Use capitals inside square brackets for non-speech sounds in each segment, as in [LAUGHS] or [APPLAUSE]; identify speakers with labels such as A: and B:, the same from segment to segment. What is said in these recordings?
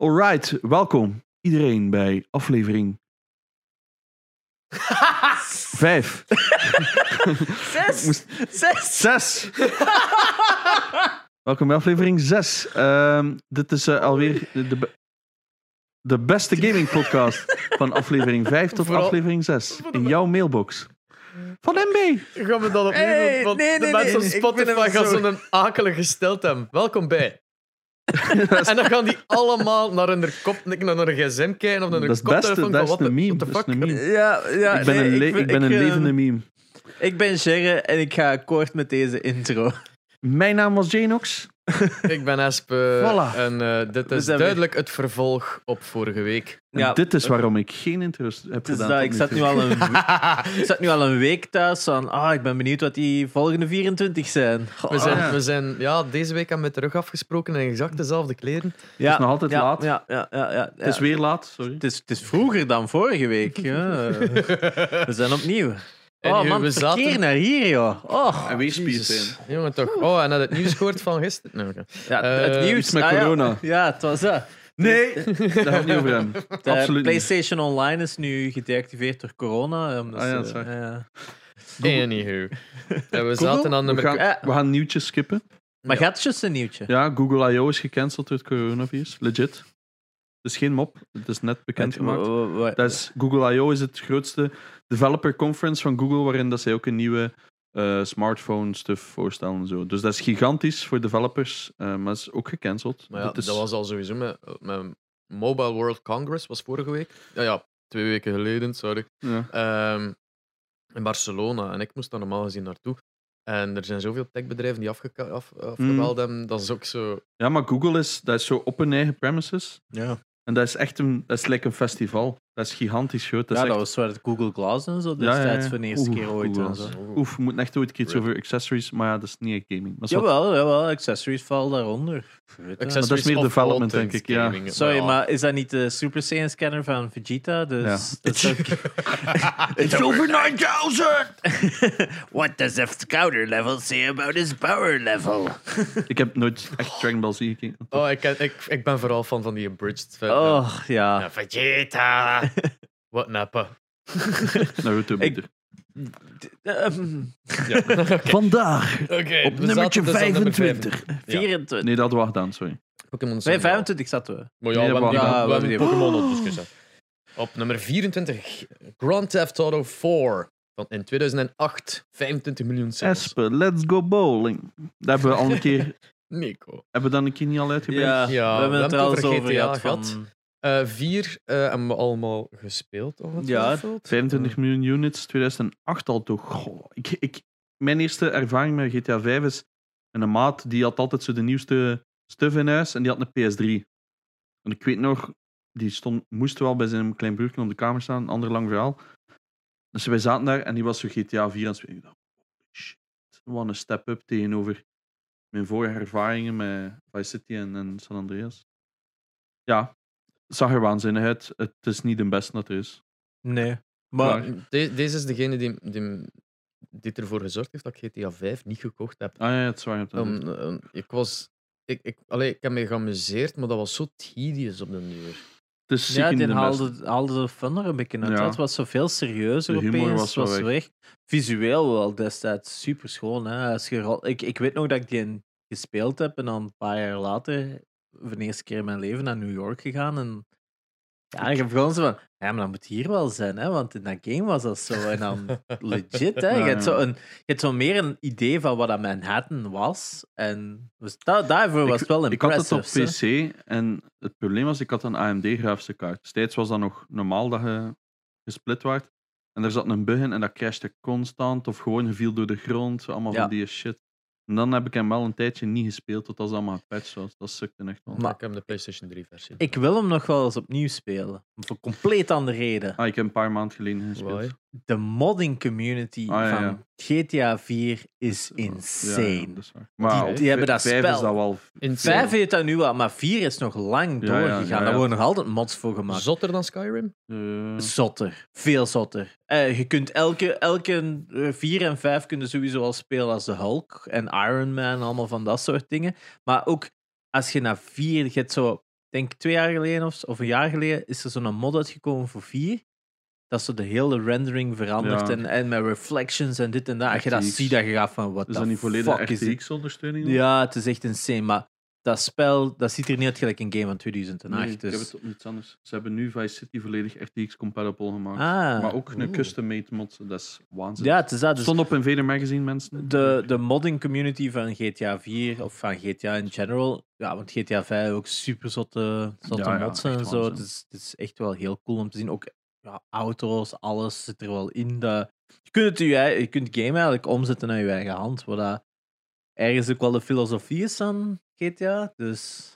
A: Alright, welkom iedereen bij aflevering 5.
B: Zes! Zes!
A: 6! [LAUGHS] welkom bij aflevering 6. dit is eh, alweer de, de, be- de beste gaming podcast van aflevering 5 tot
C: Vooral-
A: aflevering 6. In jouw mailbox. Van MB!
C: Gaan we dan opnieuw
B: Hey,
C: doen? Want
B: nee, nee,
C: de mensen
B: nee,
C: op
B: ik ben
C: Spotify
B: hem
C: gaan
B: zo-
C: zo'n akelige gesteld hebben.
A: [LAUGHS]
C: Welkom bij. en dan gaan die allemaal naar hun kop, naar hun gsm kijken of naar
A: Dat
C: hun
A: is het beste,
C: koptelefoon.
A: dat
C: van,
A: is
C: what
A: een
C: the-
A: meme. Dat is
C: what the fuck?
A: een meme.
B: Ja, ja,
A: Ik ben
B: nee,
A: een le-
B: vind-
A: ik ben een
B: eh,
A: levende meme.
B: Ik ben Gerre en ik ga akkoord met deze
A: [LAUGHS]
B: intro.
A: Mijn naam was Janox.
C: Ik ben Espe.
A: Voilà.
C: En eh, dit
B: We
C: is
B: zijn
C: duidelijk het vervolg op vorige week.
A: En
B: Ja,
A: dit is waarom ik geen interest heb
B: Het is
A: gedaan.
B: dat,
A: tot
B: Dus ik, zat
A: toe.
B: nu al
A: [LAUGHS]
B: een, ik zat nu al een week thuis van, ah, ik ben benieuwd wat die volgende 24 zijn.
C: We zijn,
A: ja.
C: we zijn ja, deze week hebben we met de rug afgesproken in exact dezelfde kleren.
B: ja,
A: is nog altijd
B: ja,
A: laat.
B: Ja, ja, ja, ja, ja.
A: Het is weer laat, sorry.
B: het, is, het is vroeger dan vorige week.
A: [LAUGHS]
B: Ja. We zijn opnieuw.
C: En
B: oh
C: hier,
B: man,
C: we
B: het verkeer
C: zaten-
B: naar hier, joh. Oh.
A: En weer
C: Jezus. Jongen, toch. Oh, en had het nieuws gehoord van gisteren? Nee, oké.
B: Ja,
C: Eh,
B: het nieuws.
A: iets met
B: ah, ja.
A: corona.
B: [LAUGHS] Ja, het was dat.
A: Nee, daar gaat niet over hem.
C: [LAUGHS]
B: De
A: Absoluut niet.
B: PlayStation Online is nu gedeactiveerd door corona. omdat
A: Ah ja,
B: ze-
A: dat is waar.
B: ja.
C: Anywho. En we zaten aan
A: We
C: nummer Ah.
A: gaan,
B: eh.
A: we gaan nieuwtjes skippen.
B: Maar
C: Ja.
B: gaat just een nieuwtje?
A: Ja, Google I.O. is gecanceld door het coronavirus. Legit. Het is geen mop. Het is net
C: oh.
A: bekendgemaakt.
B: Wa- wa- wa-
A: Dat is, Google I.O. is het grootste developer conference van Google, waarin dat zij ook een nieuwe eh, smartphone stuff voorstellen. En zo. Dus dat is gigantisch voor developers, eh, maar het is ook gecanceld.
C: Maar ja,
A: Dit is-
C: dat was al sowieso met, met Mobile World Congress, was vorige week. Ja, ja twee weken geleden, sorry.
A: ja.
C: Ehm, in Barcelona. En ik moest daar normaal gezien naartoe. En er zijn zoveel techbedrijven die afgeka- af, afgebeld hebben. Dat is ook zo...
A: Hmm. Ja, maar Google is, dat is zo op hun eigen premises.
B: ja.
A: En dat is echt een, dat is like een festival. Dat is gigantisch groot. Dat
B: ja,
A: is
B: dat
A: echt
B: was waar het Google Glass en zo
A: Ja, ja,
B: destijds
A: ja.
B: voor de eerste
A: Oeh,
B: keer ooit.
A: Google
B: En zo.
A: Glass. Oef, we moeten echt ooit een keer iets
C: Rip.
A: over accessories, maar ja, dat is niet echt gaming. Maar zat-
B: Jawel, jawel, accessories valt daaronder. Weet je.
C: Accessories
A: meer
C: of
A: development,
C: content
A: denk ik, ja.
C: gaming.
B: Sorry,
C: ja.
B: maar is dat niet de Super Saiyan scanner van Vegeta? Dus dat is ook-
A: [LAUGHS]
B: [LAUGHS]
A: It's over 9000!
B: What does the scouter level say about his power level?
A: ik heb nooit echt Dragon Ball Z gekeken.
C: Oh, ik, ik, ik ben vooral fan van die abridged versie.
B: Oh, ja. [LAUGHS]
C: Ja, Vegeta! Wat nappen.
A: Naruto
B: Ik-
A: beter.
B: Ehm,
C: Ja. Oké,
A: Vandaag,
C: we zaten dus aan nummer Ja.
B: 24.
A: Nee, dat hadden we gedaan, sorry.
C: Pokémon
B: Nee,
C: Sun.
B: 25 zaten we.
C: Maar
A: Nee,
C: ja, we hebben
A: wacht,
C: die-
B: ja,
C: we
B: we
C: hebben
B: hebben
C: die
B: die-
C: Pokémon al discussieerd. Op nummer 24, Grand Theft Auto 4. Van in 2008, 25 miljoen sales.
A: Espen, let's go bowling. Dat hebben we al een keer...
C: Nico.
A: hebben we dan een keer niet al uitgebreid?
B: Ja,
C: Ja,
B: we hebben het er
C: al
B: al zo over
C: GTA
B: gehad.
C: gehad.
B: Van,
C: Eh, vier eh, hebben we allemaal gespeeld. Of wat
B: Ja.
C: is dat? Eh,
A: 25 miljoen units, 2008 al toch. Goh, ik, ik, mijn eerste ervaring met GTA 5 is met een maat die had altijd zo de nieuwste stuff in huis en die had een PS3. En ik weet nog, die stond, moest wel bij zijn klein broertje op de kamer staan, een ander lang verhaal. Dus wij zaten daar en die was zo GTA 4 aan het spelen. Ik dacht, shit, wat een step up tegenover mijn vorige ervaringen met Vice City en, en San Andreas. Ja, het zag er waanzinnig uit. Het is niet de beste dat er is.
B: nee.
C: Maar
B: Maar
C: de- deze is degene die, die, die ervoor gezorgd heeft dat ik GTA 5 niet gekocht heb.
A: Ah ja, het is waar. je hebt een-
C: Om, eh, ik was... Ik, ik, allee, ik heb me geamuseerd, maar dat was zo tedious op den duur.
A: [LAUGHS] Het is ziek
B: ja,
A: in
B: die
A: de best.
B: haalde, haalde de fun er een beetje uit.
A: Ja.
B: Het was zo veel serieuzer
A: De humor
B: opeens.
A: was wel
B: was
A: weg.
B: weg. Visueel wel destijds super schoon. Hè? Als je ro- ik, ik weet nog dat ik die gespeeld heb en dan een paar jaar later voor de eerste keer in mijn leven naar New York gegaan. En ja, ik heb gewoon zo van, ja, maar dat moet hier wel zijn, hè? want in dat game was dat zo. En
A: [LAUGHS]
B: dan legit, hè.
A: Ja,
B: Je hebt
A: ja.
B: zo, een, je hebt zo meer een idee van wat dat Manhattan was. En dus da- daarvoor was het wel
A: Ik had het
B: impressive.
A: op PC en het probleem was, ik had een AMD-grafische kaart. Destijds was dat nog normaal dat je gesplit werd. En er zat een bug in en dat crashte constant. Of gewoon je viel door de grond. zo Allemaal
B: Ja.
A: van die shit. En dan heb ik hem wel een tijdje niet gespeeld tot als dat allemaal gepatcht was. Dat sukte echt wel.
B: Maar-
C: ik heb de PlayStation 3 versie.
B: Ik wil hem nog wel eens opnieuw spelen. Voor compleet andere reden.
A: Ah, ik heb een paar maanden geleden gespeeld.
C: Why?
B: De modding community
A: Ah, ja,
B: van
A: ja.
B: GTA 4 is
A: Ja, Dus- ja,
B: insane.
A: dat is waar. Maar
C: Die-
A: op
B: die hebben dat
A: vijf
B: spel.
A: is dat wel...
C: Insane.
B: Vijf heeft dat nu wel, maar vier is nog lang
A: Ja, ja,
B: doorgegaan.
A: ja, ja.
B: Daar worden nog altijd mods voor gemaakt.
C: Zotter dan Skyrim?
A: eh,
B: Mm. Zotter. Veel zotter. Eh, je kunt elke, elke eh, vier en vijf kunnen sowieso al spelen als de Hulk en Iron Man, allemaal van dat soort dingen. Maar ook als je naar vier, je hebt zo, ik denk twee jaar geleden of, of een jaar geleden, is er zo'n mod uitgekomen voor 4. Dat zo de hele rendering verandert
A: Ja.
B: en, en met reflections en dit en dat. Als je dat
A: RTX.
B: ziet, dan gaat van wat
A: Is dat niet volledig
B: fuck is dit?
A: RTX-ondersteuning?
B: Ja, het is echt insane. Maar dat spel, dat ziet er niet uit gelijk een game van 2008.
A: Nee,
B: dus...
A: Ik heb het op iets anders. Ze hebben nu Vice City volledig RTX-compatible gemaakt.
B: Ah,
A: maar ook een
C: oeh.
A: custom-made mod, dat is waanzin.
B: ja, het is dat. Dus
A: Stond op Invader Magazine, mensen.
B: de, de modding community van GTA 4 of van GTA in general. Ja, want GTA 5 ook super zotte, zotte
A: Ja, ja,
B: mods
A: echt
B: en zo.
A: waanzin.
B: Het is, het is echt wel heel cool om te zien. Ook ja, auto's, alles zit er wel in. De, je, kunt het je, ei- je kunt game eigenlijk omzetten naar je eigen hand. Wat dat ergens ook wel de filosofie is van GTA. Dus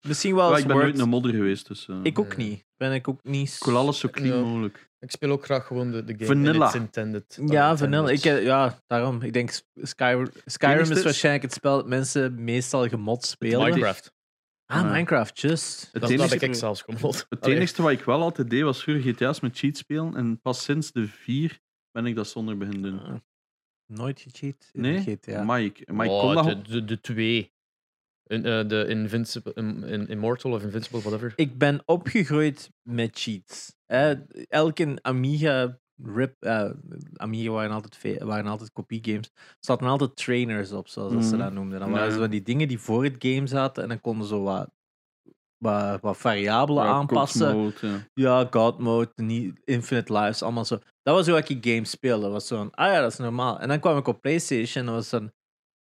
B: misschien wel
A: Ja,
B: eens
A: ik ben
B: worth-
A: nooit een modder geweest, dus... eh,
B: Ik ook
C: Ja.
B: niet. Ben ik ook niet. s-
A: Ik wil alles zo clean
C: Ja.
A: mogelijk.
C: Ik speel ook graag gewoon de, de game
A: Vanilla.
C: in its intended.
B: Ja,
C: Unintended.
B: vanilla. Ik, eh, heb- ja, daarom. Ik denk Sky- Skyrim, Skyrim
A: het
B: is
A: is-
B: waarschijnlijk het spel dat mensen meestal gemod spelen.
C: Minecraft.
B: Ah,
A: Ja.
B: Minecraft, just.
A: Het
C: Dat is dat
A: enige,
C: ik zelfs gemod.
A: het
C: Allee.
A: enige wat ik wel altijd deed, was vroeger GTA's met cheats spelen. En pas sinds de 4 ben ik dat zonder beginnen doen.
B: Ah, Nooit gecheat in
A: Nee?
B: GTA.
A: Maar ik, maar ik
C: Oh,
A: kon dat...
C: de, de, de twee. In, eh, de Invincible, in, in- Immortal of Invincible, whatever. [LAUGHS]
B: Ik ben opgegroeid met cheats. Eh, elke Amiga rip, eh, Amiga waren altijd, ve- waren altijd kopiegames. Er zaten altijd trainers op, zoals dat ze
A: Mhm.
B: dat noemden. Dan waren
A: Ja.
B: ze van die dingen die voor het game zaten en dan konden ze wat, wat, wat variabelen
A: Ja,
B: aanpassen.
A: kotsmoot, ja.
B: Ja, God Mode, niet Infinite Lives, allemaal zo. Dat was hoe ik die game speelde. Dat was zo'n, ah ja, dat is normaal. En dan kwam ik op PlayStation en was dan,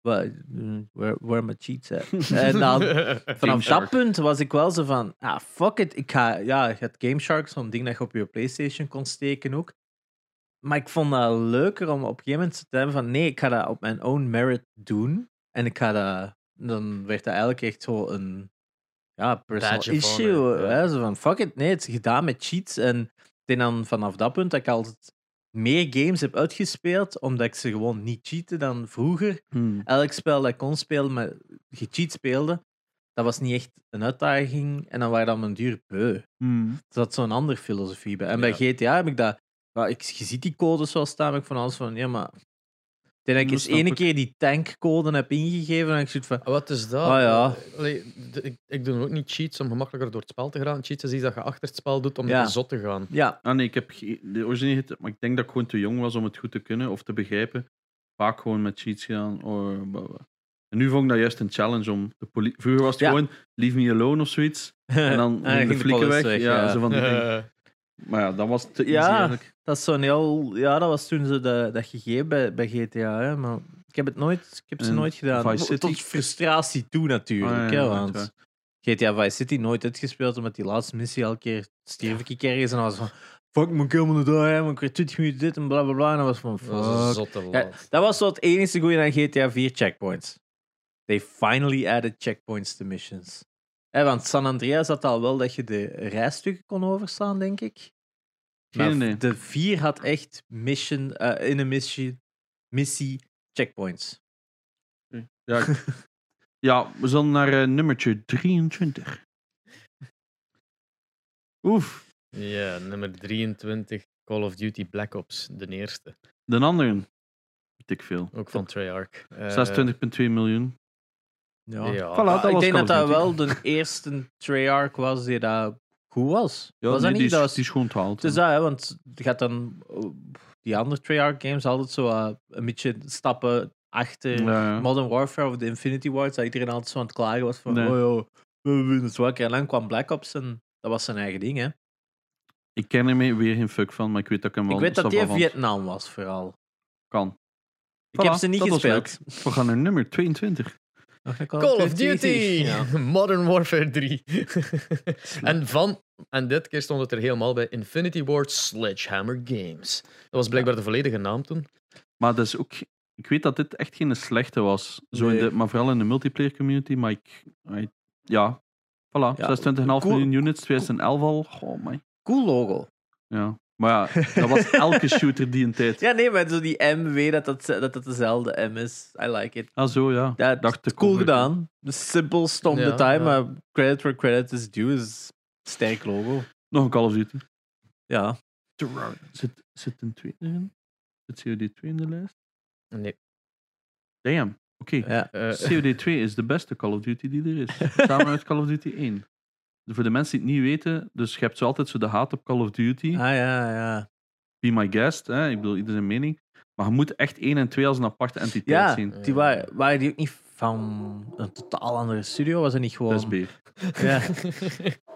B: wa- mm, where, where my cheats at? en dan,
C: Ah,
B: vanaf dat punt was ik wel zo van, ah fuck it, ik ga, ja, je had Game Shark, zo'n ding dat je op je PlayStation kon steken ook. Maar ik vond dat leuker om op een gegeven moment te hebben van, nee, ik ga dat op mijn own merit doen. En ik ga dat, dan werd dat eigenlijk echt zo een, ja, personal
C: Badge of
B: issue.
C: honor, ja.
B: hè. Zo van, fuck it, nee, het is gedaan met cheats. En ik denk dan vanaf dat punt dat ik altijd meer games heb uitgespeeld, omdat ik ze gewoon niet cheaten dan vroeger
A: Hmm.
B: elk spel dat ik kon spelen, maar gecheat speelde, dat was niet echt een uitdaging. En dan waren dat mijn duur beu. Er
A: Hmm.
B: zat zo'n andere filosofie bij. En bij
C: Ja.
B: GTA heb ik dat... nou, ik, je ziet die codes wel staan, maar ik van alles van... Ja, maar... Ik denk
A: Dat
B: dat ik eens
A: snap
B: ene
A: ik.
B: keer die tankcode heb ingegeven en ik zit van...
C: Ah, Wat is dat?
B: Ah, ja.
C: Allee, de- ik, ik doe ook niet cheats om gemakkelijker door het spel te gaan. Cheats is iets dat je achter het spel doet om
B: Ja.
C: er zot te gaan.
B: Ja,
A: Ah nee, ik heb ge- de originele hit, maar ik denk dat ik gewoon te jong was om het goed te kunnen of te begrijpen. Vaak gewoon met cheats gedaan. Or, blah, blah. En nu vond ik dat juist een challenge om de politie. Vroeger was het
B: Ja. Ah,
A: gewoon leave me alone of
B: [LAUGHS]
A: zoiets. En dan
B: ging
A: ging de flikken weg.
B: police
A: ja,
B: ja.
A: Zo
B: [LAUGHS]
A: van die dingen. Maar ja, dat was te easy
B: Ja.
A: eigenlijk.
B: Dat is zo'n heel... Ja, dat was toen ze de, dat gegeven bij, bij GTA, hè, maar... Ik heb het nooit... Ik heb ze
A: En
B: nooit gedaan.
A: Vice City?
B: Tot frustratie toe natuurlijk,
A: Ah, ja,
B: hè,
A: dat is
B: want...
A: waar.
B: GTA Vice City nooit uitgespeeld, omdat die laatste missie elke keer stierf ik ergens en dan was van fuck, moet ik helemaal naar daar, hè, moet ik weer 20 minuten dit en bla bla bla. En dan was van
C: [LAUGHS] Dat is een
B: fuck.
C: zotte
B: Ja,
C: laat.
B: dat was zo het enige goede aan GTA 4 checkpoints. They finally added checkpoints to missions. Hè, want San Andreas had al wel dat je de rijstukken kon overslaan, denk ik. Maar
A: Geen idee.
B: de 4 had echt mission, eh, in een missie, missie checkpoints.
A: Ja, ik- ja, we zullen naar eh, nummertje 23. Oef,
C: Ja, nummer 23, Call of Duty Black Ops, de eerste.
A: de anderen. Weet ik veel.
C: Ook van Treyarch. Eh,
A: 26,2 miljoen.
B: Ja.
C: Ja.
A: Voilà,
B: Maar
A: dat
B: ik
A: was
B: denk
A: Call
B: dat
A: of
B: dat
A: Duty.
B: wel de [LAUGHS] eerste Treyarch was die dat goed was.
A: Ja, nee,
B: was dat
A: die,
B: niet?
A: is,
B: Dat was,
A: die is gewoon te halen.
B: het is dat, hè, want je gaat dan oh, die andere Treyarch games altijd zo eh, een beetje stappen achter
A: Ja, ja.
B: Modern Warfare of de Infinity Ward, dat iedereen altijd zo aan het klagen was van
A: Nee.
B: oh joh, we winnen het wakker. En dan kwam Black Ops en dat was zijn eigen ding. Hè.
A: Ik ken er weer geen fuck van, maar ik weet dat ik hem wel
B: Ik weet dat die in
A: savant
B: Vietnam was vooral.
A: kan.
B: Ik heb ze niet
A: dat was
B: gespeeld.
A: leuk. We gaan naar nummer 22.
B: Nog een
C: Call of Duty!
B: Ja.
C: [LAUGHS] Modern
B: [LAUGHS]
C: Warfare 3. en van, en dit keer stond het er helemaal bij, Infinity Ward Sledgehammer Games. Dat was blijkbaar de volledige naam toen.
A: Maar dat is ook... Ik weet dat dit echt geen slechte was. Zo in
B: Nee.
A: de, maar vooral in de multiplayer community. Maar ik... I- ja. Voilà. 26,5
B: cool.
A: miljoen units. 2011 al. Goh, my.
B: Cool logo.
A: Ja. Maar
B: [LAUGHS]
A: ja, dat was elke shooter die een tijd.
B: Ja, nee, maar zo die M, weet dat dat, dat dat dezelfde M is. I like it.
A: Ah, zo, ja.
B: Ja,
A: Dacht
B: het
A: de
B: is cool
A: cover.
B: gedaan. Simpel, stom
C: Ja,
B: the time,
C: ja.
B: maar credit where credit is due is sterk logo.
A: Nog een Call of Duty.
B: Ja.
A: Zit, zit een tweede in? Zit COD 2 in de lijst?
C: Nee.
A: Damn. Oké.
B: ja.
C: eh, [LAUGHS]
B: eh.
A: COD 2 is de beste Call of Duty die er is. Samen met Call of Duty 1. voor de mensen die het niet weten, dus je hebt zo altijd zo de haat op Call of Duty.
B: Ah ja, ja.
A: Be my guest, hè? ik bedoel, ieder zijn mening. Maar je moet echt 1 en 2 als een aparte entiteit
B: Ja, Oh.
A: zien.
B: die waren, waren die ook niet van een totaal andere studio? Was dat niet gewoon...
A: Dat is beer.
B: Ja.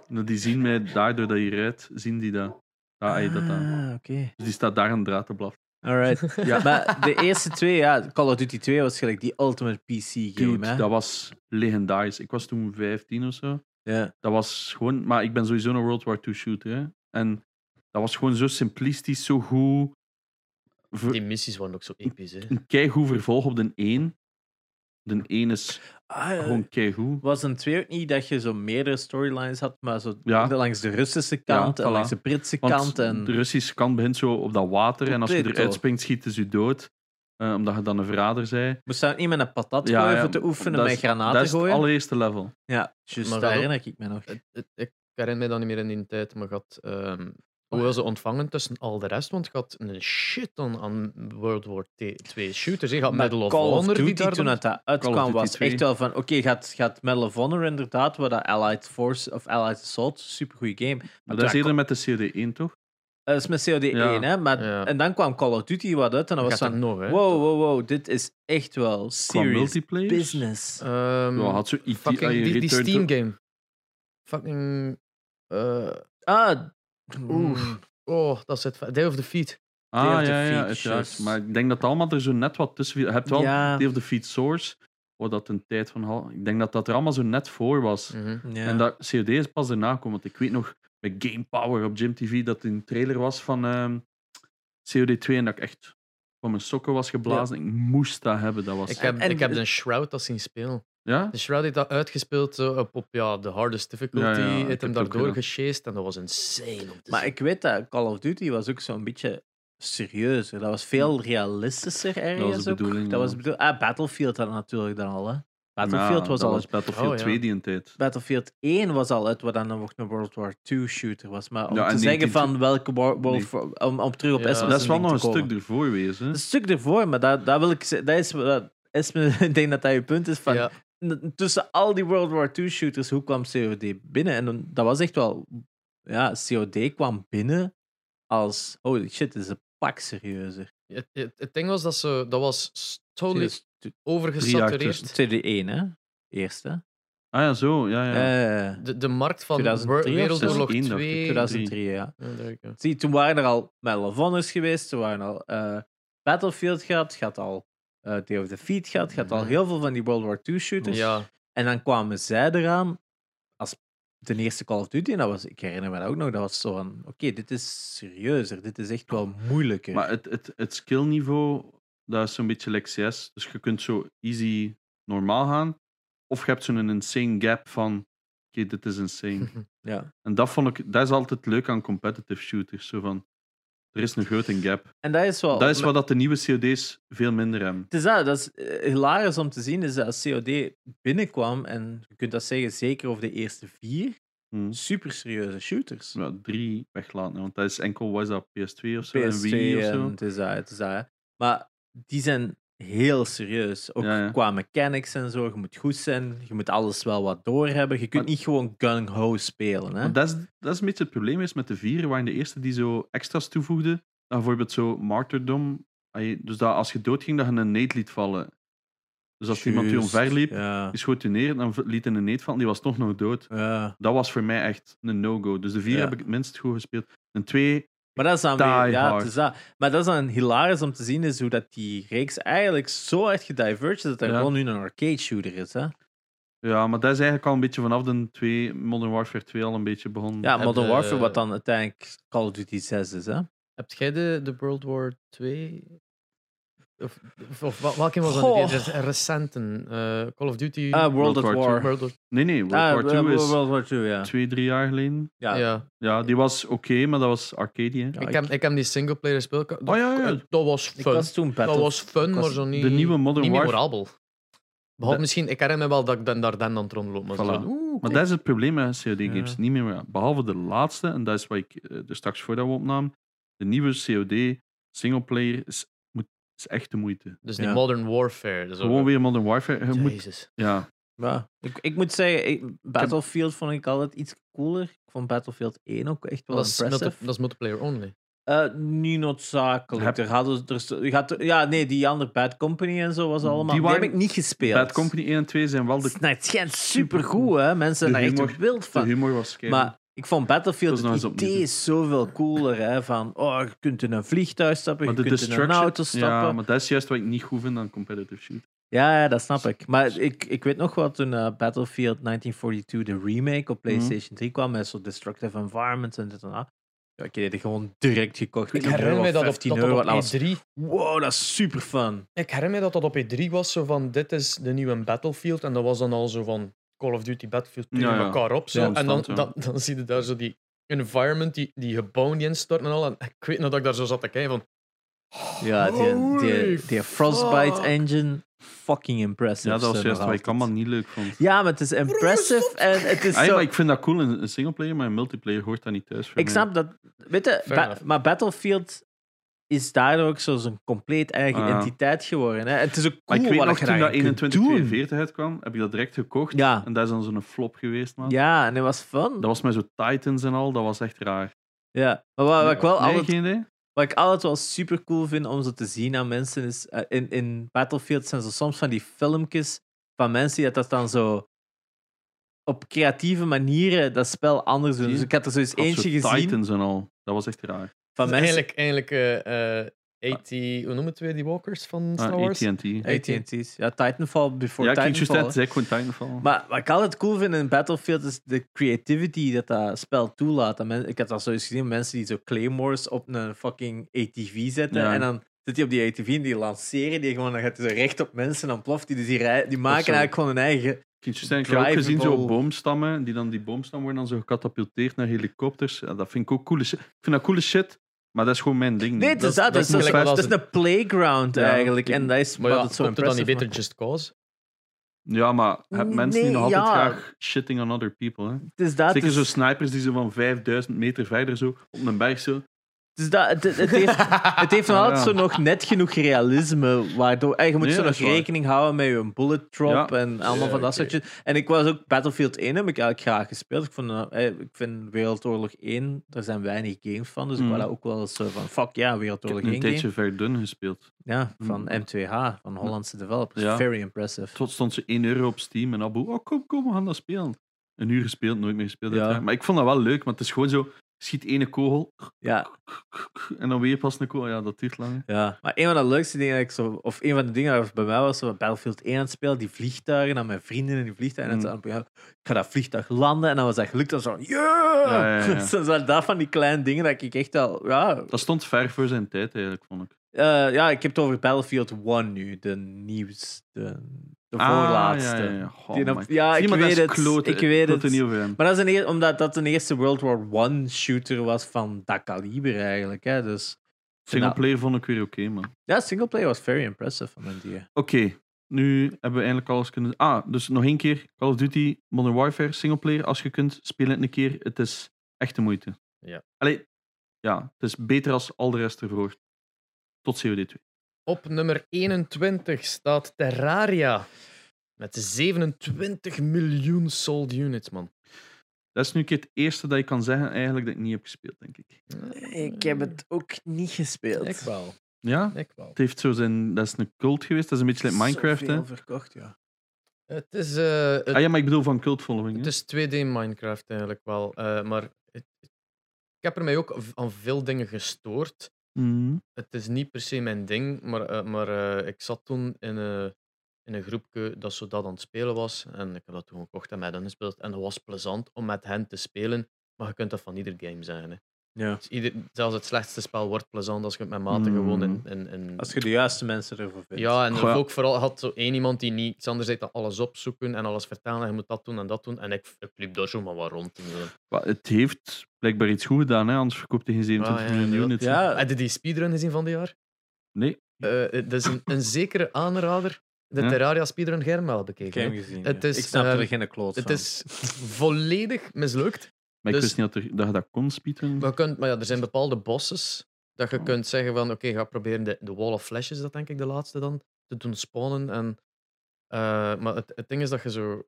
A: Nou, Die zien mij daardoor dat je rijdt, zien die dat. Daar ah, je dat aan.
B: Ah, oké.
A: Dus die staat daar aan de draad te blaffen.
B: Alright.
A: [LAUGHS] Ja.
B: Maar de eerste twee, ja, Call of Duty 2 was gelijk die ultimate PC-game,
A: Dude,
B: hè?
A: dat was legendarisch. Ik was toen 15 of zo.
B: Ja.
A: Dat was gewoon... Maar ik ben sowieso een World War II shooter, hè. En dat was gewoon zo simplistisch, zo goed. Ver-
C: Die missies waren ook zo episch, hè.
A: Een keigoed vervolg op de 1. De 1 is
B: Ah, ja.
A: gewoon keigoed.
B: Was een 2 ook niet dat je zo meerdere storylines had, maar zo
A: Ja.
B: langs de Russische kant
A: Ja,
B: en
A: voilà.
B: langs de Britse
A: Want
B: kant en...
A: de Russische kant begint zo op dat water. En als je
B: Potato.
A: eruit springt, schieten ze je dood. Eh, omdat je dan een verrader zei.
B: Moest je dat niet met een patat gooien voor te oefenen,
A: dat
B: met
A: is-
B: granaten
A: Dat is
B: gooien?
A: het allereerste level.
B: Ja, juist, daar
C: Maar dat ook-
B: herinner ik me nog.
C: Het- het- ik herinner mij dat niet meer in die tijd, maar gaat. ehm hoewel ze ontvangen tussen al de rest, want gaat een shit aan, aan World War 2 shooters. Je gaat
B: Maar
C: Medal of
B: Call
C: Honor die
B: Duty,
C: daar
B: toen
C: dan-
B: het dat
A: Call of
B: uitkwam,
A: Duty
B: was
A: 2.
B: echt wel van... Oké, gaat, gaat Medal of Honor inderdaad, wat dat Allied Force of Allied Assault, supergoeie game.
A: Maar dat is
B: Ja,
A: eerder met de CD1, toch?
B: Dat Eh, is met COD 1,
A: Ja.
B: hè? Maar,
C: Ja.
B: En dan kwam Call of Duty wat uit en dan was
C: Gaat
B: van...
C: er nog, hè?
B: Wow, wow, wow, dit is echt wel
A: Qua
B: serious
A: multiplayer. Ah.
B: business.
C: Ehm,
A: Ja, had zo IT,
C: fucking
A: ah, je
C: die, die
A: Return to-
C: Steam game. Fucking. eh,
B: Ah, mm,
C: Oeh. oh, dat is het. Day of the Feet.
B: Day
A: Ah,
B: of the
A: ja, ja,
B: Feet,
A: uiteraard.
B: juist.
A: Maar ik denk dat allemaal er zo net wat tussen... viel. Je hebt wel
B: Ja.
A: Day of the Feet Source, wat dat een tijd van... had. Ik denk dat dat er allemaal zo net voor was.
B: Ja.
A: En dat COD is pas daarna komen. Want ik weet nog, met Game Power op Jim TV, dat een trailer was van ehm, COD 2 en dat ik echt van mijn sokken was geblazen. Ik moest dat hebben. Dat was...
C: Ik heb,
B: En-
C: ik heb
B: en-
C: de Shroud dat zien spelen.
A: Ja?
C: De Shroud heeft dat uitgespeeld zo op, op ja, de hardest difficulty.
A: Ja, ja, ik
C: heeft
A: heb
C: hem
A: het ook
C: daardoor
A: gedaan.
C: gechased en dat was insane om te
B: Maar
C: zien.
B: ik weet dat Call of Duty was ook zo'n beetje serieuzer. Dat was veel realistischer ergens
A: Dat was de
B: ook.
A: bedoeling.
B: Dat was
A: ja.
B: bedoel- ah, Battlefield had dat natuurlijk dan al, hè. Battlefield
A: Ja,
B: was
A: dat
B: al uit.
A: was Battlefield
C: Oh, ja.
A: 2 die een tijd.
B: Battlefield 1 was al uit, wat dan nog een World War II shooter was. Maar om
A: Ja,
B: te
A: en
B: zeggen
A: 19
B: van welke World
A: Nee.
B: War... Om, om terug op
C: Ja.
B: Esmond
A: Dat is wel
B: te
A: nog een
B: komen.
A: stuk ervoor wezen. hè.
B: Een stuk ervoor, maar dat, dat wil ik zeggen. Dat is... Dat is me- [LAUGHS] ik denk dat dat je punt is van...
C: Ja.
B: n- Tussen al die World War II shooters, hoe kwam COD binnen? En dan- dat was echt wel... Ja, COD kwam binnen als... Holy shit, dit is een pak serieuzer.
C: Het, het, het ding was dat ze... Dat was totally
B: Dus t-
A: Drie jaar
C: overgesatureerd.
B: COD 1, hè? Eerste.
A: Ah ja, zo. Ja, ja.
B: Ja.
C: De, de markt van
B: 2003
C: Wor- Wereldoorlog
A: of zo?
C: 2.
B: 2003, ja.
C: Ja, there you go.
B: Zie, toen waren er al Medal of Honors geweest, toen waren al eh, Battlefield gehad, gaat al eh Day of the Feet gehad, gaat al
C: Mhm.
B: heel veel van die World War II shooters.
C: Ja,
B: En dan kwamen zij eraan als de eerste Call of Duty. En dat was, ik herinner me dat ook nog, dat was zo van, oké, dit is serieuzer, dit is echt wel moeilijker.
A: Maar het, het, het skillniveau, dat is zo'n beetje like CS. Dus je kunt zo easy normaal gaan. Of je hebt zo'n insane gap van... Oké, dit is insane.
B: ja.
A: en dat, vond ik, dat is altijd leuk aan competitive shooters. Zo van, er is een grote gap.
B: En dat is wel...
A: Dat is wat dat de nieuwe COD's veel minder hebben.
B: Het is dat, dat is eh, hilarisch om te zien, is dat als COD binnenkwam, en je kunt dat zeggen, zeker over de eerste vier,
A: Hm.
B: super serieuze shooters.
A: Ja, drie weglaten. hè, Want dat is enkel, was dat PS2 of zo? en
B: PS2
A: Wii of
B: en
A: zo?
B: het is dat, het is dat, hè. Maar die zijn heel serieus. Ook
A: Ja, ja.
B: qua mechanics en zo. Je moet goed zijn. Je moet alles wel wat doorhebben. Je kunt
A: Maar-
B: niet gewoon gung-ho spelen. Hè?
A: Want dat, is, dat is een beetje het probleem is met de vier, waren de eerste die zo extra's toevoegden. Dan bijvoorbeeld zo martyrdom. Ah, je- Dus dat als je doodging, dat je een neet liet vallen. Dus als iemand je
B: Juist,
A: omver liep,
B: Ja.
A: die schoot je neer, dan v- liet hij een neet vallen, die was toch nog dood.
B: ja.
A: Dat was voor mij echt een no-go. Dus de vier
B: Ja.
A: heb ik het minst goed gespeeld. Een twee,
B: Maar dat is dan
A: Die
B: weer, ja,
A: hard.
B: het is dat. Maar dat is dan hilarisch om te zien is hoe dat die reeks eigenlijk zo hard gediverged is dat er
A: Ja.
B: gewoon nu een arcade shooter is. Hè?
A: ja, maar dat is eigenlijk al een beetje vanaf de twee, Modern Warfare 2 al een beetje begonnen.
B: Ja, Modern
C: de-
B: Warfare, wat dan uiteindelijk Call of Duty 6 is. Hè? Ah,
C: Heb jij de, de World War 2? Of, of, of wel- welke was
B: Goh.
C: dat? Die re- recenten. eh, Call of Duty.
B: Ah, World,
A: World
B: at War.
A: War
C: World War-
A: Nee, nee, World
B: Ah,
A: War 2
B: eh,
A: is
B: World War 2, ja.
A: twee, drie jaar geleden.
B: ja.
C: ja.
A: Ja, die was oké, maar dat was arcade, hè.
B: Ja,
C: ik, heb, ik heb die singleplayer gespeeld.
A: Oh ja, ja.
C: Dat was
B: Ik
C: fun.
B: was toen
C: dat
B: Battle
C: was fun,
B: ik was-
C: maar zo niet,
A: De nieuwe Modern
C: niet
A: Warfare...
C: memorabel. Behalve
A: Dat-
C: misschien, ik herinner me wel dat ik dan daar dan aan het rondlopen was.
A: Voilà.
C: Zo, oeh,
A: Maar
C: cool.
A: dat is het probleem met COD-games.
B: Ja.
A: Niet meer, meer- behalve de laatste, en dat is wat ik eh, er straks voor dat we opnamen. De nieuwe COD singleplayer is, moet, is echt de moeite.
C: Dus die
B: Ja.
C: Modern Warfare. Dus
A: Gewoon weer Modern Warfare. Je moet,
C: Jezus.
A: ja.
B: Ja, ik, ik moet zeggen, ik- Battlefield vond ik altijd iets cooler. Ik vond Battlefield 1 ook echt wel
C: Dat is, multi-
B: impressive.
C: dat is multiplayer only.
B: Eh, niet noodzakelijk.
A: Heb-
B: Er hadden, er, st- je had, ja, nee, die andere Bad Company en zo was allemaal... Die,
A: waren-
B: heb ik niet gespeeld.
A: Bad Company 1 en 2 zijn wel de,
B: Het, nee, het schijnt supergoed, hè. Mensen
A: De
B: zijn daar echt
A: humor-
B: wild
A: de
B: van.
A: humor was kei.
B: Maar ik vond
A: Dat
B: Battlefield
A: is nog
B: het
A: eens opnieuw.
B: idee is zoveel cooler. Hè? Van, oh, je kunt in een vliegtuig stappen,
A: Maar
B: je kunt in een auto stappen.
A: Ja,
B: Ja,
A: maar dat is juist wat ik niet goed vind aan competitive shoot.
B: ja, dat snap ik. Maar ik, ik weet nog wel toen eh, Battlefield 1942, de remake
A: Mhm.
B: op PlayStation 3 kwam, met zo'n destructive environments en dit en dat. Ja, ik heb die gewoon direct gekocht.
C: Ik
B: 10
C: herinner
B: euro,
C: me dat op,
B: 15
C: dat
B: euro.
C: dat
B: en
C: op
B: alles.
C: E3...
B: Wow, dat is super fun.
C: Ik herinner me dat dat op E3 was, zo van dit is de nieuwe Battlefield. En dat was dan al zo van Call of Duty Battlefield tegen
A: Ja, ja.
C: elkaar op. Zo.
A: Ja,
C: en dan,
A: constant, ja.
C: dan, dan zie je daar zo die environment, die, die gebouwen die instorten en al. En ik weet nog dat ik daar zo zat te kijken van...
B: Ja, die, die, die
C: Holy
B: Frostbite
C: fuck.
B: engine, fucking impressive.
A: Ja, dat was
B: zo
A: juist
B: nog
A: wat ik
B: altijd.
A: allemaal niet leuk vond.
B: Ja, maar het is impressive en het is
A: Ah, ja,
B: zo...
A: maar ik vind dat cool in in singleplayer, maar in multiplayer hoort dat niet thuis. Voor
B: Ik
A: mij.
B: snap dat. Weet je,
C: Fair
B: Ba-
C: enough.
B: maar Battlefield is daardoor ook zo zijn compleet eigen
A: Ah, ja.
B: entiteit geworden. Hè? Het is ook
A: Maar
B: cool
A: ik weet
B: wat
A: nog
B: je
A: toen dat
B: daarin kunt doen.
A: 2142 uitkwam, heb ik dat direct gekocht.
B: Ja.
A: En dat is dan zo'n flop geweest, man.
B: Ja, en dat was fun.
A: Dat was met zo Titans en al, dat was echt raar.
B: Ja. Maar wat, wat ik wel
A: nee,
B: altijd,
A: geen idee?
B: wat ik altijd wel super cool vind om zo te zien aan mensen is... eh, in, in Battlefield zijn zo soms van die filmpjes van mensen die dat dan zo... Op creatieve manieren dat spel anders doen.
A: Zie je?
B: Dus ik had er zoiets
A: Ik had zo
B: eentje gezien
A: Titans en al, dat was echt raar.
B: van
C: Dus
B: mensen...
C: Eigenlijk, eigenlijk eh, eh, AT... Hoe noemen het weer die walkers van Star
A: Ah,
C: Wars?
A: AT&T. Ja,
B: AT&T's. Ja, Titanfall before
A: ik ging juist
B: Titanfall.
A: net zeggen, gewoon Titanfall.
B: Maar wat ik altijd cool vind in Battlefield is de creativity dat dat spel toelaat. Dat men- ik had dat zoiets gezien, mensen die zo claymores op een fucking ATV zetten
A: Ja.
B: en dan zit die op die ATV en die lanceren die gewoon, dan gaat die zo recht op mensen en dan ploft die. Dus die, rij- die maken
A: zo.
B: eigenlijk gewoon hun eigen...
A: Ik ging juist zeggen, ik heb ook gezien zo
B: drivable-
A: boomstammen, die dan die boomstammen worden dan zo gecatapulteerd naar helikopters. Ja, dat vind ik ook coole shit. Ik vind dat coole shit, maar Mm, dat is gewoon mijn ding.
B: Nee, het is dat.
C: dat
B: Dat
C: is
B: is, dat is,
C: gelijk wat
B: een playground
A: Ja.
B: eigenlijk. En dat is
C: Maar
B: wat
C: ja,
B: het zo
C: komt er dan niet
B: impressive
C: beter Just Cause?
A: Ja, maar heb mensen die
B: Nee,
A: nog altijd
B: ja.
A: graag shitting on other people. Hè?
B: maakt. Het is dat.
A: Zeker
B: het
A: zo
B: is-
A: snipers die zo van 5000 meter verder zo op een berg zo.
B: het is Dus dat. Het, het, het heeft, het heeft nog
A: [LAUGHS] Ja.
B: altijd zo nog net genoeg realisme, waardoor en je moet
A: Nee,
B: zo
A: dat
B: nog
A: is waar.
B: rekening houden met je bullet drop
A: Ja.
B: en allemaal
C: Ja,
B: van dat soort
C: oké.
B: shit. En ik was ook Battlefield 1 heb ik eigenlijk graag gespeeld. Ik, vond, eh, eh, ik vind Wereldoorlog 1, daar zijn weinig games van, dus ik
A: Mm.
B: was daar ook wel eens eh, van fuck ja,
A: Ik
B: Wereldoorlog
A: heb een
B: 1 game.
A: tijdje Verdun gespeeld.
B: Ja, van
A: Mm.
B: M2H, van Hollandse developers.
A: Ja.
B: Very impressive.
A: Tot stond ze 1 euro op Steam en Abu, oh kom, kom, we gaan dat spelen. Een uur gespeeld, nooit meer gespeeld.
B: Ja.
A: uiteraard. Maar ik vond dat wel leuk, want het is gewoon zo, je schiet ene kogel
B: Ja,
A: en dan weer pas een kogel. Ja, dat duurt lang. hè.
B: Ja, maar een van de leukste dingen dat ik zo, of een van de dingen dat bij mij was, zo Battlefield 1 aan het spelen, die vliegtuigen, dan mijn vrienden in die vliegtuigen, en
A: Mm.
B: dan zo, ja, ik ga dat vliegtuig landen, en dan was dat gelukt, dan zo, yeah!
A: Ja, ja, ja.
B: [LAUGHS] Dus dan zijn dat van die kleine dingen dat ik echt wel, ja,
A: Dat stond ver voor zijn tijd eigenlijk, vond ik.
B: Eh, ja, ik heb het over Battlefield 1 nu, de nieuws, de, de
A: Ah,
B: voorlaatste.
A: ja, ja, ja. Goh,
B: Die op-
A: man.
B: ja,
A: Zie,
B: ik
A: maar dat
B: weet
A: is
B: het,
A: klote.
B: ik weet
A: Klote
B: het.
A: niet over hem.
B: Maar dat is een eer- omdat dat een eerste World War 1 shooter was van dat kaliber eigenlijk, hè, dus
A: Singleplayer vond ik weer oké, man.
B: ja, singleplayer was very impressive van mijn die.
A: Oké, nu hebben we eindelijk alles kunnen. Ah, dus nog één keer: Call of Duty, Modern Warfare, singleplayer. Als je kunt, speel het een keer. Het is echt de moeite.
C: Ja.
A: Allee, ja, het is beter als al de rest ervoor. Tot COD2.
C: Op nummer 21 staat Terraria. Met 27 miljoen sold units, man.
A: Dat is nu een keer het eerste dat je kan zeggen eigenlijk dat ik niet heb gespeeld, denk ik.
B: Ik heb het
C: Mm.
B: ook niet gespeeld.
C: Ik wel,
A: Ja?
C: ik wel.
A: Het heeft zo zijn... Dat is een cult geweest. Dat is een beetje like Minecraft, hè?
B: verkocht, ja.
C: Het is, eh, het,
A: Ah ja, maar ik bedoel van cult following, hè?
C: het is 2D Minecraft eigenlijk wel. eh, maar het- ik heb er mij ook v- aan veel dingen gestoord.
A: Mhm.
C: Het is niet per se mijn ding, maar, eh, maar eh, ik zat toen in, een in een groepje dat zo dat aan het spelen was. En ik heb dat toen gekocht en met hen gespeeld. En dat was plezant om met hen te spelen. Maar je kunt dat van ieder game zijn. Hè.
B: ja.
C: Dus ieder, zelfs het slechtste spel wordt plezant als je het met maten
A: Mm. Ah,
C: gewoon in... in, in-
B: Als je de juiste mensen ervoor vindt.
C: ja, en er
A: Goh.
C: ook vooral had zo één iemand die niet iets anders deed dan alles opzoeken en alles vertalen. Je moet dat doen en dat doen. En ik, ik liep daar zo maar wat rond. En, zo.
A: Maar het heeft blijkbaar iets goed gedaan, hè? Anders verkoopt hij geen 27
C: Ah, ja,
A: miljoen units. hè.
B: Ja,
C: Heb je die speedrun gezien van dit jaar?
A: Nee.
C: Eh, eh, dat is een, een zekere aanrader. De
A: Ja.
C: Terraria speedrun Germ wel bekeken.
B: game
C: hè.
B: gezien.
C: Het
B: ja.
C: is,
B: ik snap er
C: eh,
B: geen kloot
C: Het
B: van.
C: is volledig mislukt.
A: Maar
C: Dus-
A: ik wist niet dat, er- dat je dat kon speedrunnen.
C: Maar, je kunt, maar ja, er zijn bepaalde bosses dat je
A: Oh.
C: kunt zeggen van oké, ga proberen de, de wall of flashes, dat denk ik de laatste dan, te doen spawnen. En, eh, maar het, het ding is dat je zo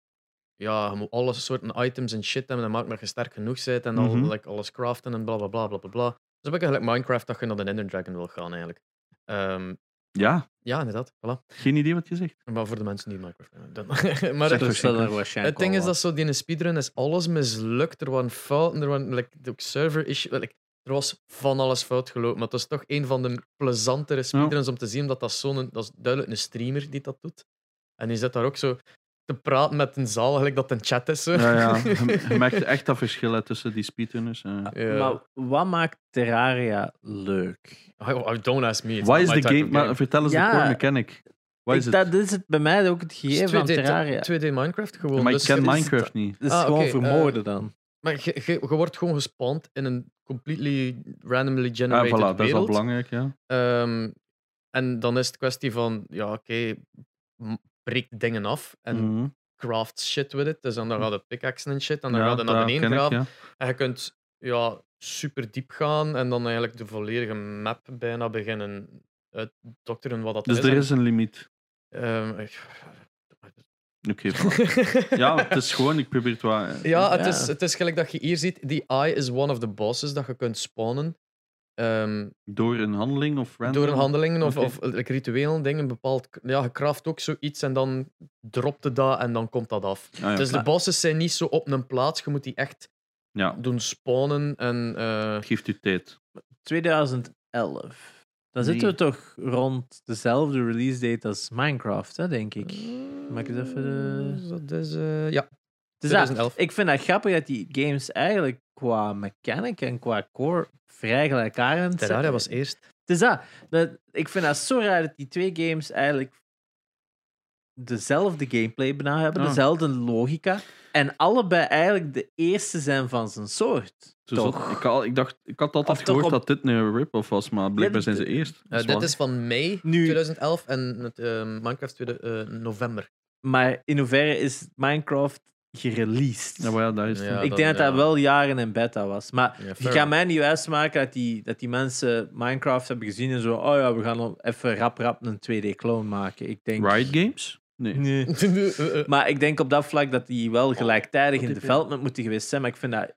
C: ja, je moet alle soorten items en shit hebben. Dat maakt dat je sterk genoeg bent. En al,
A: Mhm.
C: like, alles craften en bla bla bla bla bla. bla. Dus een beetje gelijk Minecraft dat je naar de Ender Dragon wil gaan eigenlijk. Ehm,
A: Ja,
C: ja, inderdaad. Voilà.
A: geen idee wat je zegt.
C: Maar voor de mensen die Minecraft hebben. dan- [LAUGHS] maar
A: Zeg dus toch
C: het,
B: Er staat
A: zeker.
B: er waarschijnlijk
C: het ding
B: al
C: is
B: wat.
C: dat zo die speedrun is alles mislukt. Er waren fouten, er waren like, ook server issues. Like, er was van alles fout gelopen. Maar het is toch een van de plezantere speedruns om te zien. Omdat dat zo'n... Dat is duidelijk een streamer die dat doet. En die zit daar ook zo te praten met een zaal, gelijk dat het een chat is. Zo.
A: Ja, [LAUGHS]
C: [LAUGHS]
A: ja. Je, je merkt echt dat verschil hè, tussen die speedrunners. eh.
C: Ja.
B: Maar wat maakt Terraria leuk?
C: Oh, oh, don't ask me. it's
A: Why
C: not
A: is
C: my
A: the
C: type
A: game...
C: of
A: Maar, vertel eens
B: Ja.
A: de core mechanic. Why
B: Ik-
A: is het?
B: dat is het bij mij ook het
C: Het is
B: gegeven van
C: 2D,
B: Terraria.
C: ta- 2D Minecraft gewoon.
A: Maar ik
C: dus
A: ken
C: het is-
A: Minecraft niet.
B: Het is
C: Ah,
B: gewoon
C: oké, eh,
B: vermoorden dan.
C: Maar je, je, je wordt gewoon gespawnd in een completely randomly
A: Ah,
C: generated
A: voilà, dat is al
C: wereld.
A: belangrijk, ja.
C: Ehm, en dan is het kwestie van, ja, oké, m- breek dingen af en
A: Mhm.
C: craft shit with it. Dus dan, dan gaat het pickaxen en shit en dan
A: Mm. Ja,
C: gaat het naar
A: dat
C: beneden
A: ken ik,
C: graven.
A: ja.
C: En je kunt ja, super diep gaan en dan eigenlijk de volledige map bijna beginnen uitdokteren wat dat
A: Dus
C: is.
A: er
C: En,
A: is een limiet.
C: ehm, ik- [LAUGHS]
A: Oké, voilà. Ja, het is gewoon, ik probeer het wel. eh.
C: Ja, het
B: Ja.
C: is, het is gelijk dat je hier ziet. Die eye is one of the bosses dat je kunt spawnen. Ehm,
A: Door een handeling of random?
C: door een handeling of,
A: Oké.
C: of eh, like, rituelen, dingen bepaald. Ja, je craftt ook zoiets en dan dropt het dat en dan komt dat af.
A: Ah, ja.
C: Dus de bosses zijn niet zo op een plaats. Je moet die echt
A: Ja,
C: doen spawnen. En, eh,
A: het geeft u tijd. Dus
B: 2011. Dan zitten we
A: Nee.
B: toch rond dezelfde release date als Minecraft, hè, denk ik.
C: Mm.
B: maak eens even de-
C: Dus Dat is,
B: Dus
C: eh, ja,
B: ja,
C: 2011.
B: ik vind dat grappig dat die games eigenlijk qua mechanic en qua core vrij gelijkaardig zijn.
C: Terraria
A: e-
C: was eerst.
B: Dus dat, dat- ik vind dat zo raar dat die twee games eigenlijk dezelfde gameplay bijna hebben,
A: Ah.
B: dezelfde logica. En allebei eigenlijk de eerste zijn van zijn soort.
A: Zo zat-
B: toch?
A: ik, al- ik, dacht, ik had altijd
B: Of toch
A: gehoord
B: op-
A: dat dit een rip-off was, maar blijkbaar
B: dit-
A: zijn ze eerst.
C: Eh,
A: Dat is
C: dit
A: waar.
C: is van mei
B: Nu-
C: 2011 en het, eh, Minecraft tweede, eh,
B: [LAUGHS]
C: november.
B: Maar in hoeverre is Minecraft gereleased?
A: Ja, maar ja, daar is het.
C: Ja.
B: ik
C: dan,
B: denk dat dat
C: ja.
B: wel jaren in beta was. Maar
C: Ja,
B: je
C: fair.
B: gaat mij niet wijsmaken dat die, dat die mensen Minecraft hebben gezien en zo. Oh ja, we gaan al even rap rap een 2D-clone maken. Ik denk.
A: Riot Games? Nee.
B: Nee.
C: Eh, eh,
B: Maar ik denk op dat vlak dat die wel gelijktijdig in
A: dit-
B: development moeten geweest zijn. Maar ik vind dat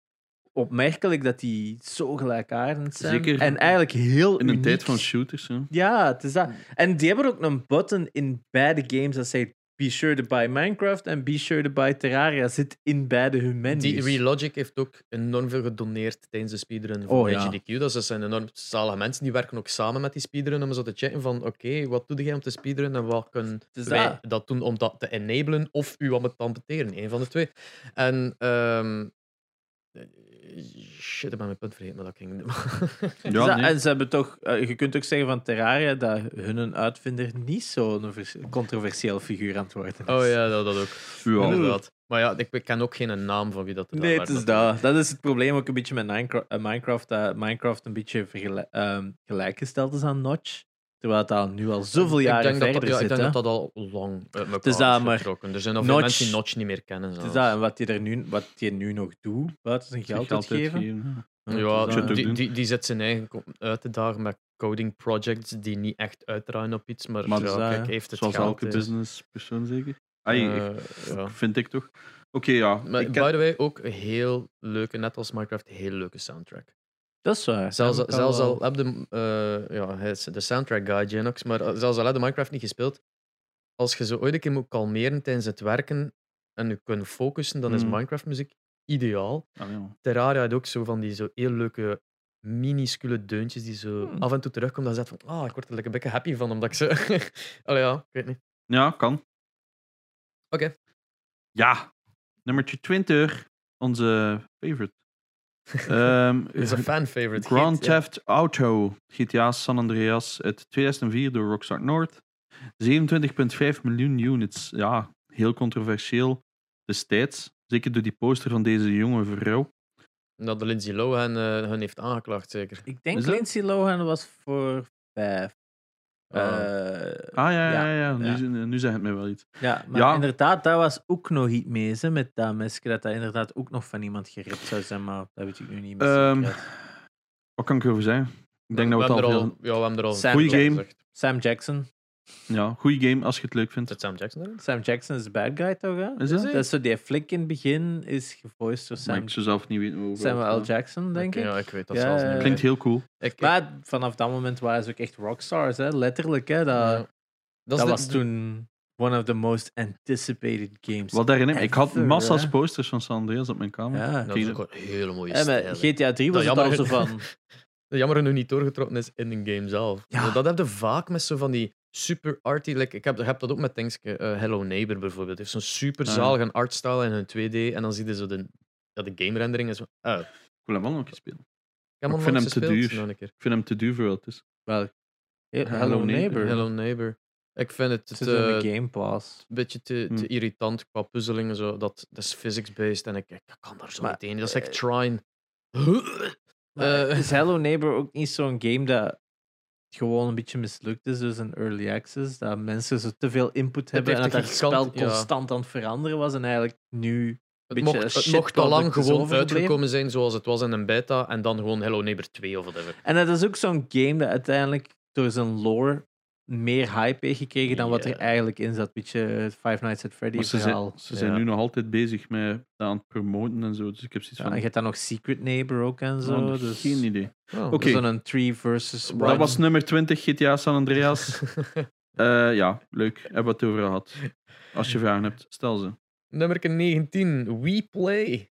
B: opmerkelijk dat die zo gelijkaardig zijn.
A: Zeker
B: en eigenlijk heel
A: In een
B: uniek.
A: tijd van shooters. Hè.
B: Ja, het is dat. En die hebben ook een button in beide games dat zegt be sure to buy Minecraft en be sure to buy Terraria zit in beide hun menus.
C: Die Relogic heeft ook enorm veel gedoneerd tijdens de speedrun van
B: Oh, ja.
C: HDQ. Dus dat zijn enorm zalige mensen. Die werken ook samen met die speedrun om zo te checken van oké, wat doe jij om te speedrunnen en wat kunnen
B: Dus
C: wij
B: dat-
C: dat. doen om dat te enablen of u om het te amputeren. Een van de twee. En ehm, shit, ik ben mijn punt vergeten, maar dat ging [LAUGHS] niet.
B: Dus
A: Ja,
B: dat-
A: nee.
B: En ze hebben toch, eh, je kunt ook zeggen van Terraria dat hun uitvinder niet zo'n vers- controversieel figuur aan het worden is.
C: oh ja, dat, dat ook.
A: Ja.
C: Inderdaad. Maar ja, ik, ik ken ook geen naam van wie dat er daar
B: Nee, het
C: werd,
B: is
C: natuurlijk.
B: dat. Dat is het probleem ook een beetje met Minecraft. eh, Minecraft dat Minecraft een beetje vergel- ehm, gelijkgesteld is aan Notch. Terwijl het al nu al zoveel
C: Ik denk
B: jaren
C: dat dat-
B: verder
C: ja,
B: zit.
C: Ik
B: hè.
C: denk dat dat al lang uit elkaar
B: is
C: is
B: dat, maar
C: getrokken. Er zijn al veel
B: Notch-
C: mensen die Notch niet meer kennen.
B: Het is
C: zelfs.
B: dat. En wat je, er nu, wat je nu nog doet, buiten zijn geld uitgeven.
A: uitgeven,
C: Ja,
B: het is
A: dat-
B: dat,
A: Shit,
C: die,
A: doen.
C: die, die zet zijn eigen kom- uit te dagen met coding projects die niet echt uitdraaien op iets, maar,
A: Maar
C: ja,
B: dat is dat,
C: kijk,
B: hè.
C: heeft het
A: Zoals
C: geld,
A: elke
C: eh.
A: businesspersoon zeker. Ai,
C: Eh, ja.
A: Vind ik toch. Oké, ja.
C: Maar
A: ik
C: by
A: ken-
C: the way, ook een heel leuke, net als Minecraft, heel leuke soundtrack.
B: dat is waar.
C: Zelfs,
B: Dat heb ik
C: zelfs al
B: wel-
C: heb de, eh, ja, hij is de soundtrack guy, Genox, maar eh, zelfs al heb je Minecraft niet gespeeld, als je zo ooit een keer moet kalmeren tijdens het werken en je kunt focussen, dan is
A: Mm.
C: Minecraft muziek ideaal.
A: Ah, ja.
C: Terraria had ook zo van die zo heel leuke minuscule deuntjes die zo
B: Hmm.
C: af en toe terugkomen. Dan zegt van, ah, ik word er like een beetje happy van, omdat ik ze... [LAUGHS] Allee, ja, ik weet niet.
A: Ja, kan.
C: Oké.
A: Ja. Nummertje 20. Onze favorite. Ehm,
C: [LAUGHS] Het is een fan-favorite.
A: Grand
C: Heet, ja.
A: Theft Auto. GTA San Andreas uit 2004 door Rockstar North. 27,5 miljoen units. Ja, heel controversieel destijds. Zeker door die poster van deze jonge vrouw.
C: Dat de Lindsay Lohan eh, hun heeft aangeklaagd, zeker.
B: Ik denk
A: Is dat-
B: Lindsay Lohan was voor vijf.
C: Oh.
B: Eh,
A: Ah ja, ja, ja. Nu,
B: ja.
A: nu, zegt het mij wel iets.
B: Ja, maar
A: Ja.
B: inderdaad, daar was ook nog iets mee, hè, met dat mesje, dat dat inderdaad ook nog van iemand geript zou zijn, maar dat weet ik nu niet meer
A: Ehm,
B: zeker.
A: Wat kan ik erover zeggen? Ik denk dat we
C: hebben
A: het
C: er
A: al
C: al,
A: veel...
C: Ja, we hebben er al
B: Sam
C: veel
A: Goeie
C: over
A: game.
C: gezegd.
B: Sam Jackson,
A: Ja, goede game als je het leuk vindt.
C: Zit Sam Jackson erin?
B: Sam Jackson is de bad guy toch? Hè?
A: Is dat?
B: Dat is zo die flik in het begin is gevoiced door
A: Maar
B: Sam,
A: ik zou zelf niet weten hoe.
B: Samuel L. Jackson, denk
C: Oké,
B: ik.
C: Ja, ik weet dat
B: Ja,
C: zelfs niet
B: ja,
C: meer.
B: ja.
A: Klinkt heel cool.
C: Ik-
B: Maar vanaf dat moment waren ze ook echt rockstars, hè? letterlijk. Hè? Dat,
C: Ja.
B: eh, dat,
C: dat is de-
B: was toen one of the most anticipated games.
A: Wat daarin Ik had
B: Ever,
A: massa's
B: hè?
A: posters van San Andreas op mijn kamer.
B: Ja.
C: Dat is ook een hele mooie
B: Hè, met
C: stijl. hè.
B: GTA 3
C: Dat
B: was het al
C: jammer.
B: zo van.
C: Dat jammer genoeg niet doorgetrokken is in de game zelf.
B: Ja.
C: Maar Dat heb je vaak met zo van die super arty. Like, ik heb, ik heb dat ook met Dingske, eh, Hello Neighbor bijvoorbeeld. heeft zo'n super
A: Ah, ja.
C: zalige artstyle in hun 2D. En dan zie je zo de, ja, de game rendering. En zo. Ah, ik
A: Ik wil hem wel nog een keer spelen.
C: heb
A: Ik
C: nog
A: vind hem
C: nooit
A: te
C: gespeeld,
A: duur.
C: nog een keer.
A: Ik vind hem te duur voor wat het is.
B: Wel, Eh,
C: [LAUGHS]
B: Hello,
A: Hello Neighbor.
B: Neighbor.
C: Hello eh, Neighbor. Ik vind het
B: Het
C: te,
B: is in de Game Pass.
C: een beetje te, te
A: Hmm.
C: irritant qua puzzeling en zo. Dat, dat is physics-based en ik, ik kan daar zo
B: Maar,
C: niet in. Dat is
B: eh,
C: echt trine.
B: Maar
C: Eh. [LAUGHS]
B: is Hello Neighbor ook niet zo'n game dat gewoon een beetje mislukt is, dus een early access, dat mensen zo te veel input hebben en dat
C: heeft
B: het
C: een
B: spel
C: gigant- ja.
B: constant aan het veranderen was en eigenlijk nu...
C: Het
B: beetje
C: mocht, het
B: shit
C: mocht al lang
B: product is
C: gewoon
B: overgebleven.
C: uitgekomen zijn zoals het was in een beta en dan gewoon Hello Neighbor 2 of whatever.
B: En dat is ook zo'n game dat uiteindelijk door zijn lore meer hype heeft gekregen dan wat er
C: Ja.
B: eigenlijk in zat. Beetje het Five Nights at
A: Maar ze
B: Freddy's
A: zijn,
B: verhaal.
A: ze zijn
C: Ja.
A: nu nog altijd bezig met dat aan het promoten en zo. Dus ik heb zoiets
B: Ja,
A: van.
B: en je hebt dan nog Secret Neighbor ook en zo.
A: oh,
B: dus
A: Geen idee.
C: Oh,
A: Oké.
B: Zo'n 3 versus
C: Dat
A: Dat
B: one.
A: was nummer 20 GTA San
B: [LAUGHS]
A: Andreas. Eh, ja, leuk. Hebben we het over gehad. Als je vragen hebt, stel ze.
C: [LAUGHS] Nummer 19, We Play.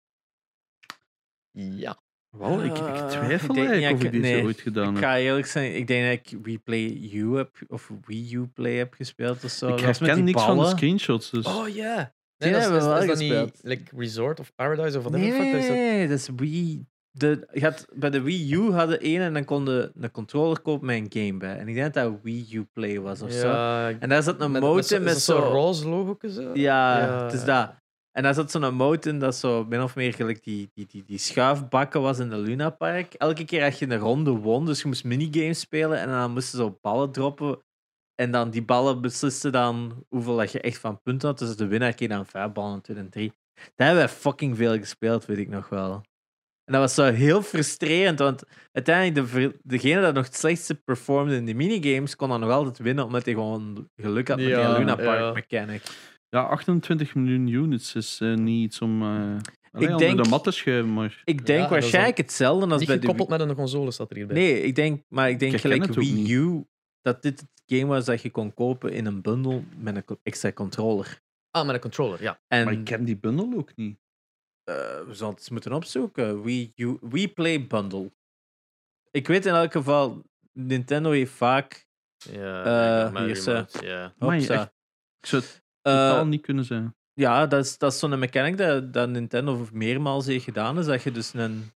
C: Ja.
A: Wel, ik,
B: Eh,
A: ik twijfel
B: ik denk-
A: eigenlijk
B: ja,
A: of
B: ik-
A: ik deze
B: nee.
A: ooit gedaan
B: Ik
A: heb.
B: ga eerlijk zijn, ik denk dat ik Replay U heb, of Wii U Play heb gespeeld of zo.
A: ik
B: Dat was met
A: herken
B: die
A: niks van de
B: ballen.
A: screenshots. Dus.
C: Oh ja.
B: Die
C: dat is-
B: hebben we
C: is,
B: wel
C: is dat niet
B: gespeeld.
C: like Resort of Paradise of whatever
B: Nee,
C: the fuck
B: nee,
C: is dat?
B: nee, dat is Wii. De, je had, bij de Wii U hadden één en dan konden een controller kopen met een game bij. En ik denk dat dat Wii U Play was of zo.
C: Ja, ik-
B: En daar zat een
C: met-
B: motor
C: met zo-
B: met,
C: is dat
B: zo...
C: zo'n roze logo. Zo?
B: Ja,
C: Ja.
B: het is dat. En daar zat zo'n motor in dat zo min of meer gelijk die, die, die, die schuifbakken was in de Luna Park. Elke keer had je een ronde won, dus je moest minigames spelen en dan moesten ze op ballen droppen. En dan die ballen beslisten dan hoeveel dat je echt van punten had. Dus de winnaar kreeg dan vijf ballen, twee en drie. Daar hebben we fucking veel gespeeld, weet ik nog wel. En dat was zo heel frustrerend, want uiteindelijk de, ver- degene dat nog het slechtste performde in de minigames, kon dan nog altijd winnen, omdat hij gewoon geluk had met
C: Ja,
B: die Luna Park
C: ja.
B: mechanic.
A: Ja, 28 miljoen units is eh, niet iets om eh alleen onder
B: denk-
A: de mat te schuiven, maar
B: Ik
C: Ja,
B: denk
C: dat is
B: waarschijnlijk hetzelfde als
C: Niet
B: bij de
C: gekoppeld met een console staat er
B: Wii.
C: hierbij.
B: Nee, ik denk, maar ik denk
A: Ik herken
B: gelijk
A: het ook
B: Wii
A: niet.
B: U dat dit het game was dat je kon kopen in een bundel met een co- extra controller.
C: Ah, met een controller, ja.
B: En
A: Maar ik ken die bundel ook niet.
B: eh, we zullen het eens moeten opzoeken. Wii, U, Wii Play Bundle. Ik weet in elk geval, Nintendo heeft vaak.
C: ja
B: Eh,
C: ja, met
B: hier is, eh,
C: remote, ja.
A: Amai,
B: Hopsa.
A: echt Ik zou het
B: Eh,
A: totaal niet kunnen zijn.
B: ja, dat is, dat is zo'n mechanic dat, dat Nintendo meermaals heeft gedaan. Is dat je dus een.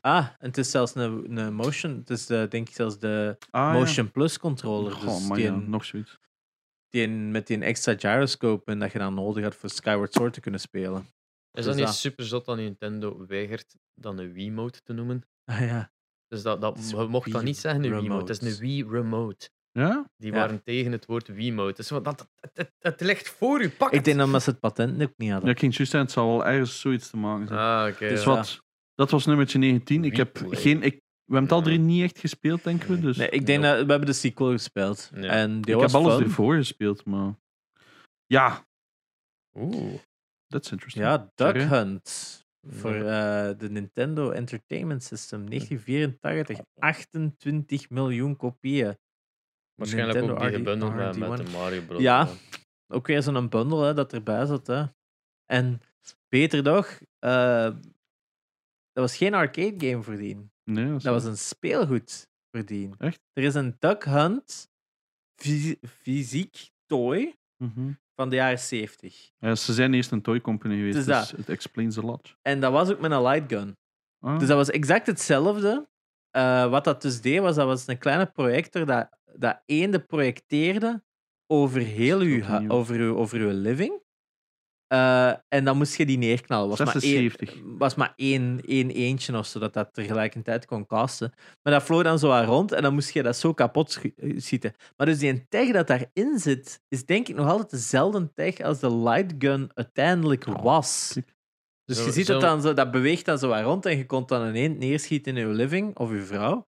B: Ah, en het is zelfs een, een motion. Het is de, denk ik zelfs de
A: Ah,
B: Motion Plus
A: ja.
B: controller.
A: Goh,
B: dus
A: maar
B: die
A: ja,
B: een-
A: nog zoiets.
B: die, met die extra gyroscope en dat je dan nodig had voor Skyward Sword te kunnen spelen.
C: Is
B: Dus
C: dat niet
B: dat.
C: super zot dat Nintendo weigert dan een Wiimote te noemen?
B: Ah ja.
C: Dus dat, dat,
B: Het is
C: je mocht dat
B: Wii
C: niet zeggen, een Wiimote. Het
B: Remote.
C: is een Wii Remote.
A: Ja?
C: Die
B: Ja.
C: waren tegen het woord Wiimote. Dus wat- dat, het, het, het ligt voor u, pak
B: Ik
C: het.
B: denk dat ze het patent ook niet
A: Ja,
B: hadden.
A: ik ging juist zeggen, het zou wel ergens zoiets te maken zijn.
C: Ah, oké.
B: Dus
A: dus
C: ja.
A: wat, dat was nummertje 19. Ik heb
C: Replay.
A: geen... Ik, we hebben het al
C: Ja.
A: drie niet echt gespeeld, denken we.
C: Nee.
A: Dus
B: Nee, ik denk
C: Ja.
B: dat we hebben de sequel gespeeld.
C: Ja.
B: En die
A: ik
B: was
A: heb alles
B: fun.
A: ervoor gespeeld, maar... Ja,
C: Oeh.
A: that's interesting.
B: Ja, Duck
A: Sorry.
B: Hunt. Voor
C: Ja.
B: eh, de Nintendo Entertainment System 1984. 28 miljoen kopieën.
C: Waarschijnlijk
B: Nintendo
C: ook die
B: RD
C: gebundeld met, met
B: RD1.
C: de Mario Bros.
B: Ja. Ook weer zo'n bundel hè, dat erbij zat. Hè. En beter nog, eh, dat was geen arcade game voordien.
A: Nee, dat is-
B: Dat was een speelgoed verdien.
A: Echt?
B: Er is een Duck Hunt fys- fysiek toy
A: Mhm.
B: van de jaren 70.
A: Ja, ze zijn eerst een toy company geweest,
B: Dus
A: dus,
B: dat.
A: het explains a lot.
B: En dat was ook met een light gun.
A: Ah.
B: Dus dat was exact hetzelfde. Eh, wat dat dus deed, was dat was een kleine projector dat, dat eende projecteerde over heel
A: Dat is
B: uw,
A: ook
B: hu-
A: nieuw.
B: over uw, over uw living. Eh, en dan moest je die neerknallen. Was maar
A: 76.
B: één, was maar één, één eentje of zo, dat dat tegelijkertijd kon casten. Maar dat vloog dan zo aan rond en dan moest je dat zo kapot schi- eh, schieten. Maar dus die tech dat daarin zit, is denk ik nog altijd dezelfde tech als de light gun uiteindelijk
A: Oh,
B: was.
A: klik.
B: Dus
C: Zo-
B: je ziet dat
C: zo-
B: dan zo, dat beweegt dan zo wat rond en je komt dan een eend neerschieten in je living of je vrouw.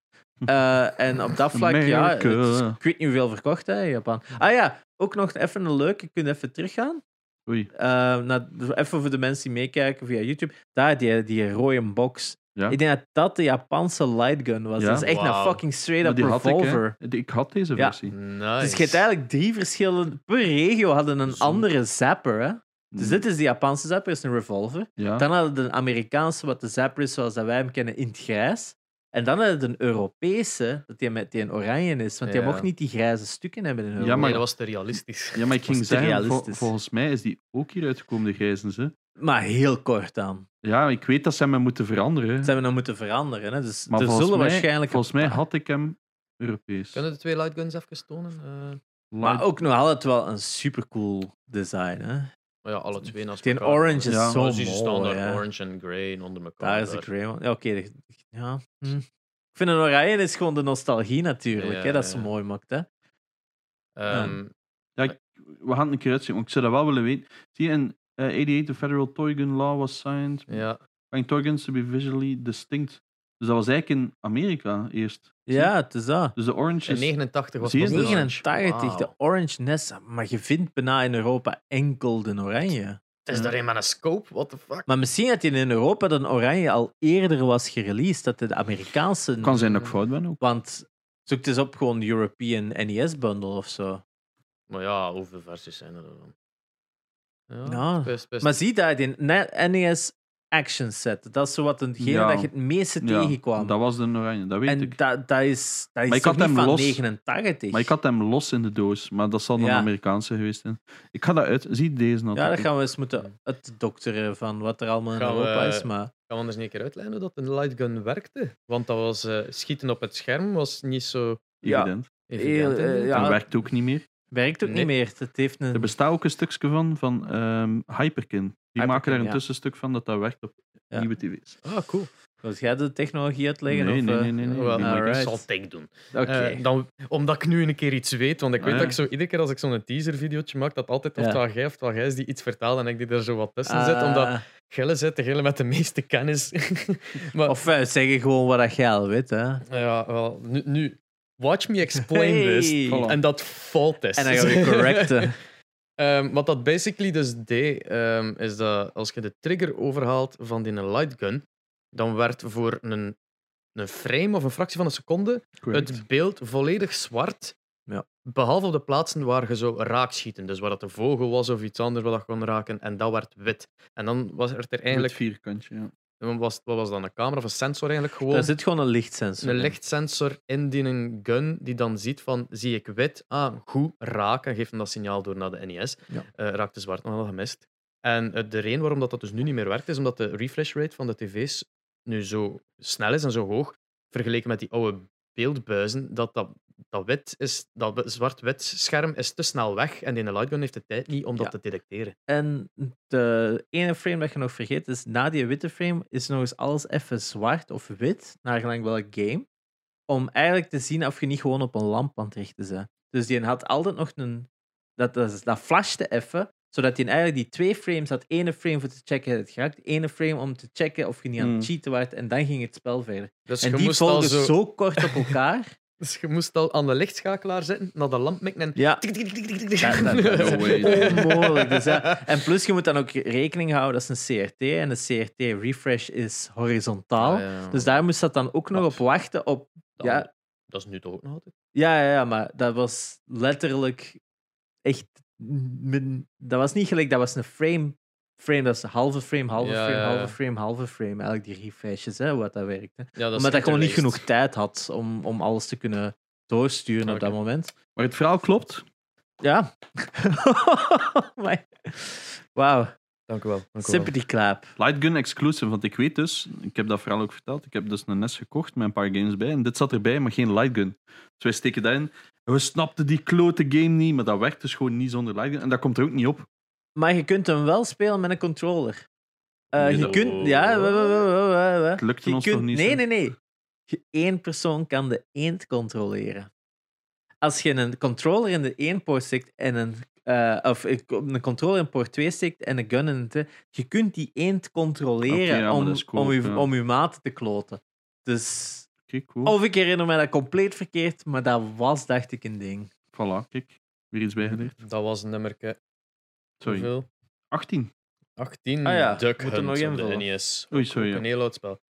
B: Eh, en op dat vlak, ja, het is-
A: Amerika.
B: ik weet niet hoeveel verkocht hè, in Japan. Ah ja, ook nog even een leuke, je kunt even teruggaan.
A: Oei.
B: Eh, naar- even voor de mensen die meekijken via YouTube. Daar, die, die rode box.
A: Ja.
B: Ik denk dat dat de Japanse lightgun was.
A: Ja.
B: Dat is echt een
C: Wauw.
B: fucking
A: Maar
B: straight-up
A: die had ik, hè.
B: revolver.
A: Die- Ik had deze
B: Ja.
A: versie.
C: Nice.
B: Dus je hebt eigenlijk drie verschillende... Per regio hadden een
C: Zo.
B: andere zapper, hè. Dus dit is de Japanse zapper, is een revolver.
A: Hmm. Ja.
B: Dan hadden de Amerikaanse, wat de zapper is zoals dat wij hem kennen, in het grijs. En dan hadden we een Europese, dat die met die een oranje is. Want die
C: Ja.
B: mocht niet die grijze stukken hebben in Europa.
A: Ja,
C: Nee,
A: maar-
C: dat was te realistisch.
A: ja, maar ik ging
B: was te
A: zeggen, vol-
B: realistisch.
A: volgens mij is die ook hier uitgekomen, de grijzen. Ze.
B: Maar heel kort dan.
A: Ja, ik weet dat ze hem moeten veranderen.
B: Dat
A: hè.
B: hebben we dan moeten veranderen. Hè. Dus
A: Maar
B: er
A: volgens,
B: zullen
A: mij,
B: waarschijnlijk... een
A: volgens mij
B: paar-
A: had ik hem Europees.
C: Kunnen de twee lightguns even tonen? Eh,
B: Maar ook nog altijd wel een supercool design, hè.
C: maar ja, alle twee naast
B: Die
C: elkaar.
B: orange is
A: Ja.
B: zo
C: Dat is die
B: mooi,
C: standaard
B: hè.
C: orange en grey en onder elkaar.
B: Daar is de Grey One. Ja, oké. de- ja. hm. Ik vind een oranje is gewoon de nostalgie natuurlijk, hè,
C: Ja,
B: dat ze
C: ja.
B: mooi maakt. Hè.
C: Ehm,
A: We gaan het een keer uitzien, want ik zou dat wel willen weten. Zie je, in eh, 88, the Federal Toy Gun Law was signed.
C: ja,
A: Bang Toy Guns to be visually distinct. Dus dat was eigenlijk in Amerika eerst. Zie je?
B: Ja, het is dat.
A: Dus de orange
C: in
A: is...
C: 89 was
A: Zie je
C: pas de
A: dat?
C: orange.
B: 89,
C: Wauw.
B: de Orange Nest. Maar je vindt bijna in Europa enkel de oranje.
C: Het is
A: Ja.
C: daarin met een scope, what the fuck?
B: Maar misschien dat die in Europa de oranje al eerder was gereleased, dat de Amerikaanse...
A: Kan zijn dat ik fout ben ook.
B: Want zoek het eens op, gewoon European NES Bundle of zo.
C: Maar ja, hoeveel versies zijn er dan? Ja,
B: Ja,
C: best, best.
B: Maar zie dat, die ne- NES E Action Set, dat is zo wat degene
A: Ja.
B: dat je het meeste
A: Ja,
B: tegenkwam.
A: dat was de oranje, dat weet
B: En
A: ik.
B: dat dat is, dat is
A: Maar ik
B: toch
A: had
B: niet
A: hem
B: van
A: los.
B: 89.
A: Maar ik had hem los in de doos, maar dat zal dan
B: Ja.
A: Amerikaanse geweest zijn. Ik ga dat uit... Zie deze natuurlijk.
B: ja, dat gaan we eens moeten uitdokteren van wat er allemaal in
C: Gaan we-
B: Europa is. Maar
C: Kan we anders niet een keer uitlijnen hoe dat een lightgun werkte? Want dat was eh, schieten op het scherm was niet zo
B: Ja.
A: Evident.
C: evident.
B: Heel, eh,
C: inderdaad.
B: ja.
A: Dat werkt ook niet meer.
B: werkt ook
C: Nee.
B: niet meer. Het heeft
A: Er
B: een...
A: bestaat ook een stukje van, van ehm, Hyperkin. Die maken daar een
B: ja.
A: tussenstuk van dat dat werkt op
B: Ja.
A: nieuwe tv's.
C: Ah, cool.
B: Wilt jij de technologie uitleggen?
A: nee,
B: of,
A: nee,
B: eh?
A: nee, nee, nee.
C: Wel,
A: Die
B: alright.
A: maken-
C: Ik
B: Right.
C: zal tech doen.
B: Oké.
C: Eh, dan, omdat ik nu een keer iets weet, want ik
A: Ah,
C: weet
A: ja.
C: dat ik zo iedere keer als ik zo'n teaser-videootje maak, dat altijd of
B: Ja.
C: het wel jij of het wel jij is die iets vertaalt en ik die er zo wat tussen
B: Ah,
C: zit, omdat Gille zit degene met de meeste kennis. [LAUGHS] maar
B: Of eh, zeggen gewoon wat dat jij al weet. Hè.
C: ja, wel, nu, nu, watch me explain
B: Hey.
C: this.
A: Voilà.
C: En dat fault is.
B: En dan gaan we
C: [LAUGHS]
B: correcten.
C: Ehm, wat dat basically dus deed, ehm, is dat als je de trigger overhaalt van die lightgun, dan werd voor een, een frame of een fractie van een seconde
A: correct.
C: het beeld volledig zwart.
B: Ja.
C: Behalve op de plaatsen waar je zou raakschieten. Dus waar dat een vogel was of iets anders wat dat kon raken. En dat werd wit. En dan was er, er
A: Het
C: eigenlijk...
A: vierkantje, ja.
C: Was, wat was dan? Een camera of een sensor eigenlijk gewoon?
B: Daar zit gewoon een lichtsensor.
C: een
B: in.
C: lichtsensor in die een gun die dan ziet van zie ik wit, ah goed, raak en geeft hem dat signaal door naar de NES.
B: Ja.
C: Eh, raakt de zwart nog wel gemist. En eh, de reden waarom dat, dat dus nu niet meer werkt is omdat de refresh rate van de tv's nu zo snel is en zo hoog vergeleken met die oude beeldbuizen dat dat, dat wit is dat we- zwart-wit scherm is te snel weg en die lightgun heeft de tijd niet om dat
B: Ja.
C: te detecteren.
B: En de ene frame dat je nog vergeet is, na die witte frame is nog eens alles even zwart of wit, naar gelang welk game, om eigenlijk te zien of je niet gewoon op een lamp aan het richten bent. Dus die had altijd nog een... Dat, dat, dat flashte even, zodat hij eigenlijk die twee frames had. ene frame voor te checken dat het geraakt, ene frame om te checken of je niet aan
A: Hmm.
B: het cheaten was, en dan ging het spel verder.
C: Dus
B: en
C: je
B: die
C: moest, al
B: volgen
C: zo,
B: zo... kort op
C: [LAUGHS]
B: elkaar.
C: dus je moest al aan de lichtschakelaar zitten, naar de lamp mikken en...
B: ja, Dat-
C: [LAUGHS]
B: dat- dat
C: Oh,
A: No way.
B: is onmogelijk. Dus ja. En plus, je moet dan ook rekening houden, dat is een CRT. En een CRT-refresh is horizontaal.
C: Ah, ja.
B: Dus daar moest dat dan ook nog op wachten. Op...
C: Dan-
B: Ja,
C: Dat is nu toch ook nog altijd?
B: ja, ja, ja, maar dat was letterlijk echt... min- Dat was niet gelijk, dat was een frame. Frame, dat is een halve frame, halve
C: Ja,
B: frame,
C: ja, ja.
B: halve frame, halve frame. Eigenlijk die refreshes, hè, wat dat werkte.
C: Ja, dat
B: Omdat dat gewoon niet genoeg tijd had om, om alles te kunnen doorsturen op
C: Oké.
B: dat moment.
A: Maar het verhaal klopt.
B: Ja. [LAUGHS] Maar- Wauw,
C: Dank u wel. Dank u wel.
B: sympathy clap.
A: Lightgun exclusive, want ik weet dus, ik heb dat verhaal ook verteld, ik heb dus een NES gekocht met een paar games bij en dit zat erbij, maar geen Lightgun. Dus wij steken dat in. En we snapten die klote game niet, maar dat werkt dus gewoon niet zonder Lightgun. En dat komt er ook niet op.
B: Maar je kunt hem wel spelen met een controller. Eh,
A: Nee,
B: je
A: dat-
B: kunt... Ja, wa- wa- wa- wa- wa- wa.
A: Het lukte
B: Je
A: ons
B: kunt-
A: nog niet.
B: Nee,
A: zo.
B: nee, nee. Je, één persoon kan de eend controleren. Als je een controller in de één poort steekt en een... eh, of een co- een controller in poort 2 steekt en een gun in het... Je kunt die eend controleren
A: Oké, ja, maar
B: om,
A: dat is cool,
B: om, je,
A: ja.
B: om je maten te kloten. Dus...
A: Kijk, cool.
B: Of ik herinner me dat compleet verkeerd, maar dat was, dacht ik, een ding.
A: Voilà, kijk. Weer iets bijgeleerd.
C: Dat was nummerke
A: Sorry.
C: hoeveel?
A: 18.
C: 18
B: Ah ja,
C: Duck
B: moet er
C: Hunt
B: nog
C: op de
B: invullen.
C: NES.
A: Oei,
C: Ook-
A: sorry,
C: ook
A: ja.
C: Een heel oud spel.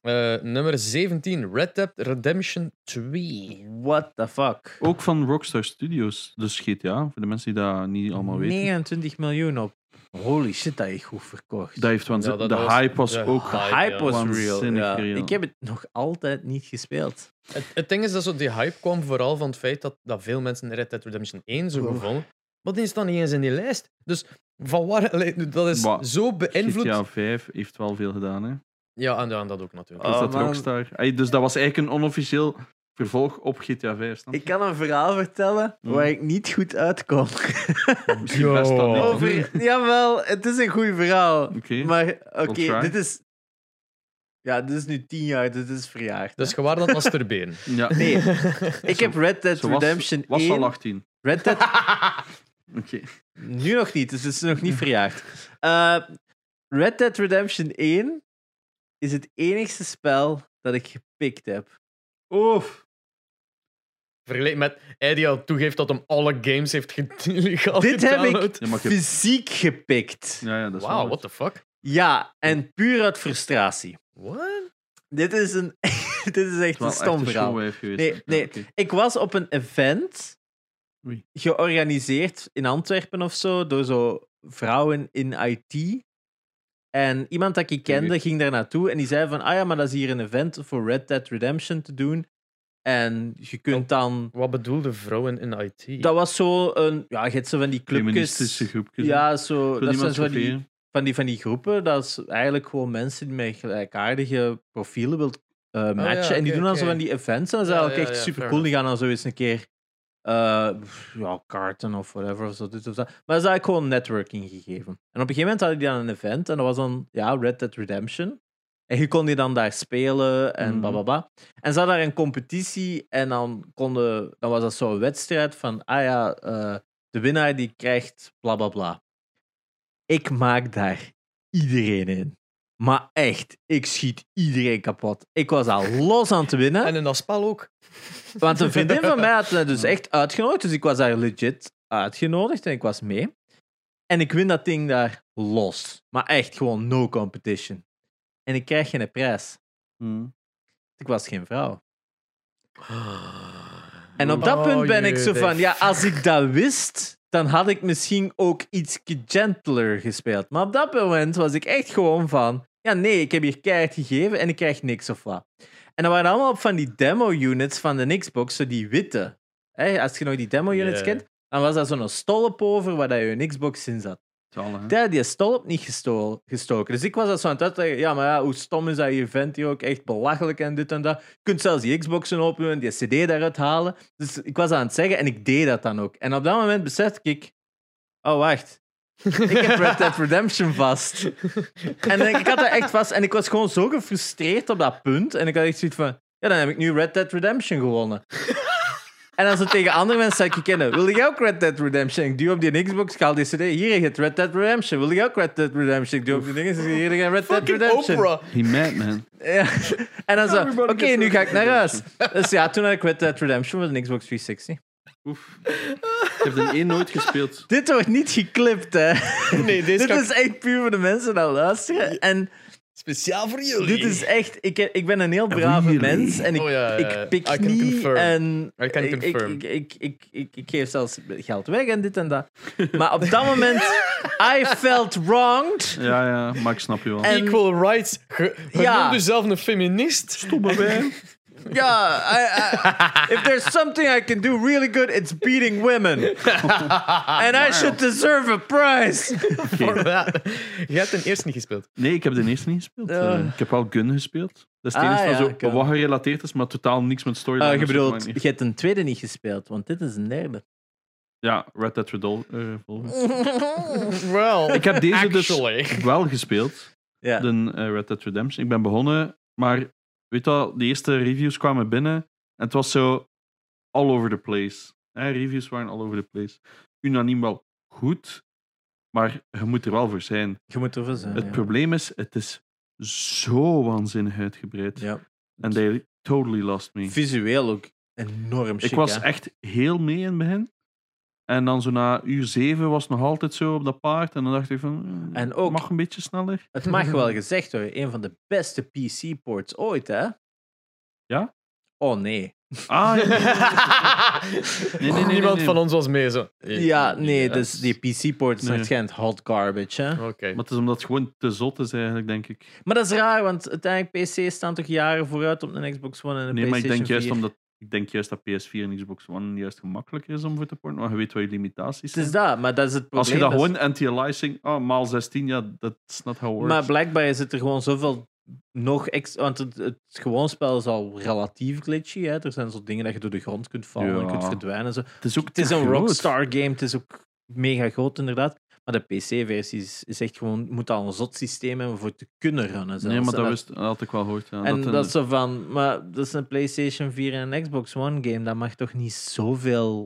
C: Eh, nummer 17, Red Dead Redemption 2.
B: What the fuck?
A: Ook van Rockstar Studios, dus GTA, voor de mensen die dat niet allemaal weten.
B: 29 miljoen op. Holy shit, dat is goed verkocht.
A: Dat heeft
C: Ja,
A: waanzin-
C: dat
A: de
C: was-
A: hype was
C: de
A: ook.
B: De hype
C: ja.
B: was real.
A: Waanzinnig
B: ja.
A: real.
B: Ik heb het nog altijd niet gespeeld.
C: Het, het ding is dat zo die hype kwam vooral van het feit dat, dat veel mensen Red Dead Redemption 1 zo goed
B: Oeh.
C: vonden. Maar die staat niet eens in die lijst. Dus van waar, allee, dat is
A: Maar
C: zo beïnvloed.
A: GTA 5 heeft wel veel gedaan, hè?
C: Ja, en, ja, en dat ook natuurlijk.
A: Dus
B: Oh,
A: dat
B: man.
A: Rockstar. Ey, dus dat was eigenlijk een onofficieel vervolg op GTA 5. snap je?
B: Ik kan een verhaal vertellen
A: Hmm.
B: waar ik niet goed uitkom.
A: Misschien best dan niet.
C: Ja.
B: [LAUGHS] Over, jawel, het is een goed verhaal.
A: Oké.
B: Maar oké,
A: We'll try.
B: dit is. Ja, dit is nu 10 jaar, dit is verjaard.
C: Dus gewaar dat masturberen.
B: [LAUGHS]
A: Ja. [LAUGHS]
B: Nee, ik heb Red Dead
A: Ze was-
B: Redemption
A: was,
B: 1.
A: al 18.
B: Red Dead
A: Oké.
B: Nu nog niet, dus het is nog niet verjaagd. Eh, Red Dead Redemption 1 is het enigste spel dat ik gepikt heb.
A: Oef.
C: Vergeleken met hij die al toegeeft dat hem alle games heeft ge- [LAUGHS] illegaal
B: Dit heb
C: gedownload.
A: Oh, Ja, maar ik heb-
B: Fysiek gepikt.
A: Ja, ja, dat is
C: Wauw,
A: wel-
C: what the fuck?
B: Ja, en puur uit frustratie.
C: What?
B: Dit is, een, [LAUGHS] dit is echt
A: wel
B: een
A: echt
B: stom verhaal.
A: showwijf geweest.
B: Nee, nee.
A: oké.
B: Ik was op een event
A: Oei.
B: georganiseerd in Antwerpen of zo door zo vrouwen in IT. En iemand dat ik kende
A: Oké.
B: ging daar naartoe en die zei van, ah ja, maar dat is hier een event voor Red Dead Redemption te doen. En je kunt
A: Oh.
B: dan...
C: Wat bedoelde vrouwen in IT?
B: Dat was zo een... Ja, je hebt zo van die clubjes.
A: Feministische groepjes.
B: Ja,
A: Wil
B: zo... Dat zijn
A: iemand
B: zo van die,
A: chaufferen?
B: van, die, van die groepen. Dat is eigenlijk gewoon mensen die met gelijkaardige profielen wilt eh, matchen. en die
C: Oh oké,
B: doen dan zo
C: oké.
B: van die events. En dat is
C: Ja,
B: eigenlijk
C: ja,
B: echt
C: ja,
B: super cool.
C: fair
B: Die gaan dan zo eens een keer eh, pff, ja, kaarten of whatever. Of zo, dit of dat. Maar dat is eigenlijk gewoon networking gegeven. En op een gegeven moment hadden die dan een event. En dat was dan ja, Red Dead Redemption. En je kon die dan daar spelen en
A: Mhm.
B: bla bla bla. En ze hadden daar een competitie. En dan, konden, dan was dat zo'n wedstrijd van: ah ja, eh, de winnaar die krijgt bla bla bla. Ik maak daar iedereen in. Maar echt, ik schiet iedereen kapot. Ik was al los aan het winnen.
C: En in dat spel ook.
B: Want een vriendin van mij had me dus echt uitgenodigd. Dus ik was daar legit uitgenodigd en ik was mee. En ik win dat ding daar los. Maar echt gewoon no competition. En ik krijg geen prijs.
A: Hmm.
B: Ik was geen vrouw.
C: Ah.
B: En op dat
C: Oh,
B: punt ben ik zo
C: jee,
B: van,
C: nee.
B: ja, als ik dat wist, dan had ik misschien ook iets gentler gespeeld. Maar op dat moment was ik echt gewoon van, ja, nee, ik heb hier keihard gegeven en ik krijg niks of wat. En dat waren allemaal van die demo-units van de Xbox, zo die witte. Hè, als je nog die demo-units
C: Ja.
B: kent, dan was dat zo'n stolp over waar dat je een Xbox in zat.
A: Zalig, hè?
B: Die had die stolp niet gesto- gestoken. Dus ik was dat zo aan het uitleggen. Ja, maar ja, hoe stom is dat je vent hier ook? Echt belachelijk en dit en dat. Je kunt zelfs die Xboxen openen, die CD daaruit halen. Dus ik was aan het zeggen en ik deed dat dan ook. En op dat moment besefte ik... Oh, wacht. Ik heb [LAUGHS] Red Dead Redemption vast. En eh, ik had dat echt vast. En ik was gewoon zo gefrustreerd op dat punt. En ik had echt zoiets van... Ja, dan heb ik nu Red Dead Redemption
C: [LAUGHS]
B: gewonnen. En als het tegen andere mensen zou ik kennen, wil jij ook Red Dead Redemption? Ik duw op die Xbox, ik haal die CD. Hier, je hebt Red Dead Redemption. Wil jij ook Red Dead Redemption? Ik duw op die dingen, hier, je hebt Red Dead
C: Fucking
B: Redemption.
C: Oprah.
A: He mad, man.
B: [LAUGHS] Ja. En dan zo, oké,
A: Everybody gets
B: nu
A: Red
B: ga ik
A: Dead
B: naar huis.
C: [LAUGHS]
B: Dus ja, toen had ik Red Dead Redemption met een Xbox 360.
A: Oef. Ik heb de 1 nooit gespeeld.
B: Dit wordt niet geklipt, hè.
C: Nee, deze
B: [LAUGHS] Dit
C: ga ik-
B: is echt puur voor de mensen die luisteren. En
C: Speciaal voor jullie.
B: dit is echt... Ik, ik ben een heel brave
A: Really?
B: mens en ik,
C: Oh, ja, ja, ja.
B: ik pik
C: I can
B: niet
C: confirm.
B: en...
C: I can
B: ik, ik,
C: confirm.
B: ik, ik, ik, ik, ik geef zelfs geld weg en dit en dat. Maar op dat
C: [LAUGHS]
B: moment... I felt wronged.
A: Ja, ja, maar ik snap je wel.
B: En-
C: Equal rights. Je
B: Ja.
C: noemt jezelf een feminist. [LAUGHS]
A: Stomme wij.
B: Ja, I- I- [LAUGHS] if there's something I can do really good, it's beating women.
C: [LAUGHS]
B: And I should deserve a
A: [LAUGHS]
B: prize. Ah,
C: Voor dat. Je hebt ten eerste niet gespeeld.
A: Nee, ik heb de eerste niet gespeeld. Eh,
B: Eh.
A: ik heb wel Gun gespeeld. Dat is het
B: Ah,
A: enige
B: ja,
A: van
B: oké.
A: zo, wat gerelateerd is, maar totaal niks met storyline.
B: Eh,
A: of
B: je
A: zo,
B: bedoelt,
A: maar
B: je
A: niet.
B: hebt een tweede niet gespeeld, want dit is een
C: [LAUGHS]
B: derde.
A: Ja, Red Dead Redol- eh, Revolver.
B: [LAUGHS]
C: Wel. [LAUGHS]
A: Ik heb deze dus
C: Actually.
A: wel gespeeld,
B: Ja.
A: de eh, Red Dead Redemption. Ik ben begonnen, maar weet je wel, de eerste reviews kwamen binnen en het was zo all over the place. Eh, reviews waren all over the place. Unaniem wel goed, maar je moet er wel voor zijn.
B: Je moet ervoor zijn.
A: Het probleem is, het is zo waanzinnig uitgebreid.
B: ja.
A: En they totally lost me.
B: Visueel ook enorm chic.
A: Ik was
B: hè.
A: echt heel mee in het begin. En dan zo na uur 7 was het nog altijd zo op dat paard. En dan dacht ik van, mm,
B: En ook-
A: mag een beetje sneller.
B: Het
A: [LAUGHS]
B: mag wel gezegd worden, een van de beste PC-ports ooit, hè?
A: Ja?
B: Oh nee.
A: Ah, ja.
B: [LAUGHS]
A: nee, nee, nee,
C: Niemand
A: nee.
C: van ons was mee zo.
B: Ja, nee,
C: Yes.
B: dus die Oh. PC-port is
A: Nee.
B: waarschijnlijk hot garbage, hè?
C: Oké.
A: maar het is omdat het gewoon te zot is eigenlijk, denk ik.
B: Maar dat is raar, want uiteindelijk PC's staan toch jaren vooruit op een Xbox One en een
A: Nee, maar ik
B: PlayStation
A: denk, juist
B: 4.
A: omdat, ik denk juist dat PS4 en Xbox One juist gemakkelijker is om voor te porten. Maar je weet wat je limitaties
B: Het
A: zijn.
B: is dat, maar dat is het probleem.
A: Als je dat
B: is-
A: gewoon anti-aliasing, oh, maal 16, ja, that's not how it works.
B: Maar blijkbaar zit er gewoon zoveel nog extra... Want het, het gewoon spel is al relatief glitchy, hè? Er zijn zo dingen dat je door de grond kunt vallen en
A: Ja.
B: kunt verdwijnen. en Zo.
A: het is ook
B: Het is
A: te
B: een
A: groot.
B: Rockstar-game, het is ook mega groot, inderdaad. Maar de PC-versie is, is echt gewoon... moet al een zot systeem hebben voor te kunnen runnen. zelfs.
A: Nee, maar
B: En
A: dat, wist, dat had ik wel gehoord. Ja.
B: En
A: dat, eh,
B: dat, is zo van, maar dat is een PlayStation 4 en een Xbox One game. Dat mag toch niet zoveel.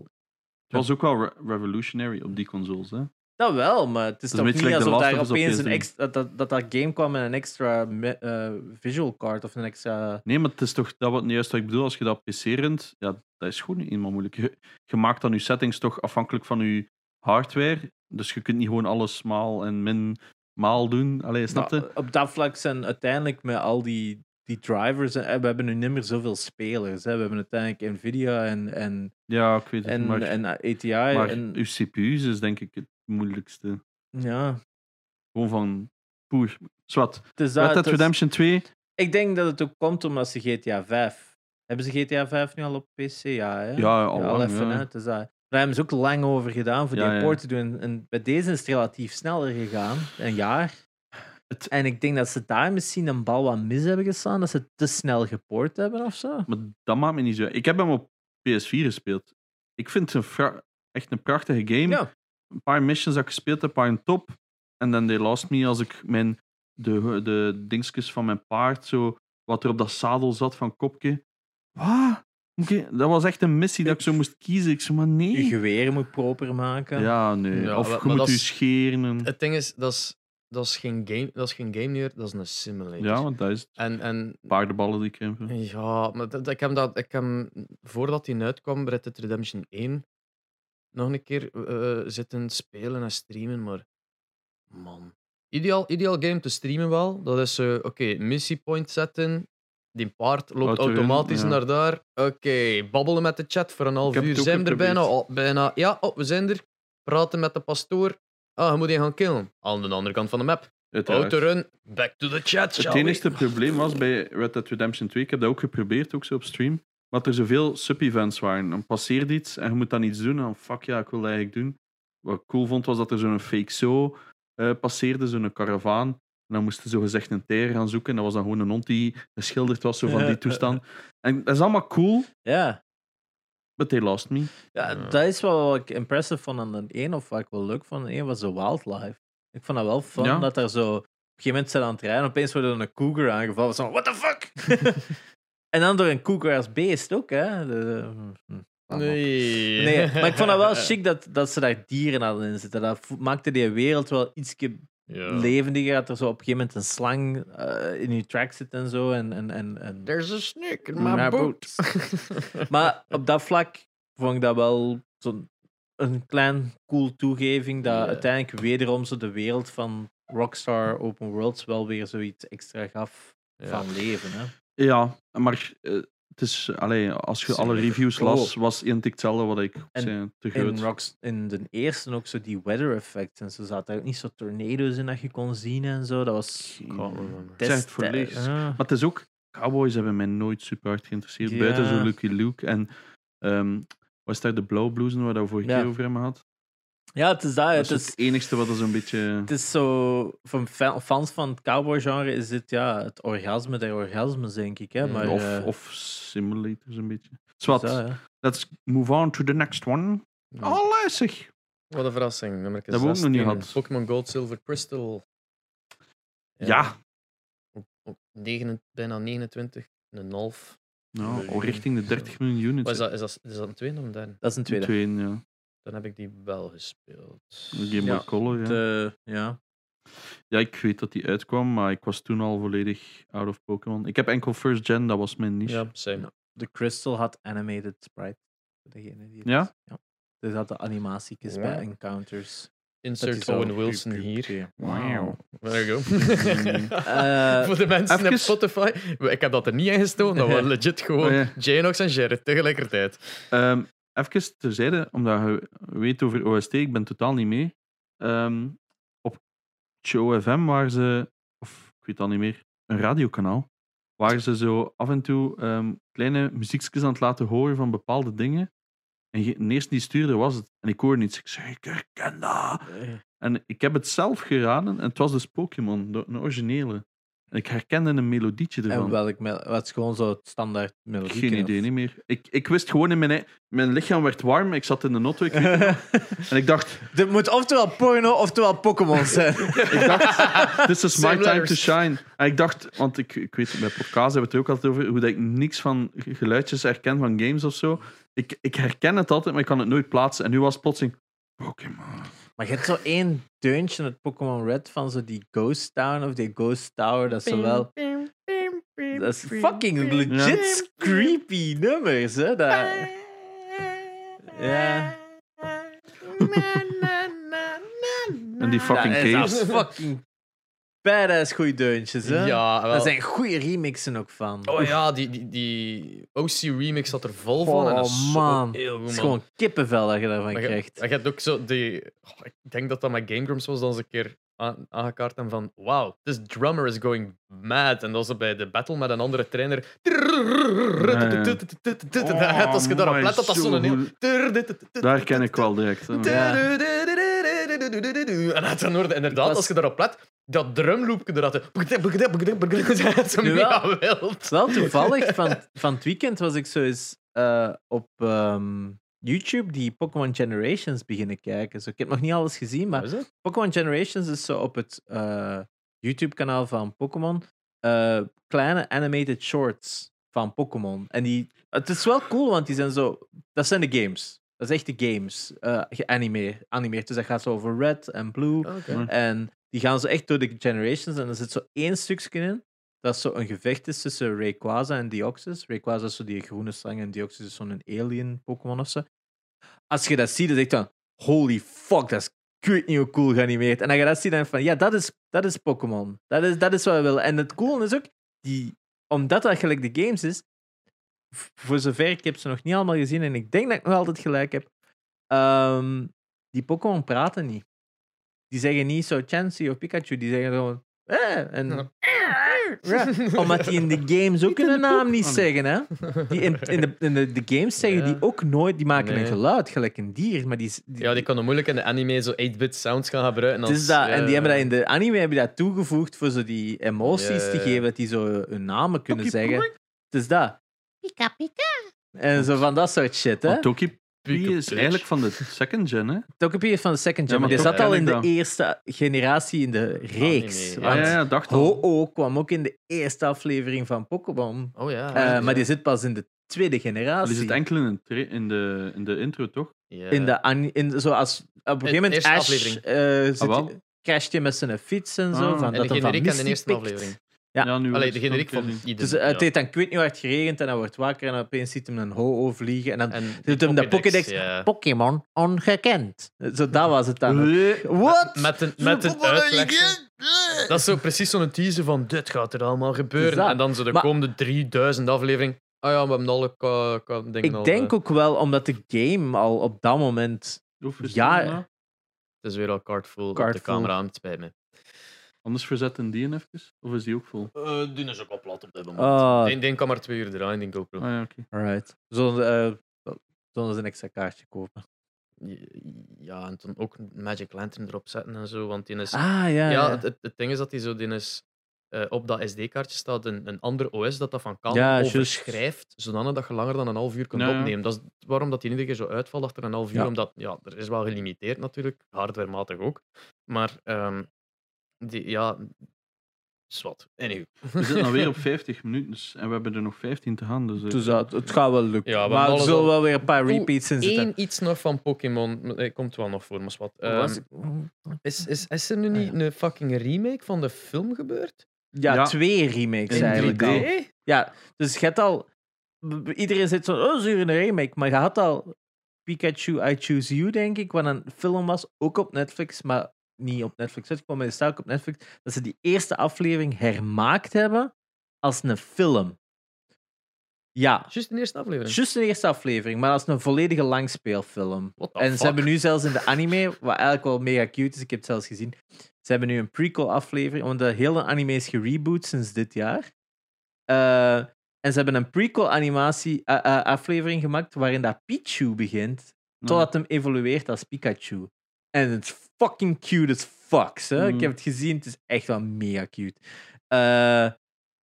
A: het was ook wel re- revolutionary op die consoles. Hè?
B: Dat wel, maar het is
A: Dat is
B: toch
A: een beetje
B: niet
A: like The
B: alsof
A: Last of
B: daar
A: Us op
B: opeens een
A: PS3.
B: extra, dat, dat dat game kwam met een extra me- eh, visual card of een extra.
A: Nee, maar het is toch dat wat, juist wat ik bedoel. Als je dat op PC rent, ja, dat is gewoon eenmaal moeilijk. Je, je maakt dan je settings toch afhankelijk van je hardware. Dus je kunt niet gewoon alles maal en min maal doen. Allee, snap je?
B: Nou, op dat vlak zijn uiteindelijk met al die, die drivers. en- eh, We hebben nu niet meer zoveel spelers. Hè. We hebben uiteindelijk Nvidia en, en,
A: Ja, ik weet het.
B: en,
A: Dus maar
B: en eh, ATI.
A: maar
B: en,
A: uw CPU's is denk ik het moeilijkste.
B: ja,
A: Gewoon van poer. Zwat.
B: het is dat.
A: Red Dead
B: het is-
A: Redemption 2.
B: ik denk dat het ook komt omdat ze GTA 5. Hebben ze GTA 5 nu al op PC? Ja, hè?
A: Ja, al
B: Ja,
A: lang,
B: al even,
A: ja.
B: hè. Dus, daar hebben ze ook lang over gedaan voor
A: Ja,
B: die
A: ja.
B: poort te doen. En, en bij deze is het relatief sneller gegaan, een jaar.
A: Het-
B: En ik denk dat ze daar misschien een bal wat mis hebben geslaan, dat ze te snel gepoord hebben of zo.
A: Maar dat maakt me niet zo. Ik heb hem op PS4 gespeeld. Ik vind het een fra- echt een prachtige game.
B: Ja.
A: Een paar missions dat ik gespeeld heb, waren top. En dan they lost me als ik mijn, de, de dingetjes van mijn paard, zo, wat er op dat zadel zat van kopje. Wat? Oké, Dat was echt een missie dat ik zo moest kiezen. Ik zei, maar
B: Je
A: nee.
B: geweer moet proper maken.
A: Ja, nee.
C: Ja,
A: of
C: maar-
A: je moet
C: maar dat
A: je
C: is-
A: scheren. en-
C: Het ding is, dat is, dat is geen game, dat is geen game meer, dat is een simulator.
A: Ja, want dat is het.
C: En, en
A: Paardenballen die krimpen.
C: ja, maar dat, ik heb dat, ik heb, hem, voordat die uitkwam, Red Dead Redemption 1, nog een keer eh, zitten spelen en streamen, maar man. Ideaal, ideaal game te streamen wel. Dat is, eh, oké, missiepoint zetten. Die paard loopt
A: Auto in,
C: automatisch
A: ja.
C: naar daar. Oké, babbelen met de chat voor een half
A: Ik heb
C: uur.
A: het ook
C: Zijn we er
A: geprobeerd.
C: bijna? Al- bijna? Ja, oh, we zijn er. Praten met de pastoor. Ah, je moet die gaan killen. Aan de andere kant van de map.
A: Uiteraard.
C: Autorun, back to the chat,
A: Het
C: shall we?
A: enige probleem was bij Red Dead Redemption 2, ik heb dat ook geprobeerd, ook zo op stream, dat er zoveel sub-events waren. Dan passeert iets en je moet dan iets doen. En dan, fuck ja, ik wil dat eigenlijk doen. Wat ik cool vond was dat er zo'n fake show eh, passeerde, zo'n karavaan. En dan moesten ze gezegd een tijger gaan zoeken. En dat was dan gewoon een hond die geschilderd was zo van die toestand. En dat is allemaal cool,
B: Ja.
A: but they lost me.
B: Ja,
C: Ja.
B: dat is wel wat ik impressive vond aan de een, of wat ik wel leuk vond aan de een, was de wildlife. Ik vond dat wel fun,
A: Ja.
B: dat er zo... Op een gegeven moment zijn aan het rijden, opeens wordt er een cougar aangevallen. Zo, what the
C: [LAUGHS]
B: fuck? en dan door een cougar als beest ook, hè. De- hm.
C: Nee.
B: Nee, maar ik vond
C: [LAUGHS]
B: het wel chic dat, dat ze daar dieren hadden in zitten. Dat vo- maakte die wereld wel ietsje
C: Ja.
B: levendiger. Dat er zo op een gegeven moment een slang eh, in je track zit en zo. En, en, en, en
C: There's a snake in
B: Maar
C: my boot.
B: boot. maar op dat vlak vond ik dat wel zo'n een klein cool toegeving. Dat
C: Ja.
B: uiteindelijk wederom zo de wereld van Rockstar Open Worlds wel weer zoiets extra gaf
C: Ja.
B: van leven. Hè?
A: Ja, maar eh, het is, allee, als je alle reviews las, was één tik hetzelfde wat ik
B: En-
A: zei. Te
B: In,
A: groot.
B: Rocks, in de eerste ook zo die weather effects. En zo zaten er ook niet zo tornado's in dat je kon zien en zo. Dat was
C: Can't remember.
A: Zeg het
B: destijds-
A: voor lees.
B: Ah.
A: Maar het is ook, Cowboys hebben mij nooit super hard geïnteresseerd.
B: Ja.
A: Buiten zo Lucky Luke en ehm, was daar de blauwe blousen waar we vorige
B: Ja.
A: keer over hebben gehad?
B: Ja, het is dat.
A: dat
B: Het
A: is het
B: is,
A: enigste wat er zo'n beetje.
B: het is zo... Van fa- fans van het cowboy-genre is dit ja, het orgasme der orgasmes, denk ik. Hè?
C: Mm,
B: Maar,
A: of,
B: eh,
A: of simulators een beetje.
B: het is
A: Zwat,
B: dat, hè.
A: let's move on to the next one. Oh, zeg.
C: Wat een verrassing. Nummer
A: Dat hebben we ook nog niet
C: 16,
A: gehad.
C: Pokémon Gold, Silver, Crystal.
A: Ja.
C: Op 9, bijna 29. En een half.
A: Nou, al richting de 30 miljoen units.
C: Wat Is dat, is, dat, is dat een tweede of een derde?
B: dat is een tweede.
A: Tweede, ja.
C: Dan heb ik die wel gespeeld.
A: Een Game Boy
B: Ja.
A: Color, ja.
B: De- ja.
A: Ja, ik weet dat die uitkwam, maar ik was toen al volledig out of Pokémon. Ik heb enkel First Gen, dat was mijn niche.
C: Ja, same.
B: Ja. De Crystal had animated sprite. Voor degene die het-
A: Ja?
B: ja. Dus had de animatiekjes bij
C: Wow.
B: encounters. Dat die
C: Insert
B: zo Eh,
C: Owen
B: puup,
C: Wilson
B: puup,
C: hier.
B: puup.
C: [LAUGHS]
A: Wauw.
C: There you go.
B: [LAUGHS]
C: [LAUGHS]
B: Eh,
C: Voor de mensen
A: even-
C: op Spotify. Ik heb dat er niet in gestoken. Dat waren legit gewoon
A: Oh, ja.
C: Janox en Jared tegelijkertijd.
A: Ehm, even terzijde, omdat je weet over OST, ik ben totaal niet mee. Ehm, op Show FM waren ze, of ik weet al niet meer, een radiokanaal, waar ze zo af en toe ehm, kleine muziekjes aan het laten horen van bepaalde dingen. En ge- de eerste die stuurde was het. En ik hoorde niets. Ik zei, ik herken dat.
B: eh,
A: En ik heb het zelf geraden en het was dus Pokémon, de, een originele. En ik herkende een melodietje ervan.
B: en welk mel- wat is gewoon zo het standaard melodie?
A: Geen
B: [LAUGHS]
A: idee niet meer. Ik, ik wist gewoon in mijn... ei- Mijn lichaam werd warm, ik zat in de auto. Ik weet het nog. en ik
B: [LAUGHS]
A: dacht,
B: Dit moet oftewel porno oftewel Pokémon
C: [LAUGHS]
B: zijn.
A: ik dacht, this is my
C: Same
A: time to
C: letters.
A: shine. En ik dacht, want ik, ik weet, bij podcasts hebben we het er ook altijd over, hoe dat ik niks van geluidjes herken van games of zo. Ik, ik herken het altijd, maar ik kan het nooit plaatsen. En nu was het plotseling, Pokémon.
B: maar je hebt zo één deuntje uit Pokémon Red van zo die Ghost Town of die Ghost Tower. Dat is zo wel. Dat is fucking legit creepy nummers, hè? Dat... Ja.
A: En die fucking
B: dat is
A: caves.
B: dat fucking badass goeie deuntjes, hè?
C: Ja,
B: Daar
C: wel.
B: zijn goede remixen ook van.
C: Oh ja, die, die, die OC remix zat er vol van. en dat is
B: Oh,
C: zo
B: man.
C: heel goed,
B: Het is
C: man.
B: gewoon kippenvel dat je daarvan
C: Maar je-
B: krijgt.
C: maar je hebt ook zo die. oh, ik denk dat dat met Game Grumps was, dat ze een keer aan- aangekaart en van. Wow, this drummer is going mad. En dat ze bij de battle met een andere trainer.
A: Oh,
C: En Als je daarop
A: amai,
C: let, dat dat
A: zo
C: zo'n heel.
A: goed. Daar ken ik wel direct. hè.
B: Ja.
C: En uit dan hoorde inderdaad,
B: was-
C: als je daarop let, dat drumloopje eruit. [LAUGHS] Dat is
B: Nu wel.
C: mega wild.
B: Het is wel toevallig, van, van het weekend was ik zo eens eh, op ehm, YouTube die Pokémon Generations beginnen kijken. Zo, ik heb nog niet alles gezien, maar
C: Wat is dat?
B: Pokémon Generations is zo op het eh, YouTube-kanaal van Pokémon. eh, kleine animated shorts van Pokémon. En die, het is wel cool, want die zijn zo. Dat zijn de games. Dat is echt de games. eh geanimeerd. animeerd. Dus dat gaat zo over red en blue.
C: Oké.
B: En die gaan zo echt door de generations. En er zit zo één stukje in. Dat zo een gevecht is tussen Rayquaza en Deoxys. Rayquaza is zo die groene slang en Deoxys is zo'n alien Pokémon of zo. Als je dat ziet, dan denk je dan... Holy fuck, dat is kut nieuw cool geanimeerd. En als je dat ziet, dan denk je van... Ja, dat is, dat is Pokémon. Dat is, dat is wat we willen. En het coole is ook... Die, omdat dat gelijk de games is... v- Voor zover ik heb ze nog niet allemaal gezien. En ik denk dat ik nog altijd gelijk heb. ehm, die Pokémon praten niet die zeggen niet zo Chansey of Pikachu, die zeggen gewoon. Eh, en,
C: Ja.
B: [LAUGHS] Ja, Omdat die in de games ook
A: in
B: hun
A: de
B: naam
A: poep.
B: niet
A: Oh, nee.
B: zeggen. Hè? [LAUGHS] Die in, in, de, in de, de games zeggen
C: Ja.
B: die ook nooit, die maken
C: Nee.
B: een geluid, gelijk een dier. Maar die, s- die-
C: Ja, die konden moeilijk in de anime zo 8-bit sounds gaan gebruiken.
B: het
C: als- eh,
B: is dat,
C: ja,
B: en die
C: ja,
B: hebben dat
C: ja.
B: in de anime hebben die dat toegevoegd voor zo die emoties
C: Ja,
B: te
C: ja, ja.
B: geven, dat die zo hun namen kunnen
A: Toekie
B: zeggen. Het is dat.
D: Pika pika.
B: En zo van dat soort shit. Hè?
A: Want Toki
C: Pieke
A: is
C: Plitch.
A: eigenlijk van de second gen, hè?
B: Togepi is van de second gen,
A: Ja,
B: maar
A: maar
B: die
C: toch
B: zat al
A: ken
B: in
A: ik
B: de
A: dat.
B: eerste generatie in de reeks.
C: Anime,
A: Ah,
B: want
A: ja, ja, dacht al.
B: Ho-Oh kwam ook in de eerste aflevering van Pokémon.
C: Oh ja.
B: Eh, Maar die zit pas in de tweede
A: Er
B: generatie.
A: zit enkel in, een tra- in, de, in de intro, toch?
B: in de an- in, zoals, op een gegeven moment
C: eerste
B: Ash,
C: aflevering.
B: eh, zit-
A: Ah, wel.
B: crasht je met zijn fiets en zo.
A: Ah. En
B: van
C: En
B: dat
C: de
B: hem van
C: generiek aan de
B: Misty
C: eerste
B: pikt.
C: aflevering.
B: Ja.
A: nu
C: Allee,
A: is
C: de
A: het
C: generiek
A: dan
C: van
A: gezien.
C: iedereen.
B: Dus eh, het deed dan ik weet niet hoe hard geregend en hij wordt wakker en opeens ziet hem een ho-oh vliegen. En dan
C: En
B: doet hem de Pokédex.
C: Eh, Pokédex, ja.
B: Pokémon ongekend. Zo, dat was het dan. ook.
A: Eh,
B: What?
C: Met een, met een uitleg. Dat is zo precies zo'n teaser van dit gaat er allemaal
B: Het is
C: gebeuren.
B: dat.
C: En dan zo de
B: Maar-
C: komende 3000 aflevering. Ah ja, we hebben alle ka- ka- dingen al,
B: Ik denk
C: eh,
B: ook wel omdat de game al op dat moment
A: hoeveel is
B: Ja.
A: het nou?
C: Het is weer al card full op
B: Card
C: de
B: full.
C: camera, het spijt me.
A: Anders verzetten die een even? Of is die ook vol?
C: Eh doen is ook al plat op dit moment.
B: Ah.
C: Eén ding kan maar twee uur draaien, denk ik ook.
A: Ah ja, oké.
B: Alright. Zonder, eh, zonder een extra kaartje kopen.
C: Ja, en dan ook Magic Lantern erop zetten en zo, want die is...
B: Ah ja.
C: ja, het, het, het ding is dat die zo die is, eh, op dat SD-kaartje staat een, een ander OS dat dat van kan
B: Ja, juist.
C: overschrijft, zodanig dat je langer dan een half uur kunt
A: Ja, ja.
C: opnemen. Dat is waarom dat die iedere keer zo uitvalt achter een half uur,
B: Ja.
C: omdat ja, er is wel gelimiteerd natuurlijk, hardwarematig ook. Maar ehm, die, ja, Zwat. Anywho.
A: We zitten alweer
C: [LAUGHS]
A: op 50 minuten dus, en we hebben er nog 15 te gaan. Dus, eh,
B: Dus dat, het gaat wel lukken.
C: Ja, we
B: maar
C: hebben
B: er
C: alles
B: zullen
C: al-
B: wel weer een paar
C: Oeh,
B: repeats in zitten.
C: Eén iets nog van Pokémon. Eh, Komt wel nog voor, maar zwart.
B: Wat was
C: Ehm,
B: het?
C: is, is, is er nu
B: Ah,
C: niet een fucking remake van de film gebeurd?
B: ja,
A: ja.
B: twee remakes
A: In
B: eigenlijk
A: 3D.
B: al. Ja, dus je hebt al... b- b- Iedereen zit zo, oh, zuur in een remake. Maar je had al Pikachu, I Choose You, denk ik, wat een film was, ook op Netflix, maar niet op Netflix uitgekomen, maar die staat ook op Netflix, dat ze die eerste aflevering hermaakt hebben als een film. Ja,
C: Juist in de eerste aflevering.
B: juist een eerste aflevering, maar als een volledige langspeelfilm.
C: What the
B: En ze
C: fuck?
B: hebben nu zelfs in de anime, wat eigenlijk wel mega cute is, ik heb het zelfs gezien, ze hebben nu een prequel-aflevering, want de hele anime is gereboot sinds dit jaar. Eh, en ze hebben een prequel-animatie-aflevering eh, gemaakt waarin dat Pichu begint, totdat hem evolueert als Pikachu. En het is fucking cute as fuck, hè?
A: Mm.
B: Ik heb het gezien, het is echt wel mega cute. Eh,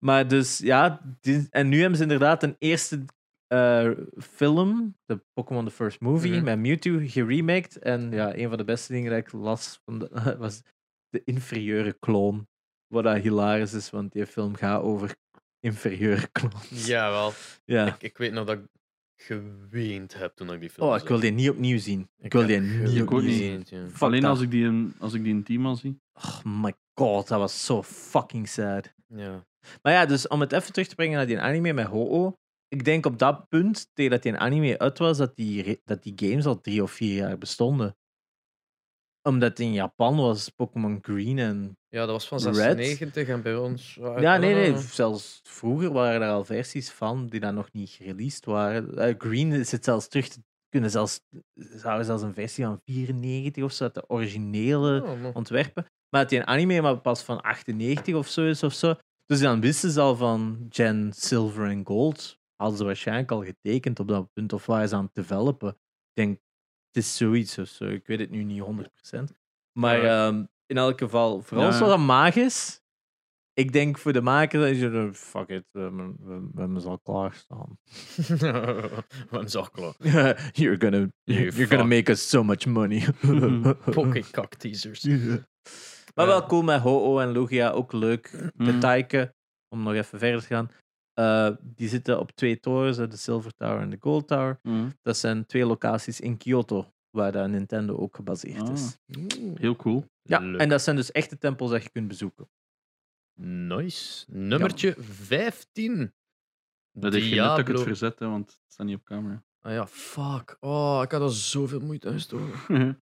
B: maar dus, ja, die- en nu hebben ze inderdaad een eerste eh, film, de Pokémon The First Movie,
C: Mhm.
B: met Mewtwo geremaked. En ja, een van de beste dingen dat ik las van de- [LAUGHS] was de inferieure kloon. Wat dat hilarisch is, want die film gaat over inferieure kloons.
C: Jawel.
B: Ja.
C: Ik, ik weet nog dat ik geweend heb toen ik die film
B: Oh, ik wil die niet opnieuw zien. Ik wil die niet
A: ik ook
B: opnieuw
A: niet.
B: zien. Fuck
A: Alleen
B: dat.
A: als ik, die in, als ik die in team al zie.
B: Oh my god, dat was zo fucking sad.
C: Ja.
B: Maar ja, dus om het even terug te brengen naar die anime met Ho-Oh. Ik denk op dat punt, tegen dat die anime uit was, dat die, re- dat die games al drie of vier jaar bestonden. Omdat in Japan was Pokémon Green en...
C: ja, dat was van
B: Red?
C: 96 en bij ons... Ah,
B: Ja, nee,
C: oh.
B: nee. Zelfs vroeger waren er al versies van die dan nog niet gereleased waren. Eh, Green zit zelfs terug te kunnen zelfs... Zouden zelfs een versie van 94 of zo, uit de originele [LAUGHS]
C: Oh, man.
B: ontwerpen. Maar dat die een anime maar pas van 98 of zo is of zo. Dus dan wisten ze al van Gen Silver en Gold. Hadden ze waarschijnlijk al getekend op dat punt of waren ze aan het developen. Ik denk, het is zoiets of zo. Ik weet het nu niet 100%. Maar
C: Ja.
B: ehm, in elk geval, voor ons
A: Ja.
B: was dat magisch. Ik denk voor de maker dat je er- eh, fuck it, we hebben, we, we hebben ze al klaarstaan. [LAUGHS]
C: Mijn [LAUGHS] zaklo.
B: you're gonna,
C: You
B: you're gonna
C: fuck.
B: make us so much money. [LAUGHS]
C: Pokécock teasers.
B: Maar wel
C: Ja.
B: cool met Ho-Oh en Lugia. Ook leuk. De
A: Mm.
B: Taiken, om nog even verder te gaan. eh, die zitten op twee torens, hè, de Silver Tower en de Gold Tower.
A: Mm.
B: Dat zijn twee locaties in Kyoto, waar dat Nintendo ook gebaseerd is.
A: Ah. Heel cool.
B: Ja,
C: Leuk.
B: en dat zijn dus echte tempels dat je kunt bezoeken.
C: Nice. Nummertje 15.
A: Dat heeft geen nut dat ik het verzet, hè, want het staat niet op camera.
C: Ah ja, fuck. Oh, ik had al zoveel moeite uitstoken.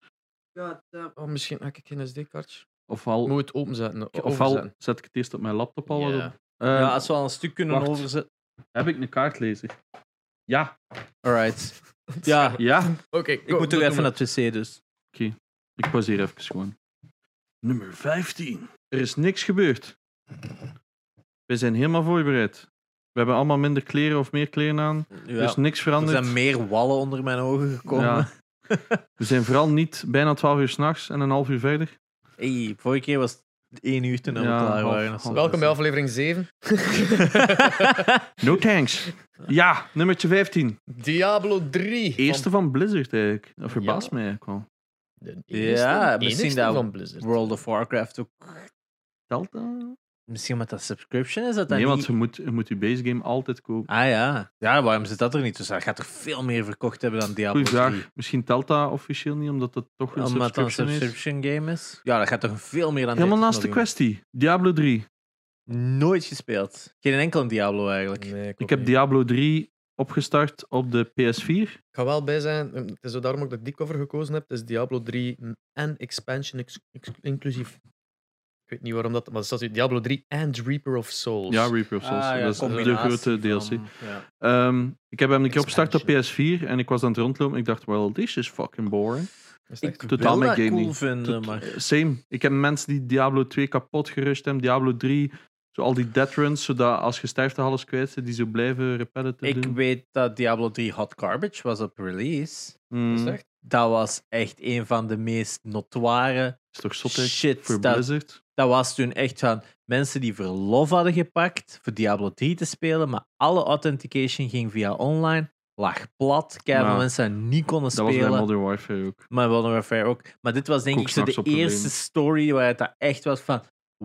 C: Oh, misschien heb ik geen SD-kaartje.
A: [LAUGHS] ofwel,
C: Moet het openzetten. o-
A: ofwel
C: overzetten.
A: zet ik het eerst op mijn laptop al wat
C: Ja.
A: op. Eh,
B: ja, als we al een stuk kunnen
A: wacht.
B: overzetten.
A: Heb ik een kaartlezer? Ja. [LAUGHS]
B: Alright. Ja,
A: Ja.
B: [LAUGHS]
C: Oké,
B: ik moet toch even naar het wc, dus.
A: Ik pauzeer even gewoon. Nummer 15. Er is niks gebeurd. We zijn helemaal voorbereid. We hebben allemaal minder kleren of meer kleren aan.
B: Ja.
A: Er is niks
B: er
A: veranderd.
B: zijn meer wallen onder mijn ogen gekomen. [LAUGHS]
A: Ja. We zijn vooral niet bijna 12 uur s'nachts en een half uur verder.
B: Hey, vorige keer was het één uur toen we
A: Ja,
B: klaar
A: half-
B: waren. of zo.
C: Welkom bij aflevering 7.
A: No thanks. Ja, nummertje 15.
C: Diablo 3. van-
A: Eerste van Blizzard eigenlijk. Dat verbaast mij eigenlijk wel.
C: De
B: Ja,
C: enigste-
B: misschien
C: enigste
B: dat
C: van Blizzard.
B: World of Warcraft ook.
A: Telt dat?
B: Misschien met dat subscription is dat dan
A: Nee, want
B: niet-
A: je moet, je moet je base game altijd kopen.
B: Ah ja. Ja, waarom zit dat er niet? Dus dat gaat er veel meer verkocht hebben dan Diablo
A: Goeie
B: 3.
A: vraag. Misschien telt dat officieel niet, omdat het toch een
B: Omdat dat een
A: subscription is.
B: subscription game is. Ja, dat gaat toch veel meer dan
A: Helemaal
B: 13
A: naast de
B: miljoen.
A: kwestie. Diablo 3.
B: Nooit gespeeld. Geen enkel Diablo eigenlijk.
C: Nee,
A: Ik
C: ook
A: heb
C: niet.
A: Diablo 3 opgestart op de PS4.
C: Ik ga wel bij zijn. ehm, Het is ook daarom ook dat ik die cover gekozen heb. Het is Diablo 3 en expansion ex- ex- inclusief. Ik weet niet waarom dat. Maar er staat hier Diablo 3 and Reaper of Souls.
A: Ja, Reaper of Souls. dat is eh, de
B: Ah, combinatie
A: grote DLC.
B: van- ja.
A: Ehm, ik heb hem een keer opgestart op
C: Expansion.
A: PS4 en ik was aan het rondlopen. Ik dacht, well, this is fucking boring.
C: Is het
B: Ik
C: echt?
B: wil
A: Totaal
B: dat
A: mijn game
B: cool
A: niet.
B: vinden,
A: Tot- eh,
B: maar...
A: Same. Ik heb mensen die Diablo 2 kapot gerust hebben, Diablo 3, zo al die dead runs, zodat als je sterft de alles kwijt zit, die zo blijven repetitive
B: Ik
A: doen.
B: weet dat Diablo 3 Hot Garbage was op release.
A: Mm,
C: Is het echt?
B: Dat was echt een van de meest notoire
A: is toch zot hè,
B: shit.
A: voor
B: dat-
A: Blizzard?
B: Dat was toen echt van mensen die verlof hadden gepakt voor Diablo 3 te spelen, maar alle authentication ging via online, lag plat, keihard
A: Ja.
B: mensen die niet konden
A: Dat was bij
B: spelen.
A: Modern Warfare ook.
B: maar Modern Warfare ook. Maar dit was denk
A: Ook
B: ik zo de
A: s'nachts op een
B: eerste
A: lane.
B: story waar het dat echt was van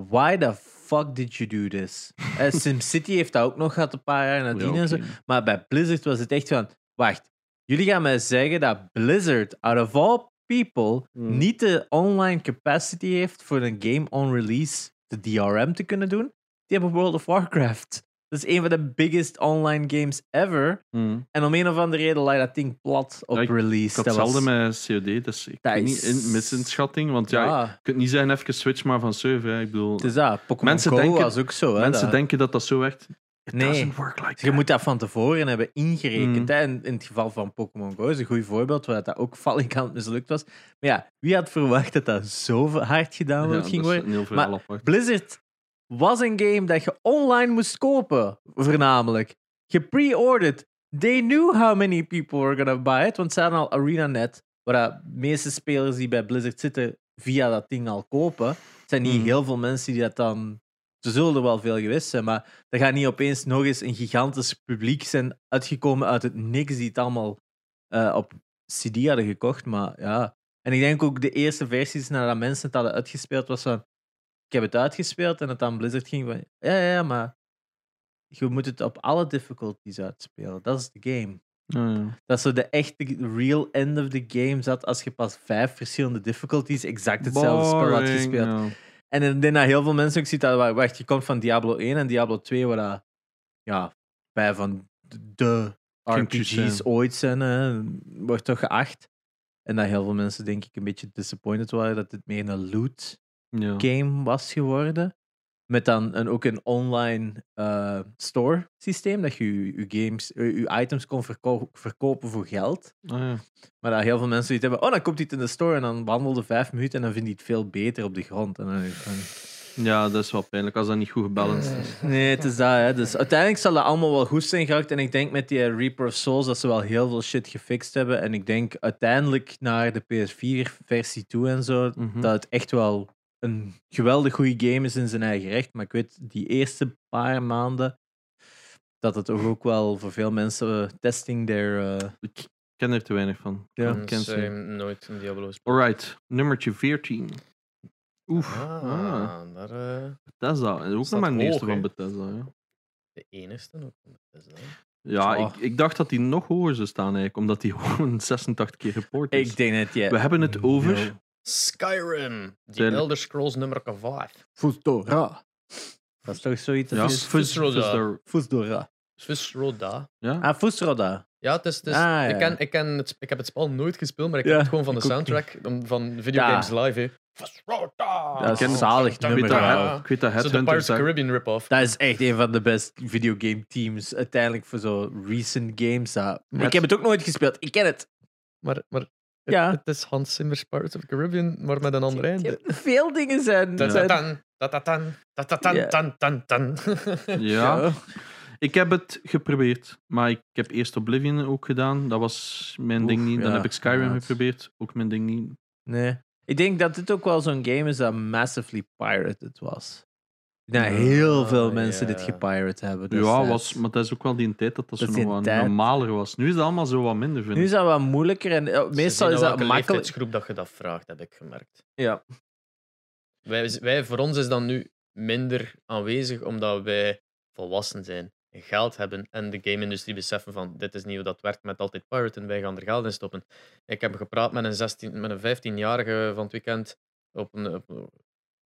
B: why the fuck did you do
A: [LAUGHS]
B: this? Eh, SimCity heeft dat ook nog gehad een paar jaar nadien en zo. Maar bij Blizzard was het echt van: wacht, jullie gaan mij zeggen dat Blizzard, out of all people,
D: Hmm.
B: niet de online capacity heeft voor een game on release de DRM te kunnen doen? Die hebben World of Warcraft. Dat is een van de biggest online games ever. En om een of andere reden lag dat ding plat op
A: Ja, ik-
B: release.
A: Hmm. Ik had
B: dat was-
A: hetzelfde met COD, dus ik
B: Dat
A: weet
B: is-
A: niet in misinschatting. Want ja,
B: Ja,
A: je kunt niet zeggen even switch maar van server. hè. Ik bedoel,
B: Ah, het is dat. Pokémon
A: Mensen
B: Go
A: denken-
B: was ook zo. Hè,
A: mensen
B: dat.
A: denken dat dat zo werkt. It
B: Nee.
A: doesn't work like
B: Dus je
A: that.
B: moet dat van tevoren hebben ingerekend.
A: Mm.
B: Hè? En in het geval van Pokémon Go is een goed voorbeeld waar dat ook vallingkant mislukt was. Maar ja, wie had verwacht dat dat zo hard
A: Ja,
B: gedownload
A: dat
B: ging
A: is
B: worden?
A: een heel verhaal
B: Maar
A: apart.
B: Blizzard was een game dat je online moest kopen, voornamelijk. Je pre-ordered. They knew how many people were gonna buy it, want ze hadden al ArenaNet, waar de meeste spelers die bij Blizzard zitten via dat ding al kopen. Het zijn niet
A: Mhm.
B: heel veel mensen die dat dan... Ze zullen er wel veel geweest zijn, maar er gaat niet opeens nog eens een gigantisch publiek zijn uitgekomen uit het niks die het allemaal eh, op CD hadden gekocht. Maar ja, en ik denk ook de eerste versies nadat mensen het hadden uitgespeeld was van ik heb het uitgespeeld en het aan Blizzard ging van ja, ja, ja, maar je moet het op alle difficulties uitspelen. Dat is de game.
A: Ja, ja.
B: Dat zo de echte real end of the game zat als je pas vijf verschillende difficulties exact hetzelfde spel had
A: Boring,
B: gespeeld.
A: ja.
B: En ik denk dat heel veel mensen ook ziet dat, wa- wacht, je komt van Diablo 1 en Diablo 2, waar dat, ja, bij van de
A: Kindjes
B: RPG's
A: zijn.
B: ooit zijn, hè, wordt toch geacht. En dat heel veel mensen, denk ik, een beetje disappointed waren dat het meer een loot
A: Ja.
B: game was geworden. Met dan een, ook een online eh, store systeem, dat je je, je games, je, je items kon verko- verkopen voor geld.
A: Ah, ja.
B: Maar dat heel veel mensen die het hebben, oh, dan komt hij in de store en dan wandelde vijf minuten en dan vindt hij het veel beter op de grond. En dan, en-
A: Ja, dat is wel pijnlijk als dat niet goed
B: Eh,
A: gebalanced is.
B: Nee, het is dat. Hè. Dus uiteindelijk zal dat allemaal wel goed zijn gehakt. En ik denk met die eh, Reaper of Souls dat ze wel heel veel shit gefixt hebben. En ik denk uiteindelijk naar de PS4-versie toe en zo,
A: Mhm.
B: dat het echt wel een geweldig goede game is in zijn eigen recht. Maar ik weet, die eerste paar maanden, dat het toch ook wel voor veel mensen eh, testing their... eh,
A: Ik ken er te weinig van.
B: Ja.
C: Hmm,
A: Ik ken ze. niet.
C: nooit een Diablo gespeeld.
A: Alright, nummertje 14. Oef, ah,
C: Ah, daar, eh,
A: Bethesda. En Ook nog
C: Staat
A: maar een
C: hoog,
A: eerste
C: hè?
A: van Bethesda. Ja,
C: de enigste ook. van Bethesda.
A: ja
B: Oh.
A: ik, ik dacht dat die nog hoger zou staan eigenlijk, omdat die [LAUGHS] gewoon 86 keer geport is.
B: ik denk dat je...
A: We hebben het over...
C: Skyrim, die
A: Tuurlijk.
C: Elder Scrolls nummer 5.
B: Fusdora. Dat is toch zoiets?
A: Ja,
B: Ja.
C: is Fusroda.
A: Fusroda.
B: Fusdora.
C: Swissroda.
A: Ja,
B: Ah, Fusroda.
C: Ja, het is, het is-
B: Ah, ja.
C: Ik, ken, ik, ken het, ik heb het spel nooit gespeeld, maar ik
B: Ja,
C: ken het gewoon van de
B: ik ook
C: soundtrack om- van videogames live. Hè. Swissroda!
B: Dat is een zalig
A: ik weet
B: nummer.
A: dat,
B: hè.
C: Ja.
A: ik weet dat
C: Zo de
A: Headhunter...
C: Pirates of the
A: daar-
C: Caribbean rip-off.
B: Dat is echt een van de best videogame teams uiteindelijk voor zo recent games. dat- Ik heb het ook nooit gespeeld. Ik ken het.
C: Maar, maar het,
B: Ja.
C: het is Hans Zimmer's Pirates of the Caribbean, maar met een ander einde.
B: Veel dingen zijn.
A: Dat-
B: zijn-
C: Tatatan, tatatan, tatatan,
B: Ja.
C: tan, tan, tan. [LAUGHS]
A: Ja. Ik heb het geprobeerd, maar ik heb eerst Oblivion ook gedaan. Dat was mijn
B: Oef,
A: ding niet. Dan
B: ja,
A: heb ik Skyrim
B: inderdaad.
A: geprobeerd, ook mijn ding niet.
B: Nee. Ik denk dat dit ook wel zo'n game is dat massively pirated was. Nou,
C: Ah,
B: heel veel mensen
C: ja.
B: dit gepirate hebben. dus, eh,
A: ja,
C: Dus
B: destijds.
A: was, maar dat is ook wel die tijd dat dat,
B: Dat
A: zo
B: is
A: nog
B: die
A: wat
B: tijd.
A: normaler was. Nu is dat allemaal zo wat minder, vind
B: Nu
A: ik.
B: is dat wat moeilijker en eh,
C: Ze zien
B: meestal
C: aan
B: is dat
C: welke
B: makkelijk.
C: leeftijdsgroep dat je dat vraagt, heb ik gemerkt.
B: Ja.
C: Wij, wij, voor ons is dat nu minder aanwezig, omdat wij volwassen zijn, en geld hebben en de game-industrie beseffen van dit is niet hoe dat werkt met altijd piraten, wij gaan er geld in stoppen. Ik heb gepraat met een, 16, met een 15-jarige van het weekend op een... op-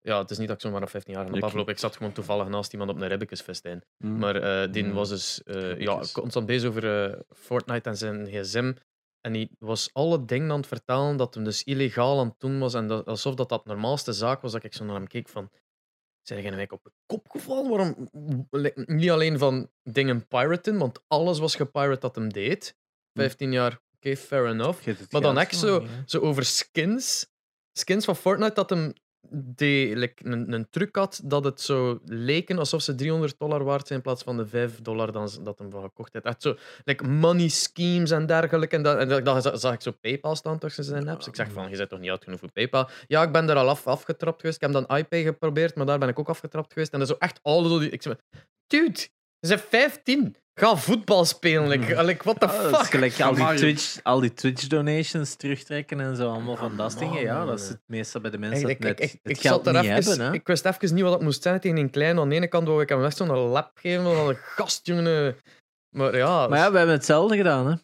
C: ja, het is niet dat ik zomaar een 15-jarige op
A: Ik-
C: afloop. Ik zat gewoon toevallig naast iemand op een ribbekesfestijn.
A: Mm.
C: Maar eh, die
A: Mm.
C: was dus eh, ja,
A: Ribbekes.
C: constant bezig over eh, Fortnite en zijn gsm. En die was alle dingen aan het vertalen dat hem dus illegaal aan het doen was. En dat, alsof dat dat normaalste zaak was, dat ik zo naar hem keek van... Zijn jij nou op de kop gevallen? Waarom? Like, Niet alleen van dingen piraten, want alles was gepirate dat hem deed. 15 jaar, oké, fair enough. Maar dan echt zo, zo over skins. Skins van Fortnite dat hem die, like, een, een truc had dat het zo leken alsof ze 300 dollar waard zijn in plaats van de 5 dollar dan, ze- dat hem van gekocht heeft. Echt zo, like money schemes en dergelijke. En, dat, en dat, dat zag, zag ik zo PayPal staan tussen zijn apps. Ik zeg van, je bent toch niet oud genoeg voor PayPal? Ja, ik ben er al af, afgetrapt geweest. Ik heb dan iPay geprobeerd, maar daar ben ik ook afgetrapt geweest. En dat is zo echt alle zo die... Ik zeg, maar, dude, ze zijn 15. Ga voetbal spelen. Like,
B: Hmm.
C: like, what the
B: Ja, dat is
C: fuck?
B: gelijk al die,
A: Amai.
B: Twitch, al die Twitch donations terugtrekken en zo, allemaal van dat soort dingen. Ja, dat is
C: man.
B: het meestal bij de
C: Echt,
B: mensen
C: ik,
B: dat
C: ik,
B: net
C: ik,
B: het
C: ik
B: geld
C: zat er
B: niet
C: even-
B: hebben. Hè?
C: ik wist even niet wat het moest zijn tegen een klein. Aan de ene kant wou ik hem echt zo'n lap geven van een gastjongen. Maar ja,
B: Maar ja, we hebben hetzelfde gedaan. Hè?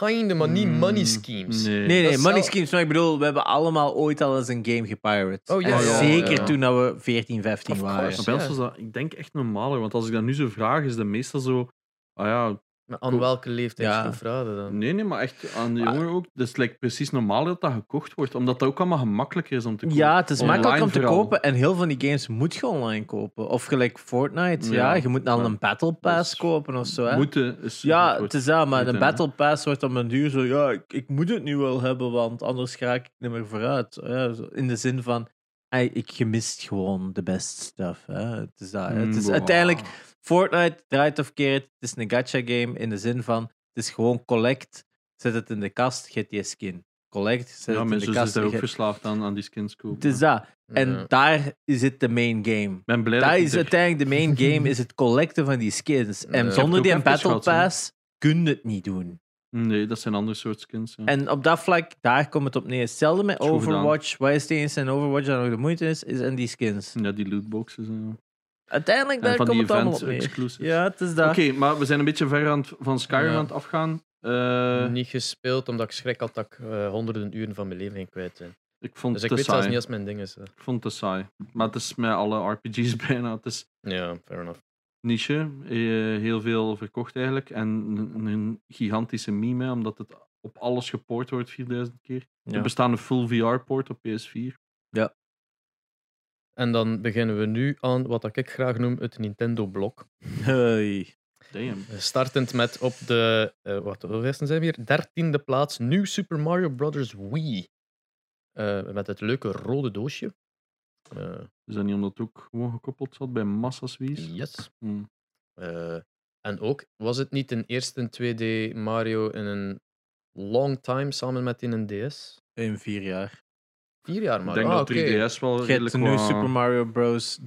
C: kind maar niet money schemes.
A: Nee.
B: Mm, Nee,
C: dat
B: nee,
C: is
B: money
C: zelf-
B: schemes. Maar ik bedoel, we hebben allemaal ooit al eens een game gepirate.
C: Oh, ja,
B: En
A: ja, ja,
B: zeker
A: ja.
B: toen dat we 14, 15
C: Of
B: waren.
A: Maar
C: course.
A: bij ons
C: Ja.
A: is dat, ik denk, echt normaler. Want als ik dat nu zo vraag, is de meestal zo... Ah ja,
C: Maar aan welke leeftijdsgroep
B: Ja. Mm,
C: raden dan?
A: nee, nee, maar echt aan de
B: Maar-
A: jongeren ook. Dus het lijkt precies normaal dat dat gekocht wordt. Omdat dat ook allemaal gemakkelijker is om te kopen.
B: Ja, het is
A: Online
B: makkelijk om te
A: vooral.
B: kopen. En heel van die games moet je online kopen. Of gelijk Fortnite. Ja,
A: Ja.
B: je moet dan
A: Ja.
B: een Battle Pass
A: Dus
B: kopen of zo. Hè?
A: Moeten is het
B: ja,
A: woord.
B: het is dat. Maar
A: Moeten,
B: een
A: hè.
B: Battle Pass wordt op een duur zo... Ja, ik, ik moet het nu wel hebben, want anders ga ik niet meer vooruit. Ja, zo in de zin van... ey, ik gemist gewoon de best stuff. Hè? Het is dat. hè. Ah, Het is
A: Mm,
B: uiteindelijk...
A: wow.
B: Fortnite draait of keert. Het is een gacha game in de zin van... Het is gewoon collect, zet het in de kast, get je skin. Collect, zet
A: Ja,
B: het in de
A: mensen zijn
B: kast,
A: daar ook
B: get-
A: verslaafd aan, aan die skins kopen.
B: Het is dat. En
C: Ja.
B: daar zit de main game.
A: Ik ben blij
B: Daar
A: dat
B: is uiteindelijk de main game, is het collecten van die skins. En
C: Ja.
B: zonder
A: Ik heb
B: die
A: het ook
B: battle
A: even gehad,
B: pass kun je het niet doen.
A: Nee, dat zijn andere soort skins. Ja.
B: En op dat vlak, daar komt het op neer. Hetzelfde met
A: Goed gedaan.
B: Overwatch. Waar is het eens en Overwatch dan nog de moeite is, is en die skins.
A: Ja, die lootboxes en zo.
B: Uiteindelijk,
A: En
B: daar
A: van
B: komt
A: die
B: het allemaal op neer.
A: event-exclusives.
B: Ja, het is
A: Oké,
B: dat.
A: maar we zijn een beetje ver aan het, van Skyrim
C: Ja.
A: aan het afgaan. Eh,
C: Niet gespeeld omdat ik schrik had dat ik eh, honderden uren van mijn leven ging kwijt ben.
A: ik vond
C: Dus ik
A: het
C: weet
A: te
C: zelfs
A: saai.
C: niet als mijn ding is. hè.
A: Ik vond het te saai. Maar het is met alle RPG's [LAUGHS] bijna. Het is
C: Ja, fair enough.
A: niche. eh, heel veel verkocht eigenlijk. En een, een gigantische meme, hè, omdat het op alles gepoord wordt 4000 keer.
B: Ja.
A: Er bestaat een full VR-port op PS4.
C: En dan beginnen we nu aan wat dat ik graag noem het Nintendo-blok.
B: Hey.
A: Damn.
C: Startend met op de, eh wat hoeveel zijn we hier? Dertiende plaats, New Super Mario Bros. Wii. Eh, met het leuke rode doosje. Eh,
A: Is dat niet omdat het ook gewoon gekoppeld zat bij massa's Wii's?
C: yes.
A: Hm.
C: Eh, en ook, was het niet een eerste 2D Mario in een long time samen met in een DS?
B: In vier jaar.
C: Vier jaar
A: Ik
C: Mario.
A: denk
C: ah,
A: dat
C: oké.
A: 3DS wel
B: Je hebt
A: redelijk
B: de New
A: qua-
B: Super Mario Bros.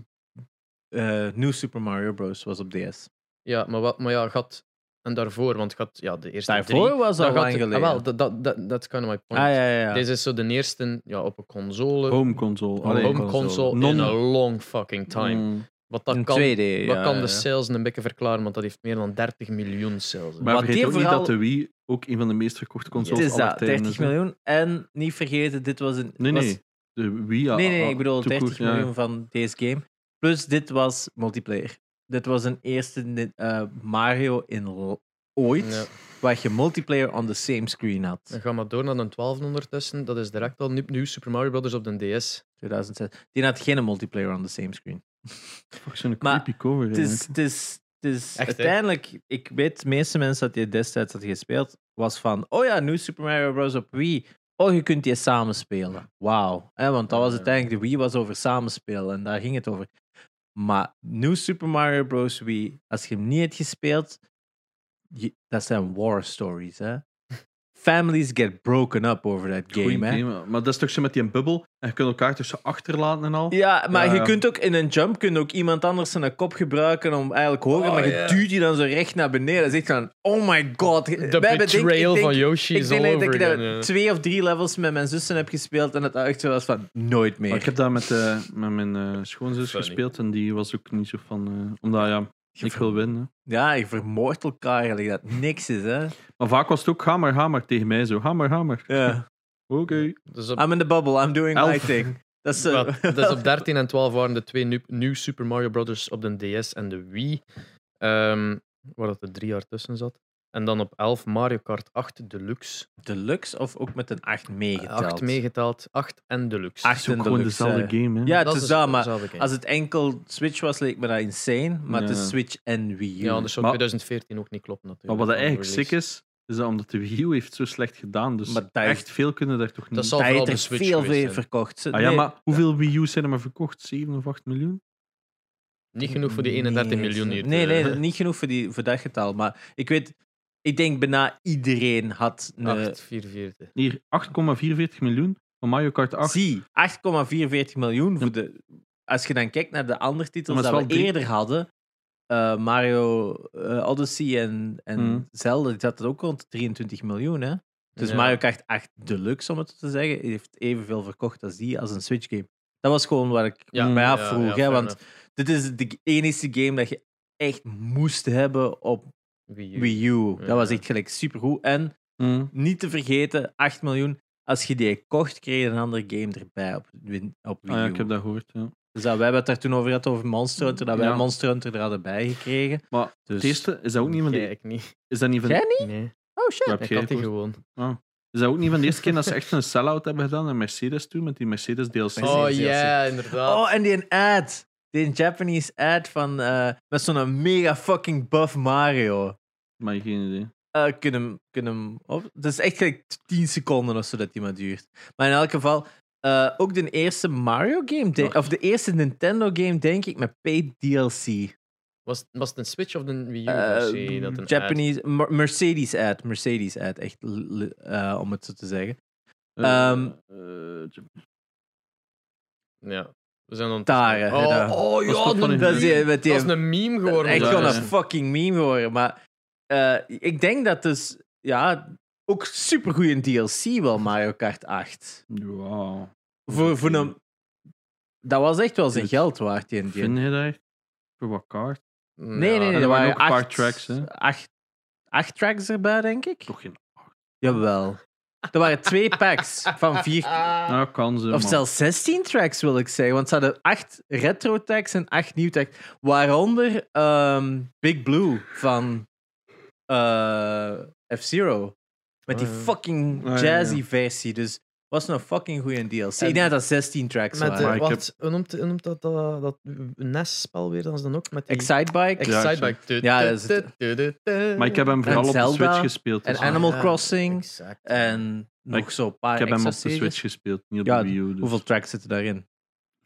B: eh New Super Mario Bros. was op DS.
C: Ja, maar, wat, maar ja, gaat... En daarvoor, want gaat, ja, de eerste
B: Daarvoor
C: drie...
B: was dat
C: dan
B: al
C: gaat-
B: lang geleden.
C: ah, wel, dat- dat- dat- That's kind of my point.
B: Ah, ja, ja, ja.
C: Deze is zo de eerste ja, op een console.
A: Home console.
B: Home
A: Allee,
C: home
B: console.
C: console in
A: Non-
C: a long fucking time.
A: Mm.
C: Wat dat
B: In
C: kan,
B: 2D,
C: wat
B: ja,
C: kan
A: dus
B: ja.
C: de sales een beetje verklaren, want dat heeft meer dan 30 miljoen sales. hè.
A: Maar
B: Wat die
A: vergeet ook niet
B: vooral-
A: dat de Wii ook een van de meest verkochte
B: Het
A: consoles
B: is
A: aller
B: dat,
A: tijden
B: 30
A: is, hè.
B: miljoen. En niet vergeten, dit was een...
A: Nee,
B: was-
A: nee. De Wii, ja,
B: nee, nee,
A: ah,
B: ik bedoel
A: tout
B: 30
A: court, ja.
B: miljoen van deze game. Plus, dit was multiplayer. Dit was een eerste ni- eh, Mario in l- ooit,
C: Ja.
B: waar je multiplayer on the same screen had.
C: Dan gaan we door naar een 12 ondertussen. Dat is direct al nu, nu Super Mario Brothers op de DS.
B: 2006. Die had geen multiplayer on the same screen.
A: Fuck, zo'n
B: Maar
A: creepy cover.
B: Het is, het is, het is
C: Echt, hè?
B: uiteindelijk, ik weet, de meeste mensen dat je destijds had gespeeld, was van, oh ja, nu Super Mario Bros. op Wii. Oh, je kunt die samen spelen. Wauw. hè, Want dat was
C: Ja.
B: uiteindelijk, de Wii was over samenspelen en daar ging het over. Maar nu Super Mario Bros. Wii, als je hem niet hebt gespeeld, je- dat zijn war stories,
C: [LAUGHS]
B: hè. Families get broken up over that
A: Goeie
B: game, hè.
A: game, Maar dat is toch zo met die bubbel. En je kunt elkaar tussen achterlaten en al.
B: Ja, maar
A: Ja,
B: je
A: ja.
B: kunt ook in een jump kun je ook iemand anders zijn kop gebruiken om eigenlijk hoger,
C: Oh,
B: maar je
C: ja.
B: duwt die dan zo recht naar beneden. Dat is echt van, oh my god.
C: De
B: We hebben, denk- ik
C: betrayal
B: denk-
C: van Yoshi
B: Ik
C: is
B: denk
C: all
B: dat
C: over
B: ik
C: again.
B: daar [LAUGHS]
C: ja.
B: twee of drie levels met mijn zussen heb gespeeld en het echt zo was van, nooit meer.
A: Maar ik heb dat met, eh, met mijn eh, schoonzus
C: Funny.
A: gespeeld en die was ook niet zo van... eh, omdat ja, ik wil winnen.
B: Ja, je vermoordt elkaar eigenlijk, dat niks is, hè.
A: Maar vaak was het ook hamer, hamer tegen mij zo. Hamer, hamer.
B: Ja.
A: Oké.
C: Dus op,
B: I'm in the bubble, I'm doing my
A: Elf.
B: thing. Dat is, eh, [LAUGHS]
C: wat, dus op 13 en 12 waren de twee nu, nu Super Mario Brothers op de DS en de Wii. ehm, waar dat er drie jaar tussen zat. En dan op 11 Mario Kart 8 Deluxe.
B: Deluxe of ook met een 8 meegeteld?
C: 8 meegeteld, 8 en Deluxe.
A: Het
B: Acht
A: is ook
B: en
A: gewoon
B: deluxe,
A: dezelfde
B: eh.
A: game, hè.
B: Ja, het
C: Dat
B: is
C: is
B: dat, maar
C: dezelfde game.
B: als het enkel Switch was, leek me dat insane, maar het
A: Ja.
B: is Switch en Wii U.
C: Ja, anders zou
A: Maar-
C: 2014 ook niet kloppen natuurlijk.
A: Maar wat dat
C: van de
A: eigenlijk sick
C: release.
A: is, is dat omdat de Wii U heeft zo slecht gedaan. Dus
B: Maar dat is-
A: echt veel kunnen daar toch niet...
C: Dat zal
B: Hij
C: vooral
B: heeft er
C: de Switch
B: veel
C: geweest
B: veel
C: zijn.
B: verkocht. Ze-
A: Ah ja,
B: nee,
A: maar hoeveel Wii U's zijn er maar verkocht? 7 of 8 miljoen?
C: Niet genoeg voor die 31
B: nee,
C: miljoen hier. eh,
B: Nee,
C: te-
B: nee, niet genoeg voor, die, voor dat getal. Maar ik weet, ik denk bijna iedereen had een... eh,
C: 844.
A: Hier, 8,44 miljoen van Mario Kart 8.
B: Zie, 8,44 miljoen voor de... Als je dan kijkt naar de andere titels
A: Maar het
B: dat
A: is
B: we
A: wel drie-
B: eerder hadden, eh, Mario eh, Odyssey en, en
A: Mhm.
B: Zelda, die zaten ook rond de 23 miljoen. Hè? Dus
C: Ja.
B: Mario Kart 8 Deluxe, om het zo te zeggen, heeft evenveel verkocht als die, als een Switch game. Dat was gewoon waar ik
A: Ja,
B: mm, mij
A: ja,
B: afvroeg. hè,
C: fair
B: want
C: enough.
B: dit is de enige game dat je echt moest hebben op
C: Wii U.
B: Wii U.
C: Ja.
B: Dat was echt gelijk supergoed. En
A: Mhm.
B: niet te vergeten, 8 miljoen. Als je die kocht, kreeg je een andere game erbij op, Win- op Wii
A: Ah,
B: U.
A: ja, ik heb dat gehoord. Ja.
B: Dus dat, wij hebben het daar toen over gehad, over Monster Hunter, dat wij
A: Ja.
B: Monster Hunter er hadden bijgekregen.
A: Maar
B: Dus...
A: het eerste, is dat ook niet van
C: Jij,
A: de,
C: ik niet.
A: is dat niet van,
B: Jij niet?
C: Nee,
B: Oh shit.
A: Waar heb
C: ik
A: jij
C: had die
A: gekocht?
C: gewoon.
A: is dat ook niet van de eerste keer dat ze echt een sell-out hebben gedaan in Mercedes toen, met die Mercedes DLC?
C: Oh
B: Mercedes,
C: ja,
B: DLC.
C: inderdaad.
B: Oh, en die een ad. Die een Japanese ad van, eh, met zo'n mega fucking buff Mario.
A: Maar geen idee.
B: eh kun hem, kun hem op. Het is echt gelijk 10 seconden of zo dat die maar duurt. Maar in elk geval, eh, ook de eerste Mario game, denk- of de eerste Nintendo game, denk ik, met paid DLC.
C: Was, was het een Switch of een Wii U?
B: Eh,
C: versie dat een
B: Japanese, Mer- Mercedes ad, Mercedes ad, echt, l- l- eh, om het zo te zeggen.
A: Eh,
B: Ehm,
A: eh,
C: ad- Ja. We zijn dan
B: Taren, hè, daar.
C: Oh, oh
A: Dat is toch
C: ja,
A: van een
C: een
B: Dat is, die-
C: meme.
B: met die,
C: dat is een meme
B: Dat
C: geworden.
B: is Echt
A: Ja,
B: gewoon
A: ja,
B: een
A: ja.
B: fucking meme geworden. Maar eh, ik denk dat dus, ja, ook supergoeie DLC wel, Mario Kart 8.
A: Wauw.
B: Voor, voor een, dat was echt wel zijn
A: Dude.
B: geld waard, die die-
A: Vind je dat echt? Voor wat kaart?
B: Nee, nee, nee.
A: er
B: Er
A: waren
B: waren
A: ook een paar
B: acht-
A: tracks, hè?
B: Acht, acht tracks erbij, denk ik.
A: Toch geen.
B: Jawel. Er waren twee packs van vier.
A: Nou, kan ze.
B: Ah. Of
A: maar-
B: zelfs 16 tracks wil ik zeggen. Want ze hadden acht retro tracks en acht nieuw tracks. Waaronder ehm, Big Blue van eh, F-Zero. Met die
C: Oh, ja.
B: fucking
A: Oh, ja, ja, ja.
B: jazzy versie. Dus was een fucking goede DLC.
C: En-
B: ik denk dat dat 16 tracks
C: Met,
B: waren.
A: Maar
C: eh
A: ik
C: wat, hoe noemt, hoe noemt dat, dat, dat NES-spel weer? Dat is dan ook met die...
B: Excitebike
A: Ja,
C: Excitebike.
B: Ja, dat is het.
A: Maar ik heb hem vooral op de
B: Zelda
A: Switch gespeeld.
B: en
A: dus-
B: Animal
C: Ah, ja,
B: Crossing
C: exact.
B: en
A: Maar
B: nog zo'n paar
A: ik heb hem
B: extra
A: op de
B: series.
A: Switch gespeeld, niet op
B: Ja,
A: de Wii U. Dus
B: Hoeveel tracks zitten daarin?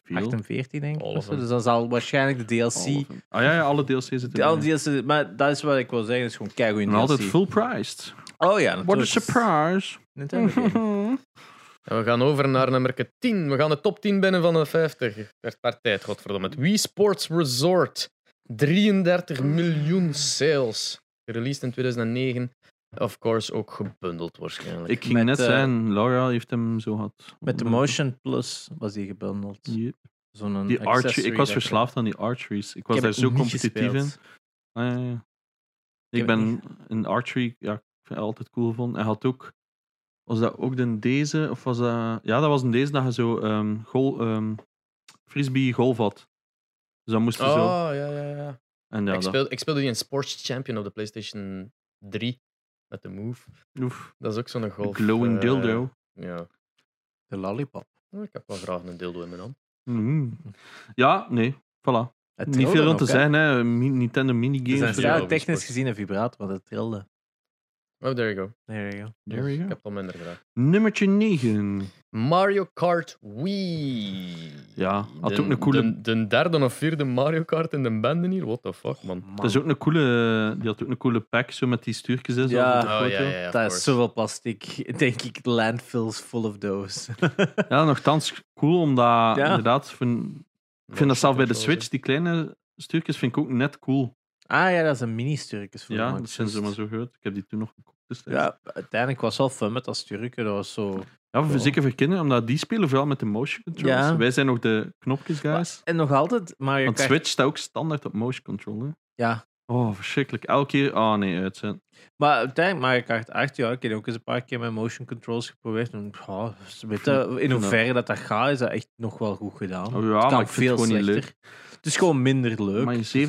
A: Veel.
B: 48, denk ik.
C: All
B: of
C: of
B: zo.
C: them.
B: Dus dan zal waarschijnlijk de DLC.
A: Alle van- Ah ja, ja, alle DLC's zitten
B: De alle
A: erin.
B: DLC maar dat is wat ik wil zeggen. Het is gewoon keigoed DLC.
A: En altijd full priced.
B: Oh ja,
A: What a
B: natuurlijk. [LAUGHS]
A: surprise.
B: Nintendo
A: [LAUGHS]
B: game.
C: En we gaan over naar nummer 10. We gaan de top 10 binnen van de 50. Het werd partij, godverdomme. Het Wii Sports Resort. 33 miljoen sales. Gereleased in 2009. Of course, ook gebundeld waarschijnlijk.
A: Ik ging
B: Met,
A: net
B: eh,
A: zijn, Laura heeft hem zo gehad.
B: Met de Motion Plus was die gebundeld.
A: Yep.
B: Zo'n
A: Die archery,
B: accessory
A: ik was
B: dat je-
A: verslaafd aan die archeries. Ik was
B: heb
A: daar
B: het
A: zo
B: niet
A: competitief in.
B: gespeeld.
A: Ah, ja, ja.
B: Ik
A: Ik,
B: heb het
A: ben in archery, ja, ik vind het altijd cool gevonden. Hij had ook, was dat ook de deze, of was dat, ja, dat was een deze dat je zo ehm gol, ehm, frisbee golf had. Dus dan moest je
C: oh,
A: zo.
C: ja, ja, ja.
A: En ja,
C: ik,
A: dat,
C: speel, ik speelde die in Sports Champion op de PlayStation 3. Met de Move.
A: oef,
C: Dat is ook zo'n
A: een
C: golf.
A: glowing
C: eh,
A: dildo.
C: Ja.
B: De lollipop.
C: Oh, Ik heb wel graag een dildo in mijn hand.
A: Mhm. Ja, nee, voilà.
B: Het
A: Niet
B: trilde
A: veel aan
B: nog,
A: te
B: hè.
A: zijn, hè. Mi- Nintendo
B: Het
A: minigames.
B: is
C: zijn
A: Ja,
B: ja,
C: heel
B: technisch
C: sport.
B: gezien een vibrator, want het trilde.
C: Oh, there you go.
B: There you go.
A: there you
C: Dus
A: go.
C: Ik heb het al minder gedaan.
A: Nummertje 9.
C: Mario Kart Wii.
A: Ja, had ook een coole-
C: De, de derde of vierde Mario Kart in de bende hier. What the fuck, man.
A: Dat is ook een coole, die had ook een coole pack, zo met die stuurtjes en zo.
B: Ja.
A: op
C: Oh,
A: de foto.
C: of
B: Dat
C: course.
B: is zoveel plastic. [LAUGHS] Denk ik, landfills full of those.
A: Ja, nogthans cool, omdat
B: Ja.
A: inderdaad... Van, ik vind dat zelf bij de Switch, die kleine stukjes vind ik ook net cool.
B: [LAUGHS] ah ja, dat is een mini-sturkjes voor de
A: Ja,
B: Max
A: dat zijn ze
B: Boost.
A: maar zo groot. Ik heb die toen nog gekocht. Dus dat is-
B: Ja, uiteindelijk was wel fun met dat sturken. Dat was zo...
A: ja, voor, zeker voor kinderen, omdat die spelen vooral met de motion controls.
B: Ja.
A: Wij zijn nog de knopjes, guys.
B: En nog altijd Mario
A: Want
B: Kart...
A: Switch staat ook standaard op motion control. Hè.
B: Ja,
A: Oh, verschrikkelijk. Elke keer... Oh nee, uitzend.
B: maar uiteindelijk Mario Kart 8, ja, ik heb ook eens een paar keer met motion controls geprobeerd. En, ja, weet je, in hoeverre dat dat gaat, is dat echt nog wel goed gedaan.
A: Oh, ja,
B: het kan
A: maar ik vind
B: veel
A: het gewoon niet
B: slechter. Het is gewoon minder leuk.
A: Maar
B: Dus dat-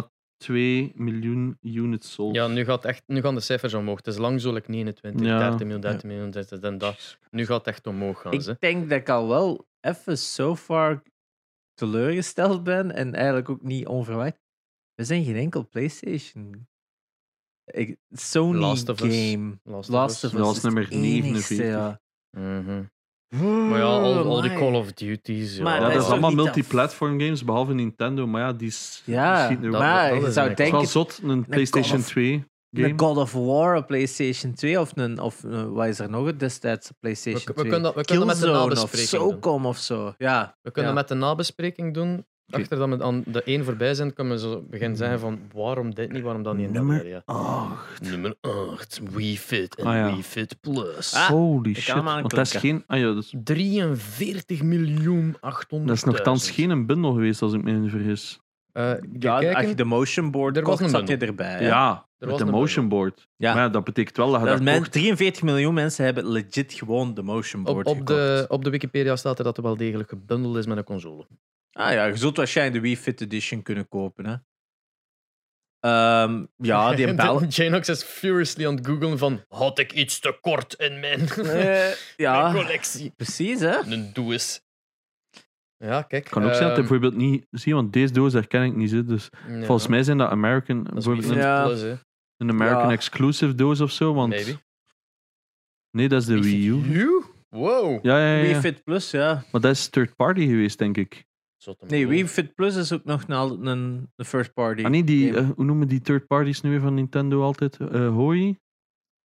A: 37,2 miljoen units sold.
C: Ja, nu, gaat echt, nu gaan de cijfers omhoog. Het is lang zo like 29,
A: Ja.
C: 30 miljoen, 30 miljoen, 30 en dat. Nu gaat het echt omhoog gaan. ze.
B: Ik denk dat ik al wel even so far teleurgesteld ben en eigenlijk ook niet onverwacht. We zijn geen enkel PlayStation. Ik, Sony
C: Last of Us.
B: game.
C: Last of
B: Last
C: Us.
B: of Us.
A: Dat was
B: is
A: nummer
B: het enigste,
A: 49.
B: ja.
C: Mhm. Maar ja, al, al
B: Oh
C: die Call of Duty's. Ja.
B: Maar
A: Ja,
B: dat
A: Oh, dat
B: is
A: is
B: toch
A: allemaal
B: niet dat-
A: multiplatform games, behalve Nintendo. Maar ja, die is
B: Ja,
A: schiet nu ook
C: dat-
A: op.
B: maar
C: dat
B: je
C: is
B: zou
C: eigenlijk
A: Het
B: denken,
A: is wel zot, een PlayStation
B: Call of-
A: 2 game.
B: een God of War op PlayStation 2 of, een, of eh, wat is er nog het destijds op
C: We,
B: PlayStation
C: we
B: 2?
C: kunnen dat, we kunnen dat met de
B: Killzone of
C: nabespreking doen.
B: SOCOM of zo. Ja,
C: We kunnen
B: Ja.
C: met de nabespreking doen. Achter dat we aan de één voorbij zijn, kan men zo beginnen zeggen van waarom dit niet, waarom dat niet. en dat
A: Nummer
C: weer, ja.
A: Ach,
C: Nummer 8, WeFit en
A: Ah, ja.
C: WeFit Plus.
B: Ah,
A: holy
B: kan
A: shit.
B: hem
A: Want dat is
B: aanklikken.
A: geen... Ah ja, dat is,
C: 43 miljoen 800.
A: dat is nogthans geen een bundel geweest, als ik me niet vergis.
C: Eh,
B: Ja, als je de motion board
C: Er was
B: kocht,
C: een
B: zat je
C: bundel.
B: erbij.
A: Ja,
B: hè.
A: met
C: was
A: de
C: een
A: motion board.
B: Ja.
A: Maar ja, dat betekent wel dat je
B: Dat
A: dat,
B: men-
A: kocht.
B: 43 miljoen mensen hebben legit gewoon de motion board
C: op, op, de,
B: gekocht.
C: op de Wikipedia staat er dat er wel degelijk gebundeld is met een console.
B: Ah ja, je zult waarschijnlijk de Wii Fit Edition kunnen kopen. Hè. Ehm,
C: [LAUGHS]
B: ja, die bel...
C: Janox is furiously aan het googlen van had ik iets te kort in mijn, [LAUGHS]
B: Eh,
C: mijn
B: ja,
C: collectie?
B: precies hè.
C: Een doos. Ja, kijk. ehm,
A: Het kan ook zijn dat hij
B: Eh,
A: bijvoorbeeld niet... Zie, want deze doos herken ik niet. hè, Dus volgens mij zijn dat American...
C: Dat is
A: bijvoorbeeld
C: WeFit
A: een,
B: Ja.
C: Plus, hè.
A: een American
B: Ja.
A: exclusive doos of zo, want...
C: Maybe.
A: Nee, dat is de Wii U.
C: Wow.
A: Ja, ja, ja,
B: Wii
A: ja.
B: Fit Plus, ja.
A: Maar dat is third party geweest, denk ik.
C: Zotte
B: Nee,
C: molen.
B: Wii Fit Plus is ook nog een, een, een first party.
A: Ah nee, die,
B: game.
A: eh, hoe noemen die third parties nu weer van Nintendo altijd? Eh Hoi?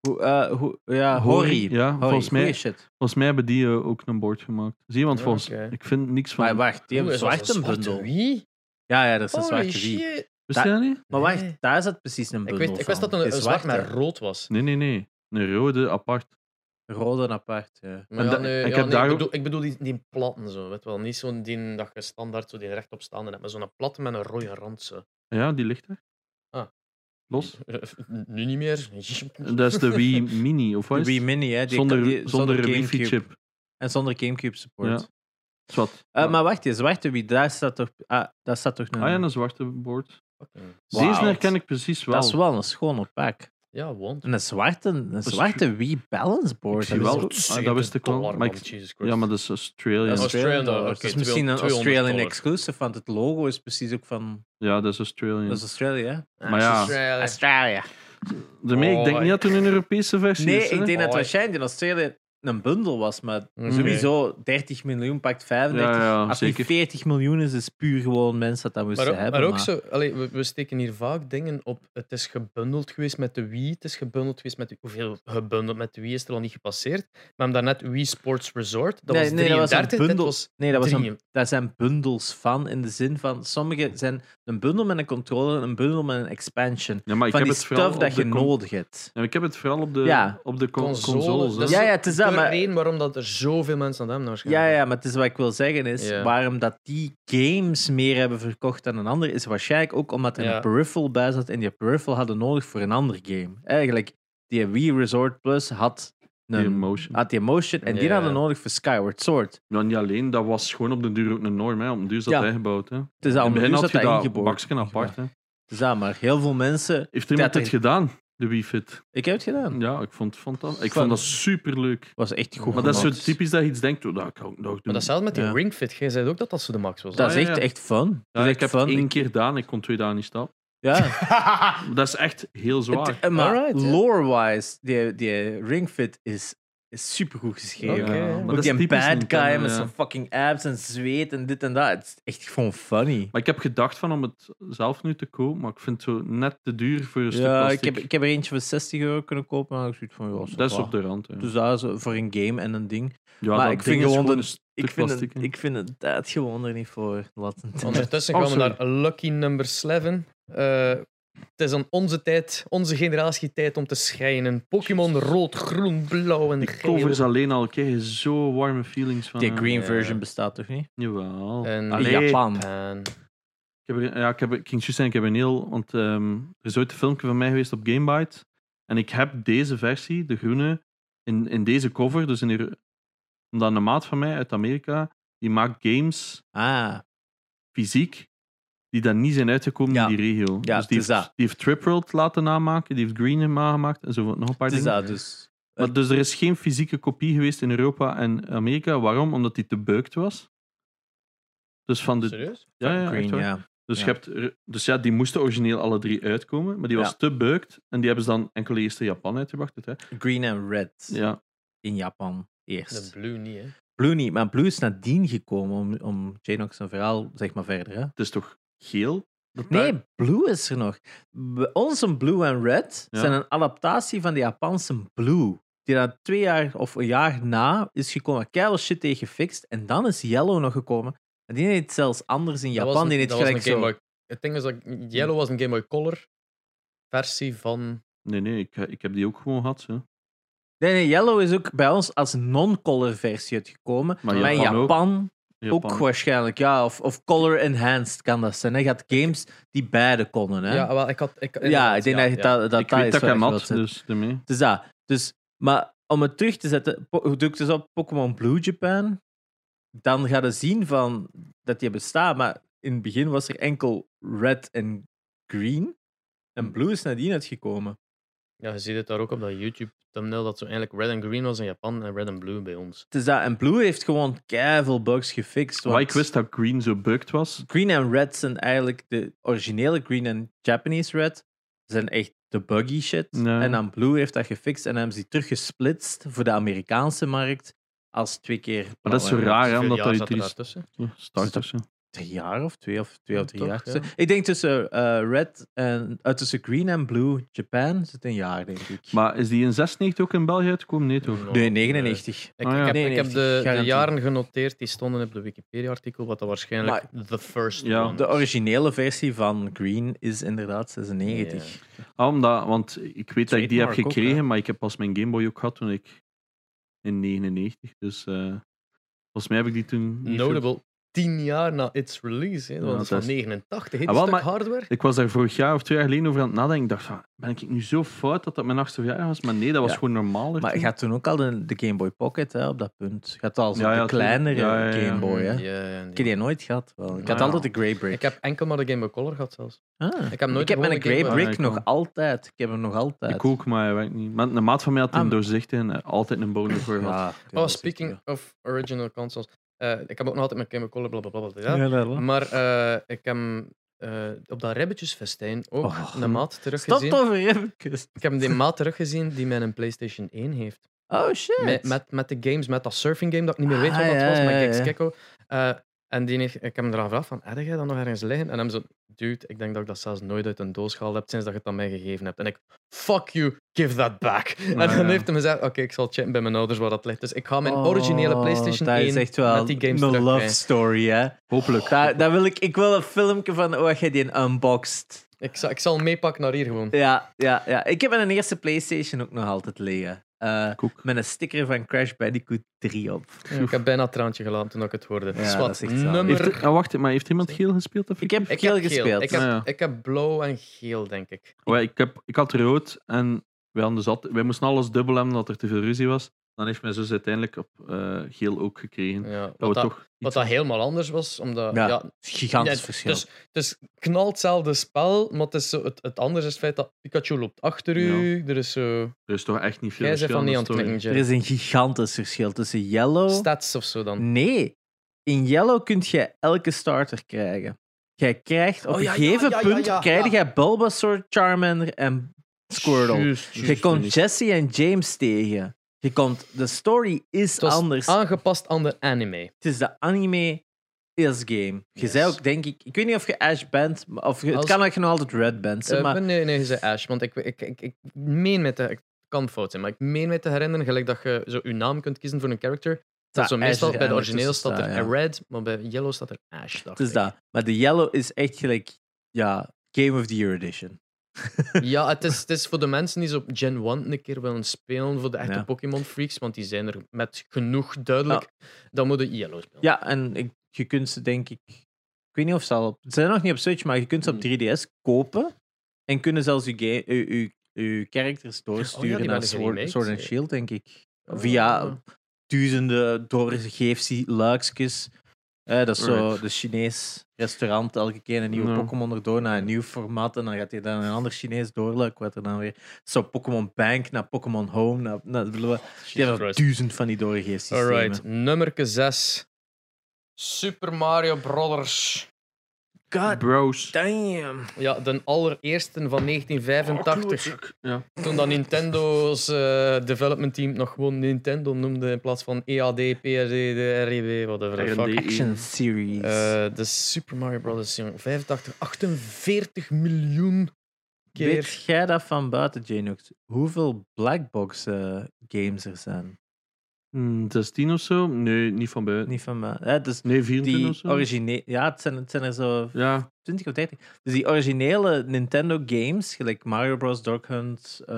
B: Hoe- eh, hoe- ja,
A: Hori.
B: Hori.
A: Ja,
B: Hori,
A: volgens mij-
B: goeie shit.
A: Volgens mij hebben die eh, ook een board gemaakt. Zie je, want
C: Ja,
A: volgens,
C: Oh, oké.
A: ik vind niks van...
B: Maar wacht, die
C: Oeh,
B: hebben
C: is dat
B: zwart een
C: zo'n
B: bundel.
C: zwarte Wii?
B: Ja, ja, dat is een
C: Holy
B: zwarte Wii.
C: shit.
A: Wist je dat niet?
B: Maar
C: Nee.
B: wacht, daar zat precies een
C: Ik
B: bundel
C: wist, ik wist
B: van.
C: dat het een,
B: Het
C: een
B: is
C: zwart
B: zwart,
C: met rood was.
A: Nee, nee, nee. Een rode apart.
B: hè. Rood en apart, ja.
C: Maar
A: En
C: ja,
A: da-
C: nee,
A: ik
C: ja,
A: heb
C: nee,
A: daar ook-
C: bedoel, ik bedoel die, die platten zo, weet wel. Niet zo'n die dat je standaard zo die rechtop staande hebt, maar zo'n platte met een rode rand zo. [LAUGHS]
A: Ja, die ligt er.
C: Ah. [LAUGHS]
A: Los.
C: Nu niet meer.
A: [LAUGHS] Dat is de
C: [LAUGHS]
A: Wii Mini, of wat
B: De
A: is
B: Wii
A: het?
B: Mini, hè. die
A: Zonder,
B: kan- die-
A: zonder
B: Gamecube.
A: wifi-chip.
B: En zonder Gamecube support.
A: Ja. Zwat.
B: Eh, Maar wacht, die zwarte Wii, daar staat toch... Ah, daar staat toch een...
A: Ah ja, een zwarte board.
B: Wauw.
A: Deze herken ik precies wel.
B: Dat is wel een schone pak.
C: Ja, want.
B: En een zwarte, een
A: is-
B: zwarte Wii Balance Board.
A: Ik zie
B: dat is
A: wel-
B: ook-
A: ah, dat wist ik wel,
C: Dollar,
A: maar
C: man,
A: ik-
C: Jesus Christ.
A: Ja, maar dat is Australian.
B: een
C: Ja, Australian dollar,
B: dollar. Het is
C: oké,
B: misschien een
C: 200
B: Australian
C: dollar.
B: exclusive, want het logo is precies ook van...
A: Ja, dat is Australian.
B: Dat is Australië, hè?
C: Ah,
A: maar ja.
C: Australia.
B: Australië.
A: Daarmee, ik denk
C: Oh,
A: niet dat er een Europese versie
B: Nee,
A: is. hè?
B: ik denk dat
C: Hoi.
B: waarschijnlijk in Australië een bundel was, maar
C: Oké.
B: sowieso 30 miljoen pakt 35.
A: Ja, ja,
B: Als die
A: zeker.
B: 40 miljoen is, is puur gewoon mensen dat dat moesten
C: Maar ook,
B: hebben.
C: maar ook zo, allee, we, we steken hier vaak dingen op. Het is gebundeld geweest met de Wii, het is gebundeld geweest met de, hoeveel gebundeld met de Wii is er al niet gepasseerd. Maar we hebben daarnet Wii Sports Resort, dat
B: Nee,
C: was
B: nee, dat was een
C: 33, dit
B: bundel.
C: was
B: Nee, dat was een,
C: drie.
B: daar zijn bundels van, in de zin van... Sommige zijn een bundel met een controller, een bundel met een expansion.
A: Ja, maar ik
B: van
A: heb
B: die
A: het vooral
B: stuff
A: op
B: dat
A: de
B: je
A: con-
B: nodig hebt.
A: Ja, maar ik heb het vooral op de,
B: Ja.
A: op de con-
C: Console,
A: consoles. hè.
C: dat is-
B: Ja, ja, het is dat,
C: de
B: maar...
C: reden waarom dat er zoveel mensen aan hebben
B: Ja,
C: waarschijnlijk.
B: ja, maar het is wat ik wil zeggen is,
C: Ja.
B: waarom dat die games meer hebben verkocht dan een ander, is waarschijnlijk ook omdat er
C: Ja.
B: een peripheral bij zat en die peripheral hadden nodig voor een ander game. Eigenlijk, die Wii Resort Plus had
A: Die
B: een,
A: emotion.
B: had die motion en die
C: Ja.
B: hadden nodig voor Skyward Sword.
A: Ja, Nou, niet alleen, dat was gewoon op de duur ook een norm. Hè. Op de duur is dat
B: Ja.
A: bijgebouwd. Hè. In
B: Het is al
A: het
B: een
A: begin
B: dat
A: had je
B: dat
A: dat
B: ingebouwd.
A: bakje apart. Hè.
B: Dus dat maar heel veel mensen...
A: Heeft iemand
B: Dat
A: dit gedaan, de Wii Fit?
B: Ik heb het gedaan. Het
A: Ja, ik vond het fantastisch. Ik
B: Fun.
A: vond dat superleuk.
B: was echt goed
A: Maar dat is zo
B: gemaakt.
A: typisch dat je iets denkt, oh, dat kan ik nog doen.
C: Maar dat zelfs met die
B: Ja.
C: Ring Fit, jij zei ook dat dat zo de max was.
B: Dat is
A: Ah,
B: echt,
A: ja, ja.
B: echt fun.
A: Ja,
B: Dat is
A: ik
B: echt
A: heb
B: fun.
A: het één keer gedaan, ik kon twee dagen niet stappen. [LAUGHS]
B: Ja. [LAUGHS]
A: Dat is echt heel zwaar.
B: Het- eh, maar
C: Alright, ja.
B: lore-wise, die, die ringfit is, is supergoed geschreven.
C: Oké, ja.
A: maar
C: Ook
A: dat
B: Ook
A: is
B: die
A: typisch
B: bad
A: Nintendo,
B: guy met
A: ja.
B: zijn fucking abs en zweet en dit en dat. Het is echt gewoon funny.
A: Maar ik heb gedacht van om het zelf nu te kopen, maar ik vind het zo net te duur voor een stuk
B: Ja, ik
A: plastic.
B: heb, ik heb er eentje voor 60 euro kunnen kopen, maar ik zoiets van... Ja,
A: Dat is
B: va.
A: op de rand. hè.
B: Dus dat is voor een game en een ding.
A: ja,
B: maar
A: dat ding
B: ik vind
A: is
B: gewoon
A: gewoon
B: de-
A: een stuk
B: Ik vind,
A: plastic,
B: het,
A: hè.
B: ik vind het dat gewoon er niet voor. Laten
C: Ondertussen
A: Oh,
C: kwamen
A: sorry.
C: naar Lucky Number 11. Eh, het is aan onze tijd, onze generatie tijd om te schijnen. Pokémon rood, groen, blauw en
A: Die
C: geel.
A: covers alleen al, ik krijg je zo warme feelings van.
B: [LAUGHS]
A: eh, Ah,
B: Die
A: hè.
B: green
C: ja.
B: version bestaat toch niet?
A: Jawel.
C: En-
B: In
A: Allee,
B: Japan.
C: En
A: Ik, heb, er- ja, ik, heb, ik ging juist zeggen, ik heb een heel... Want ehm, er is ooit een filmpje van mij geweest op Gamebite. En ik heb deze versie, de groene, in, in deze cover. Dus in die, omdat een maat van mij uit Amerika, die maakt games
B: Ah,
A: fysiek die dan niet zijn uitgekomen
B: Ja.
A: in die regio.
B: Ja,
A: dus
B: het
A: die
B: is
A: heeft,
B: dat.
A: die heeft Trip World laten namaken, die heeft Green nagemaakt en zo nog een paar
B: het is
A: dingen.
B: dat dus.
A: Maar dus er is geen fysieke kopie geweest in Europa en Amerika. Waarom? Omdat die te beukt was. Dus van de.
C: Serieus?
A: Ja, ja, echt
B: green,
A: waar.
B: ja.
A: Dus,
B: ja.
A: Je hebt, er- dus ja, die moesten origineel alle drie uitkomen, maar die was
B: Ja.
A: te beukt en die hebben ze dan enkel eerst in Japan uitgebracht. Hè.
B: Green en red
A: Ja.
B: in Japan
C: De
B: eerst.
C: blue niet, hè.
B: Blue niet, maar Blue is nadien gekomen om, om Janox zijn verhaal zeg maar verder. Hè?
A: Het is toch geel? Dat
B: Nee,
A: daar-
B: Blue is er nog. Bij ons een Blue en Red
A: Ja.
B: zijn een adaptatie van de Japanse Blue. Die dan twee jaar of een jaar na is gekomen. Keihard shit tegen gefixt. En dan is Yellow nog gekomen. En die heet zelfs anders in
C: Dat
B: Japan.
C: was een-
B: die heet
C: dat was
B: gelijk
C: een Game
B: zo.
C: Boy- Het ding is dat ik- Yellow was een Game Boy Color versie van.
A: Nee, nee, ik, ik heb die ook gewoon gehad. Hè.
B: Nee, nee, Yellow is ook bij ons als non-color versie uitgekomen.
A: Maar
B: Maar, in
A: Japan ook.
B: Japan ook,
A: Japan.
B: waarschijnlijk. Ja, of, of color enhanced kan dat zijn. Hè. Je had games die beide konden. Hè.
C: Ja,
B: Ja,
C: wel, ik had. Ik,
B: ik denk dat dat, dat,
A: ik weet
B: is
A: dat ik hem
B: waar
A: had,
B: je wilt
A: dus daarmee.
B: Het is dat. Dus, maar om het terug te zetten, po- doe ik dus op Pokémon Blue Japan, dan ga je zien van dat die bestaat. Maar in het begin was er enkel red en green. En blue is nadien uitgekomen.
C: Ja, je ziet het daar ook op dat YouTube thumbnail dat zo eigenlijk red en green was in Japan en red en blue bij ons.
B: Het is dat. En blue heeft gewoon keihard bugs gefixt.
A: Maar
B: want
A: ik wist dat Green zo bugged was.
B: Green en red zijn eigenlijk de originele green en Japanese red. Zijn echt de buggy shit.
A: Ja.
B: En dan Blue heeft dat gefixt en hebben ze die teruggesplitst voor de Amerikaanse markt als twee keer.
A: Maar dat is zo
B: blauw en
A: raar, hè,
C: Hoeveel
A: Ah, omdat dat
C: jaar
A: je
C: zat er
A: drie
C: daartussen?
A: start tussen.
B: drie jaar of twee of twee
C: Ja,
B: of drie
C: toch,
B: jaar.
C: ja.
B: tussen. Ik denk tussen eh, red en eh, tussen green en blue Japan zit een jaar denk ik.
A: Maar is die in 96 ook in België uitgekomen? Nee, toch?
C: Oh, Nee.
B: nee 99.
C: Ik,
A: Ah, ja.
C: ik heb,
B: Nee,
C: ik
B: nee,
C: heb de, de
B: garantie.
C: jaren genoteerd die stonden op de Wikipedia-artikel, wat dat waarschijnlijk the first
A: Ja.
C: one
B: De
C: is.
B: originele versie van green is inderdaad 96.
A: Ah, omdat, want ik weet dat ik die heb
B: Trademark ook,
A: gekregen,
B: hè?
A: maar ik heb pas mijn Game Boy ook gehad toen ik in 99. Dus eh, volgens mij heb ik die toen. niet veel-
C: Notable. Tien jaar na its release, hè, want
A: Ja,
C: het is van
A: dat is-
C: 89, hit
A: Ah, wel,
C: stuk
A: maar-
C: hardware.
A: Ik was daar vorig jaar of twee jaar geleden over aan het nadenken. Ik dacht, van, ben ik nu zo fout dat dat mijn achtste verjaardag was? Maar nee, dat was
B: Ja.
A: gewoon normaal.
B: Maar je had toen ook al de, de Game Boy Pocket hè, op dat punt. Je had al zo'n
A: Ja, ja,
B: de kleinere
A: tuurlijk. Ja, ja, ja.
B: Game Boy. Hè.
C: Ja, ja,
B: Ik
C: ja.
B: heb die nooit gehad. Wel. Ik had
A: Ja.
B: altijd de Grey Brick.
C: Ik heb enkel maar de Game Boy Color gehad zelfs.
B: Ah.
C: Ik heb nooit
B: ik heb
C: gewoon
B: mijn
C: de Game
B: Grey
C: Boy-
A: Ah,
B: Brick
A: ik
B: nog
A: ook.
B: altijd. Ik heb hem nog altijd.
A: Ik ook, maar hij werkt niet. Maar een maat van mij had
B: Ah,
A: een
B: maar-
A: doorzichtige en altijd een bonus voor gehad.
B: Ja,
C: Oh, speaking of original consoles. eh, ik heb ook nog altijd mijn Game Boy Color, blablabla. Bla, bla,
B: Ja, dat wel.
C: Maar eh, ik heb hem, eh, op dat ribbetjesfestijn ook
B: Oh.
C: een maat
B: Stop
C: teruggezien.
B: toch weer even.
C: Ik heb die maat teruggezien die mijn PlayStation 1 heeft.
B: [LAUGHS] Oh shit.
C: Met, met, met de games, met dat surfing game dat ik niet meer weet wat
B: Ah,
C: dat
B: ja,
C: was,
B: ja,
C: met
B: ja.
C: Gex Gekko. Eh, en die heeft, ik heb hem eraan gevraagd van, heb jij dat nog ergens liggen? En hem zo, dude, ik denk dat ik dat zelfs nooit uit een doos gehaald heb sinds dat je het aan mij gegeven hebt. En ik, fuck you, give that back.
B: Ah,
C: en dan
A: ja.
C: heeft hij me gezegd, oké, ik zal checken bij mijn ouders waar dat ligt. Dus ik ga mijn originele
B: Oh,
C: PlayStation
B: dat
C: 1
B: is echt wel
C: met die games
B: een
C: terugkrijgen.
B: love story, hè?
A: Hopelijk.
B: Daar, daar wil ik, ik wil een filmpje van hoe jij die unboxed.
C: Ik zal, ik zal hem meepakken naar hier gewoon.
B: Ja, ja, ja. Ik heb mijn eerste PlayStation ook nog altijd liggen. Eh,
A: Ik ook.
B: met een sticker van Crash Bandicoot 3 op.
C: Ik heb bijna een traantje gelaten toen ik het hoorde.
B: Ja,
C: Dus
B: dat
C: wat,
B: is echt zalig.
C: nummer...
A: Heeft er- ah, wacht, maar heeft iemand geel gespeeld? Of
B: Ik heb
C: Ik
B: geel
C: heb
B: gespeeld.
C: Ik heb,
A: Ah, ja.
C: ik heb blauw en geel, denk ik.
A: Oh, ja, ik, heb, ik had rood en wij, hadden dus altijd- wij moesten alles dubbel hebben omdat er te veel ruzie was. Dan heeft mijn zus uiteindelijk op eh, geel ook gekregen.
C: Ja,
A: Dat
C: wat,
A: we
C: dat,
A: toch
C: wat
A: iets-
C: dat helemaal anders was, omdat...
B: Ja,
C: ja,
B: Gigantisch
C: Ja,
B: verschil.
C: Dus, dus knal hetzelfde spel, maar het, is zo, het, het andere is het feit dat Pikachu loopt achter u. Er is zo.
A: er is toch echt niet veel
C: Jij bent van
A: verschil
C: niet aan
A: in
C: het
A: de story.
C: knikken,
B: er
C: Jerry.
B: is een gigantisch verschil tussen Yellow.
C: Stats of zo dan.
B: Nee, in Yellow kun je elke starter krijgen. Jij krijgt op
C: Oh, ja,
B: een
C: ja,
B: gegeven
C: ja, ja,
B: punt
C: ja,
B: krijg
C: ja.
B: jij Bulbasaur, Charmander en Squirtle.
C: Juist, juist.
B: Je komt
A: niet.
B: Jesse en James tegen. Je komt, de story is
C: Het was
B: anders.
C: aangepast aan de anime.
B: Het is de anime is game. Je
C: Yes.
B: zei ook, denk ik, ik weet niet of je Ash bent, maar- of je- het
C: Als-
B: kan dat je nog altijd Red bent. zeg
C: Eh,
B: maar
C: nee, nee, je zei Ash. Want ik, ik, ik, ik meen met de. Ik kan fout zijn, maar ik meen me te herinneren, gelijk dat je zo je naam kunt kiezen voor een character. Dat
B: Ja,
C: zo
B: Ash
C: meestal
B: is
C: bij
B: eigenlijk
C: de origineel
B: tussen
C: staat er
B: staan, ja.
C: Red, maar bij Yellow staat er Ash. dacht
B: het is
C: ik.
B: dat. Maar de Yellow is echt gelijk, ja, Game of the Year edition.
C: Ja, het is, het is voor de mensen die zo op Gen 1 een keer willen spelen, voor de echte
B: Ja.
C: Pokémon-freaks, want die zijn er met genoeg duidelijk, dan moeten Yellow spelen.
B: Ja, en ik, je kunt ze denk ik... Ik weet niet of ze al... op- Ze zijn nog niet op Switch, maar je kunt ze op
C: Hmm.
B: 3DS kopen. En kunnen zelfs je, ga- je, je, je characters doorsturen
C: Oh die
B: naar
C: waren
B: Sword,
C: geremaked,
B: Sword and
C: ja.
B: Shield, denk ik.
C: Oh.
B: Via duizenden doorgeefse luikjes. Eh, dat is zo
A: Alright.
B: de Chinees restaurant. Elke keer een nieuwe
A: Ja.
B: Pokémon erdoor naar een nieuw format. En dan gaat hij dan een ander Chinees doorluik. Wat er dan weer. Zo Pokémon Bank naar Pokémon Home. Naar, naar, die
C: Jesus
B: hebben
C: Christ.
B: duizend van die doorgeefse
C: Alright, nummer 6. Super Mario Brothers. Ah,
B: God
A: Bros.
B: damn.
C: Ja, de allereerste van 1985.
A: Ja.
C: toen dat Nintendo's eh, development team nog gewoon Nintendo noemde in plaats van E EAD, PRD, de RIB, whatever the fuck.
A: R&D.
B: Action series.
C: Eh, de Super Mario Brothers, jong. 85, 48 miljoen keer.
B: Weet jij dat van buiten, Janux? Hoeveel blackbox eh, games er zijn?
A: Hmm, 16 of zo? Nee, niet van buiten.
B: Niet van mij. Ja, het is
A: Nee, 24 of
B: die
A: zo?
B: originele. Ja, het zijn, het zijn er zo
A: Ja,
B: 20 of 30. Dus die originele Nintendo games, gelijk Mario Bros, Duck Hunt, eh,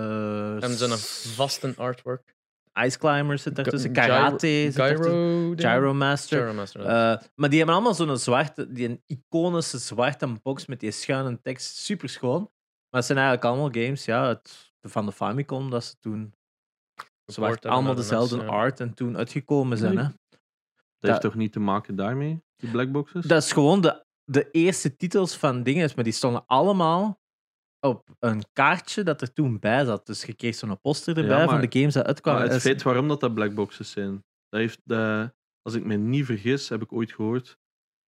C: Hebben ze een vaste artwork?
B: Ice Climbers zit daartussen,
C: Gyro-
B: Karate zit daartussen,
C: Gyro. ding?
B: Gyro Master.
C: Gyro Master.
B: Eh, maar die hebben allemaal zo'n zwarte, die een iconische zwarte box met die schuine tekst. Super schoon. Maar het zijn eigenlijk allemaal games ja, uit, van de Famicom dat ze toen. Ze
C: Geboord
B: waren
C: hebben
B: allemaal
C: naar de
B: dezelfde
C: mensen, ja.
B: art en toen uitgekomen zijn.
A: Nee.
B: Hè?
A: dat heeft
B: Dat-
A: toch niet te maken daarmee, die blackboxes?
B: Dat is gewoon de, de eerste titels van dingen, maar die stonden allemaal op een kaartje dat er toen bij zat. Dus je kreeg zo'n poster
A: Ja,
B: erbij van
A: maar-
B: de games die uitkwamen.
A: Maar het
B: Dat is-
A: feit waarom dat, dat blackboxes zijn, dat heeft, eh, als ik me niet vergis, heb ik ooit gehoord,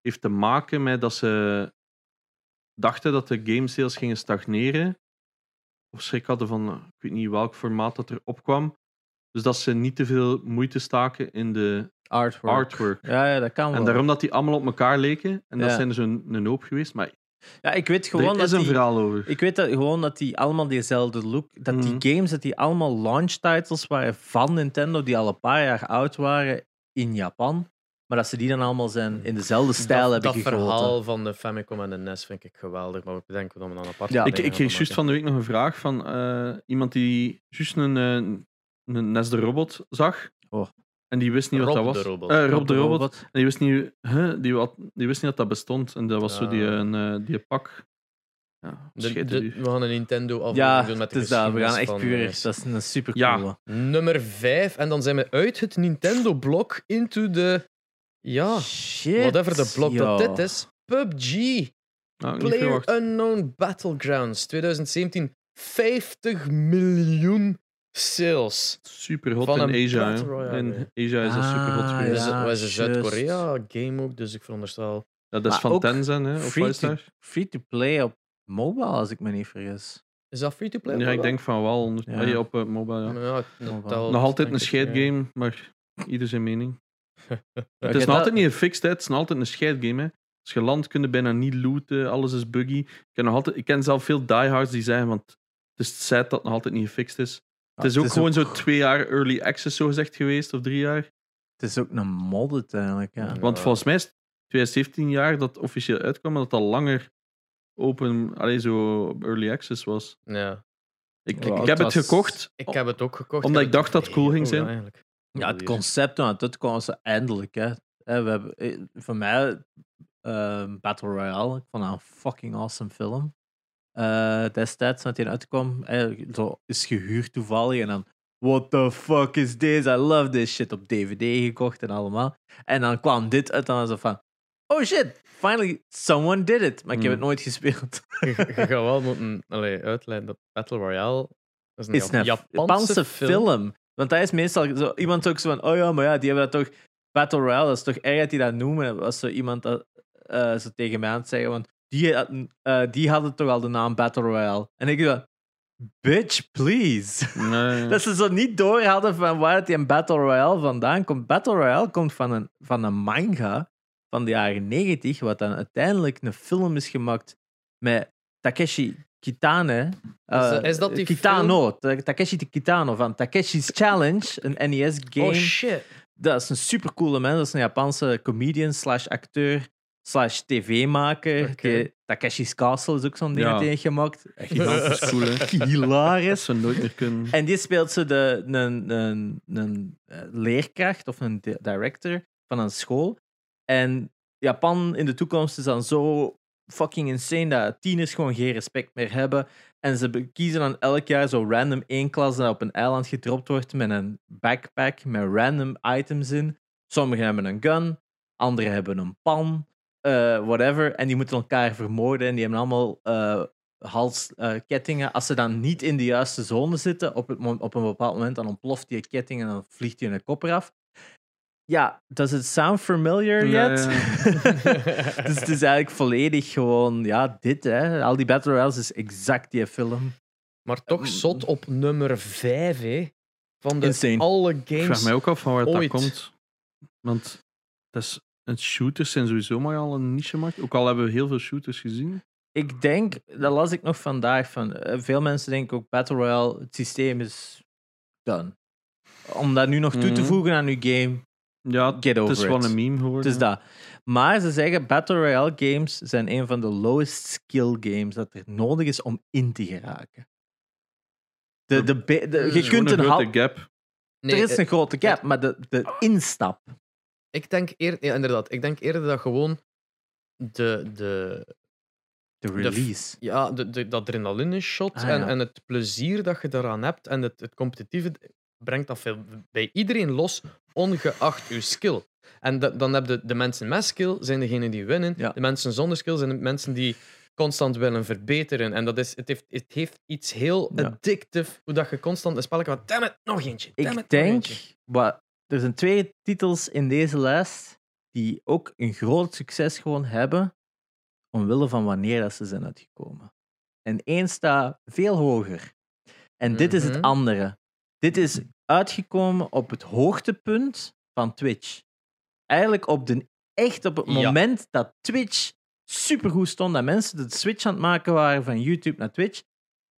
A: heeft te maken met dat ze dachten dat de game sales gingen stagneren. Of schrik hadden van, eh, ik weet niet welk formaat dat er opkwam. Dus dat ze niet te veel moeite staken in de
B: artwork.
A: artwork.
B: Ja, ja, dat kan Oh, wel.
A: En daarom dat die allemaal op elkaar leken. En dat
B: Ja.
A: zijn er zo'n een hoop geweest. Maar
B: ja, ik weet gewoon
A: er is
B: dat
A: een
B: die-
A: verhaal over.
B: Ik weet dat gewoon dat die allemaal diezelfde look. Dat
A: Mhm.
B: die games, dat die allemaal launch titles waren van Nintendo, die al een paar jaar oud waren in Japan. Maar dat ze die dan allemaal
A: Mhm.
B: zijn in dezelfde stijl
C: dat,
B: hebben
C: dat
B: gegoten.
C: verhaal van de Famicom en de NES vind ik geweldig, maar ik bedenk dat we dan een apart
B: Ja.
A: ik, ik kreeg juist van de week nog een vraag van eh, iemand die juist een, eh, een Nes de Robot zag.
B: Oh.
A: En die wist niet wat
C: Rob
A: dat was.
C: de Robot.
A: Eh, Rob,
B: Rob
A: de Robot. En die wist, niet, huh, die, wat, die wist niet dat dat bestond. En dat was zo die,
C: Ah.
A: een, eh, die pak. Ja,
C: De-
A: scheet het
C: de-
A: u.
C: we gaan een Nintendo aflevering
B: dus. Ja,
C: doen met
B: het
C: de
B: is dat. We gaan
C: geschiedenis
B: echt
C: van,
B: puur.
C: eh,
B: Dat is een super
A: Ja.
B: coole.
C: Nummer 5. En dan zijn we uit het Nintendo-blok into de. Ja,
B: Shit.
C: Oh, whatever de blok dat
B: joh.
C: dit is. PUBG.
A: Nou, niet
C: Player
A: verwacht.
C: Unknown Battlegrounds 2017. 50 miljoen sales.
A: Super hot
C: van
A: in
C: een
A: Asia.
C: Battle
A: hè.
C: Royale,
A: In
C: hè.
A: Asia is dat
B: Ah,
A: super hot
B: ja.
A: geweest.
C: Dus het was een
B: juist.
C: Zuid-Korea-game ook, dus ik veronderstel.
A: Dat is
B: Maar
A: van
B: ook
A: Tencent, hè? Of
B: Free
A: wat is
B: to,
A: dat?
B: free to play op mobile, als ik me niet vergis.
C: Is dat free-to-play?
A: Ja, ik denk van wel. onder-
B: Ja.
A: Allee, op eh, mobile, ja.
C: Ja, dat telt,
A: Nog altijd
C: denk
A: een
C: ik, ja.
A: scheidgame, maar ieder zijn mening.
B: Oké,
A: Het is nog
B: dat-
A: altijd niet een fixed, hè. het is nog altijd een scheidgame. Hè. Als je land kun je bijna niet looten, alles is buggy. Ik ken, nog altijd, ik ken zelf veel diehards die zeggen, want het is sad dat het nog altijd niet gefixt is.
B: Ja,
A: het is ook gewoon zo twee jaar early access zo gezegd geweest, of drie jaar.
B: Het is ook een mod uiteindelijk. Ja.
A: Want
C: Ja.
A: volgens mij is het 2017 jaar dat het officieel uitkwam, en dat dat langer open, alleen zo early access was.
C: Ja,
A: Ik,
B: Ja,
A: ik
B: het
A: heb het
B: was-
A: gekocht.
C: ik heb het ook gekocht.
A: Omdat
C: heb
A: ik
C: het
A: dacht dat het cool
C: heel
A: ging zijn.
C: eigenlijk.
B: Ja, het concept toen het uitkwam ze eindelijk. Hè. Hè, We hebben, eh, voor mij, ehm, Battle Royale, ik vond dat een fucking awesome film. Eh, destijds, toen die uitkwam, eh, zo is gehuurd toevallig. En dan, what the fuck is this? I love this shit. Op DVD gekocht en allemaal. En dan kwam dit uit en dan was het van, oh shit, finally someone did it. Maar ik heb
A: Hmm.
B: het nooit gespeeld.
C: Je je gaat wel moeten allee, uitleiden dat Battle Royale dat is een,
B: is
C: Ja-
B: een Japanse
C: Oh,
B: film. Want dat is meestal zo, iemand ook zo van, oh ja, maar ja, die hebben dat toch, Battle Royale, dat is toch erg dat die dat noemen. Dat was zo iemand dat eh, zo tegen mij aan het zeggen, want die, had- eh, die hadden toch al de naam Battle Royale. En ik dacht, bitch, please.
A: Oh, Nee.
B: [LAUGHS] Dat ze zo niet door hadden van waar die een Battle Royale vandaan komt. Battle Royale komt van een, van een manga van de jaren 90, wat dan uiteindelijk een film is gemaakt met Takeshi Kitane. eh,
C: Is- is dat die
B: Kitano, Ta- Takeshi Kitano van Takeshi's Challenge, een NES-game.
C: Oh shit.
B: dat is een supercoole man. Dat is een Japanse comedian slash acteur slash tv-maker.
C: Oké.
B: Die- Takeshi's Castle is ook zo'n ding
A: Ja.
B: dat hij heeft gemaakt. Echt
A: Gigantisch cool, hè. Dat
B: [LAUGHS] hilarisch.
A: zou nooit meer kunnen.
B: En die speelt ze de, een, een, een eh, leerkracht of een di- director van een school. En Japan in de toekomst is dan zo fucking insane dat tieners gewoon geen respect meer hebben. En ze be- kiezen dan elk jaar zo random één klas dat op een eiland gedropt wordt met een backpack met random items in. Sommigen hebben een gun, anderen hebben een pan, eh, whatever. En die moeten elkaar vermoorden en die hebben allemaal eh, halskettingen. Als ze dan niet in de juiste zone zitten, op, het, mo- op een bepaald moment, dan ontploft die ketting en dan vliegt die een kop eraf. Ja, does it sound familiar
A: Ja,
B: yet? [LAUGHS]
A: ja,
B: [LAUGHS] dus het is eigenlijk volledig gewoon, ja, dit hè. Al die Battle Royales is exact die film.
C: [LAUGHS] Maar toch zot op nummer 5 hè, van de
B: Insane.
C: alle
A: Ik
C: games.
A: vraag mij ook af van waar dat
C: ooit.
A: komt. Want dat is, een shooters zijn sowieso maar al een niche-markt. Ook al hebben we heel veel shooters gezien.
B: Ik denk, dat las ik nog vandaag van, eh, veel mensen denken ook Battle Royale, het systeem is done. om dat nu nog toe te
A: Mhm.
B: voegen aan uw game,
A: Ja,
B: get over
A: het is gewoon
B: it.
A: een meme geworden.
B: Het is dat. Maar ze zeggen Battle Royale games zijn een van de lowest skill games dat er nodig is om in te geraken. De, de, be- de-
C: Dat
B: je
A: Eh,
C: is
A: Gewoon
B: kunt een hal-
A: grote gap.
B: Er
C: Nee,
B: is een grote gap, maar de, de instap.
C: Ik denk eerder, ja, inderdaad, ik denk eerder dat gewoon de, de,
B: De
C: f-
B: release.
C: ja, de, de, de adrenaline shot
B: Ah,
C: en,
B: ja.
C: en het plezier dat je daaraan hebt en het, het competitieve brengt dat veel bij iedereen los, ongeacht je skill. En da- dan heb je de mensen met skill, zijn degenen die winnen.
B: Ja.
C: De mensen zonder skill zijn de mensen die constant willen verbeteren. En dat is, het, heeft, het heeft iets heel
B: Ja.
C: addictief, hoe dat je constant een spelletje van, damn it, nog eentje. damn it, nog
B: Ik denk,
C: eentje."
B: wat, er zijn twee titels in deze lijst die ook een groot succes gewoon hebben, omwille van wanneer dat ze zijn uitgekomen. En één staat veel hoger. En dit is het
C: Mhm.
B: andere. Dit is uitgekomen op het hoogtepunt van Twitch. Eigenlijk op de, echt op het
C: Ja.
B: moment dat Twitch supergoed stond, dat mensen de switch aan het maken waren van YouTube naar Twitch.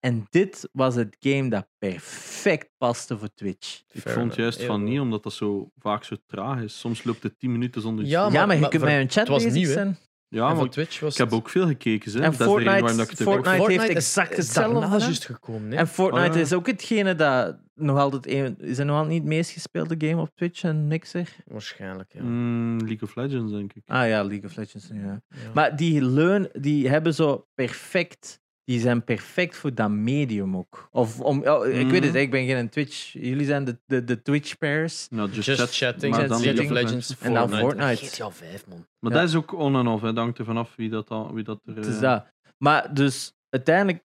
B: En dit was het game dat perfect paste voor Twitch.
A: Ik
C: Fair
A: vond
C: enough.
A: juist van
C: Heel
A: niet,
C: goed.
A: omdat dat zo vaak zo traag is. Soms loopt het 10 minuten zonder iets.
C: Ja,
A: te-
B: ja, maar je
C: maar
B: kunt
C: voor-
B: met een chat
C: het was
B: bezig
C: nieuw, hè?
B: zijn.
A: ja
C: En
A: maar
C: van
A: ik,
C: Twitch was
A: ik heb
C: het-
A: ook veel gekeken. Hè.
B: En
A: Dat is de reden waarom dat ik
B: Fortnite-
A: het heb.
C: Nou,
B: Fortnite- heeft
C: is-
B: exact
C: is
B: hetzelfde
C: daarna
B: gedaan.
C: eh, juist gekomen. Hè?
B: En Fortnite
A: Oh, ja.
B: is ook hetgene dat nog altijd een, is dat nog altijd niet het meest gespeelde game op Twitch en Mixer.
C: Waarschijnlijk, ja.
A: Mm, League of Legends, denk ik.
B: Ah ja, League of Legends nu. Ja.
C: Ja.
B: Maar die leun, die hebben zo perfect, die zijn perfect voor dat medium ook. Of om, oh, ik weet het,
A: Mhm.
B: ik ben geen Twitch. Jullie zijn de, de, de Twitch pairs.
A: Nou, just,
C: Just
A: chat,
C: chatting,
A: maar
B: Just
A: dan
B: Chatting.
A: League of Legends.
B: En dan
A: Fortnite.
B: Fortnite.
C: GTA 5, man.
A: Maar
B: Ja.
A: dat is ook on en off, hè. dangt ervan af wie dat, dan, wie dat er...
B: Het is
A: eh,
B: dat. Maar dus uiteindelijk,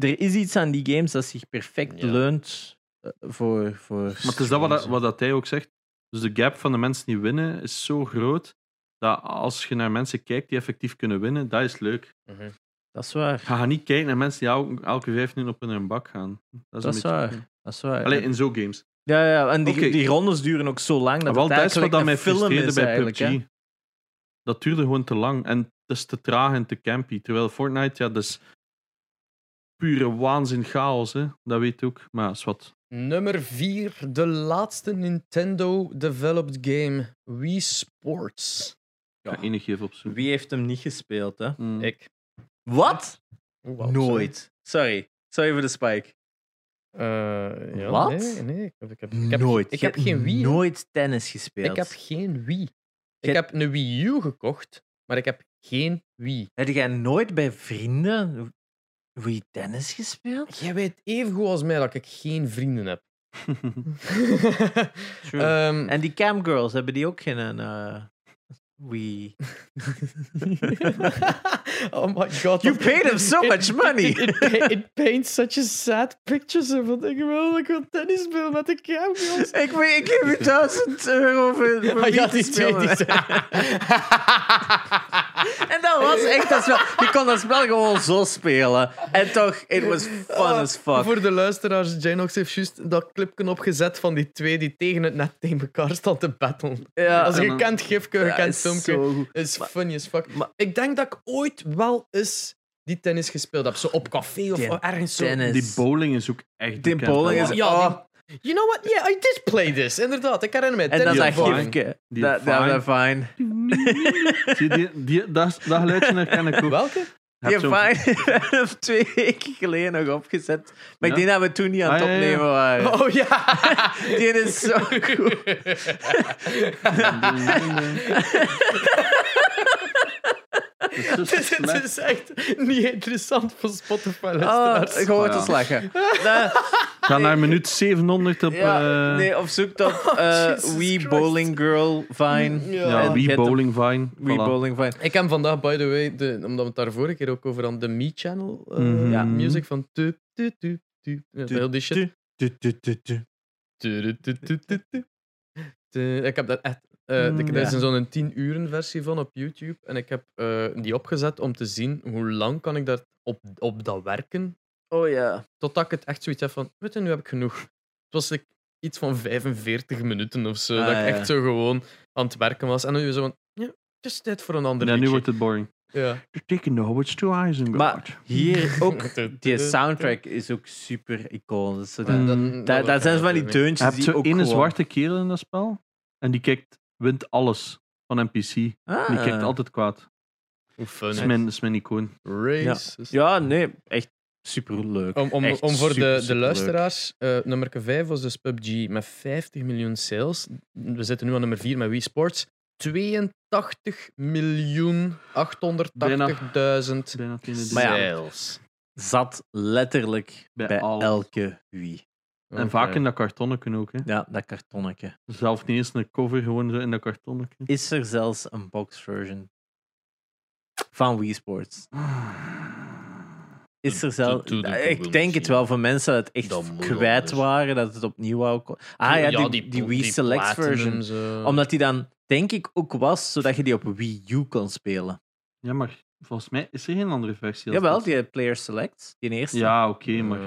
B: er is iets aan die games dat zich perfect
C: Ja.
B: leunt eh, voor, voor
A: Maar het is dat wat, dat- wat dat hij ook zegt. Dus de gap van de mensen die winnen is zo groot, dat als je naar mensen kijkt die effectief kunnen winnen, dat is leuk.
B: Dat is waar.
A: Ga je niet kijken naar mensen die elke, elke vijf minuten op hun bak gaan. Dat is,
B: Dat
A: een
B: is
A: beetje-
B: waar. Dat is waar.
A: Allee, in zo'n games.
B: ja, ja, en die,
A: Oké.
B: die rondes duren ook zo lang. Dat
A: wel,
B: het
A: dat is wat
B: eigenlijk
A: dat
B: een
A: mij
B: film
A: frustreerde
B: is
A: bij
B: eigenlijk,
A: PUBG.
B: hè.
A: Dat duurde gewoon te lang en het is te traag en te campy. Terwijl Fortnite, ja, dat is pure waanzin chaos, hè. Dat weet je ook. Maar dat is wat.
C: Nummer 4, de laatste Nintendo-developed game, Wii Sports.
A: Ik ga enig even opzoeken.
B: Wie heeft hem niet gespeeld, hè?
A: Mm.
C: Ik.
B: Wat?
C: Oeh, wauw,
B: Hm. Nooit. Sorry. Sorry voor de spike.
C: sorry. Eh, ja,
B: Wat?
C: Nee, nee, ik heb, ik heb, ik heb,
B: nooit.
C: Ik
B: Je
C: heb
B: hebt
C: geen Wii.
B: Nooit tennis gespeeld.
C: Ik heb geen Wii.
B: Je-
C: Ik heb een Wii U gekocht, maar ik heb geen Wii.
B: Heb jij nooit bij vrienden Wii tennis gespeeld?
C: Jij weet evengoed als mij dat ik geen vrienden [LAUGHS] heb.
B: Hm. Eh,
C: Ehm,
B: En die camgirls, hebben die ook geen eh, Wii?
C: [LAUGHS] oh my god.
B: You
C: dat-
B: paid him so
C: [LAUGHS] it-
B: much money.
C: It, it, it, it paints such a sad pictures of wat ik wil. Ik wil tennis spelen met de
B: [LAUGHS]
C: camera's.
B: ik, weet- ik geef je 1000 euro voor, [LAUGHS] voor Wii te spelen. [LAUGHS] En dat was echt dat spel. Je kon dat spel gewoon zo spelen. En toch, it was fun as fuck.
C: Voor de luisteraars, Janox heeft juist dat clipje opgezet van die twee die tegen het net tegen elkaar staan te battelen.
B: Ja,
C: Dat is een
A: man.
C: gekend gifje, een
B: ja,
C: gekend
B: is
C: filmpje.
B: zo goed.
C: is
B: Maar-
C: funny as fuck.
B: maar-
C: ik denk dat ik ooit wel eens die tennis gespeeld heb. Zo op café of
B: Den-
C: ergens zo.
A: [LAUGHS]
B: tennis.
A: Die bowling is ook echt
B: Die
A: bekend.
B: bowling
C: Oh,
B: is-
C: ja,
B: oh.
C: die- you know what? Yeah, I did play this. Inderdaad, ik herinner me.
B: En dat is
A: Die
B: echt
A: fine.
B: gifke.
A: Die
B: Dat
A: fine.
B: is fijn.
A: Zie je, die, die, dat, dat geluidje herken ik ook.
C: Welke?
A: Je
B: [LAUGHS] Die
A: hebt zo'n-
B: fine of twee weken geleden nog opgezet. Maar ik
A: Ja?
B: denk dat we toen niet aan het
A: Ah, ja, ja.
B: opnemen waren.
C: Oh
B: [LAUGHS]
C: ja.
B: Die
C: [LAUGHS]
A: [LAUGHS]
B: is zo goed.
A: Het is zo
C: Dus
A: slecht.
C: het is echt niet interessant voor
B: Oh,
C: Spotify-luisteraars.
B: ik hoor het
A: Ja.
B: eens
A: [LAUGHS]
B: lachen. Nee,
A: Ga naar minuut 700 op...
B: ja,
A: eh,
B: nee, op
A: [LAUGHS]
B: zoek tot eh,
C: Jesus
B: Wee
C: Christ.
B: Bowling Girl Vine.
C: Ja.
A: Ja,
B: En
A: wie
B: get
A: bowling vine.
B: the- Wee
A: Voilà.
B: Bowling Vine.
C: Ik heb vandaag, by the way, de, omdat we het daar vorige keer ook over hadden, de Me Channel eh,
A: Mhm.
B: Ja.
C: music van tu tu tu tu ja, heel die shit.
B: Du- du- du- du.
C: Tu, du, tu, tu, tu, tu. Tu, Ik heb dat echt. eh,
B: Mm,
C: ik- er
B: ja.
C: is een zo'n 10 uren versie van op YouTube en ik heb eh, die opgezet om te zien hoe lang kan ik daar op, op dat werken
B: Oh ja.
C: totdat ik het echt zoiets heb van, weet je, nu heb ik genoeg. Het was like, iets van 45 minuten of zo,
B: Ah,
C: dat ik
B: ja.
C: echt zo gewoon aan het werken was. En dan nu zo van, ja, het is tijd voor een ander
A: Ja, nu
C: liedje.
A: wordt het boring.
B: Mm,
C: Ja.
A: The chicken know it's two eyes and
B: Maar
A: [LAUGHS]
B: hier ook,
C: Tu-
B: die
C: tu- tu-
B: soundtrack is ook super iconisch. Zo dat-
A: Mm.
B: Daar daar zijn
C: ze
B: van die
A: Hij
B: deuntjes
A: hebt
B: die
A: zo
B: ook
A: ene
B: gewoon...
A: zwarte kerel in dat spel. En die kijkt, wint alles van NPC.
B: Ah.
A: En die kijkt altijd kwaad. Dat
C: Hoe fun.
A: is
C: hè.
A: mijn, dat is mijn icoon.
C: Racist.
B: Ja, nee, echt super leuk.
C: Om, om,
B: Echt
C: om voor
B: super,
C: de, de
B: superleuk.
C: luisteraars, eh nummer 5 was dus PUBG met 50 miljoen sales. We zitten nu aan nummer 4 met Wii Sports. 82 miljoen 880.000
A: Bijna het ene ding.
B: Maar ja,
C: sales.
B: Zat letterlijk bij,
A: Bij alles.
B: elke Wii.
A: En vaak in dat kartonnetje ook. Hè.
B: Ja, dat kartonnetje.
A: Zelf niet eens een cover, gewoon zo in dat kartonnetje.
B: Is er zelfs een box version van Wii Sports? Is er zelfs...
C: doe- doe- doe- doe-
B: Ik denk het wel voor mensen dat het
C: Dat
B: echt
C: moet
B: kwijt
C: anders.
B: waren, dat het opnieuw wou ko- Ah ja, die, die, Wii Select version. Omdat die dan, denk ik, ook was zodat je die op Wii U kon spelen.
A: Ja, maar volgens mij is er geen andere versie. als
B: Jawel,
A: dat.
B: die Player Select, die eerste.
A: Ja, oké, maar,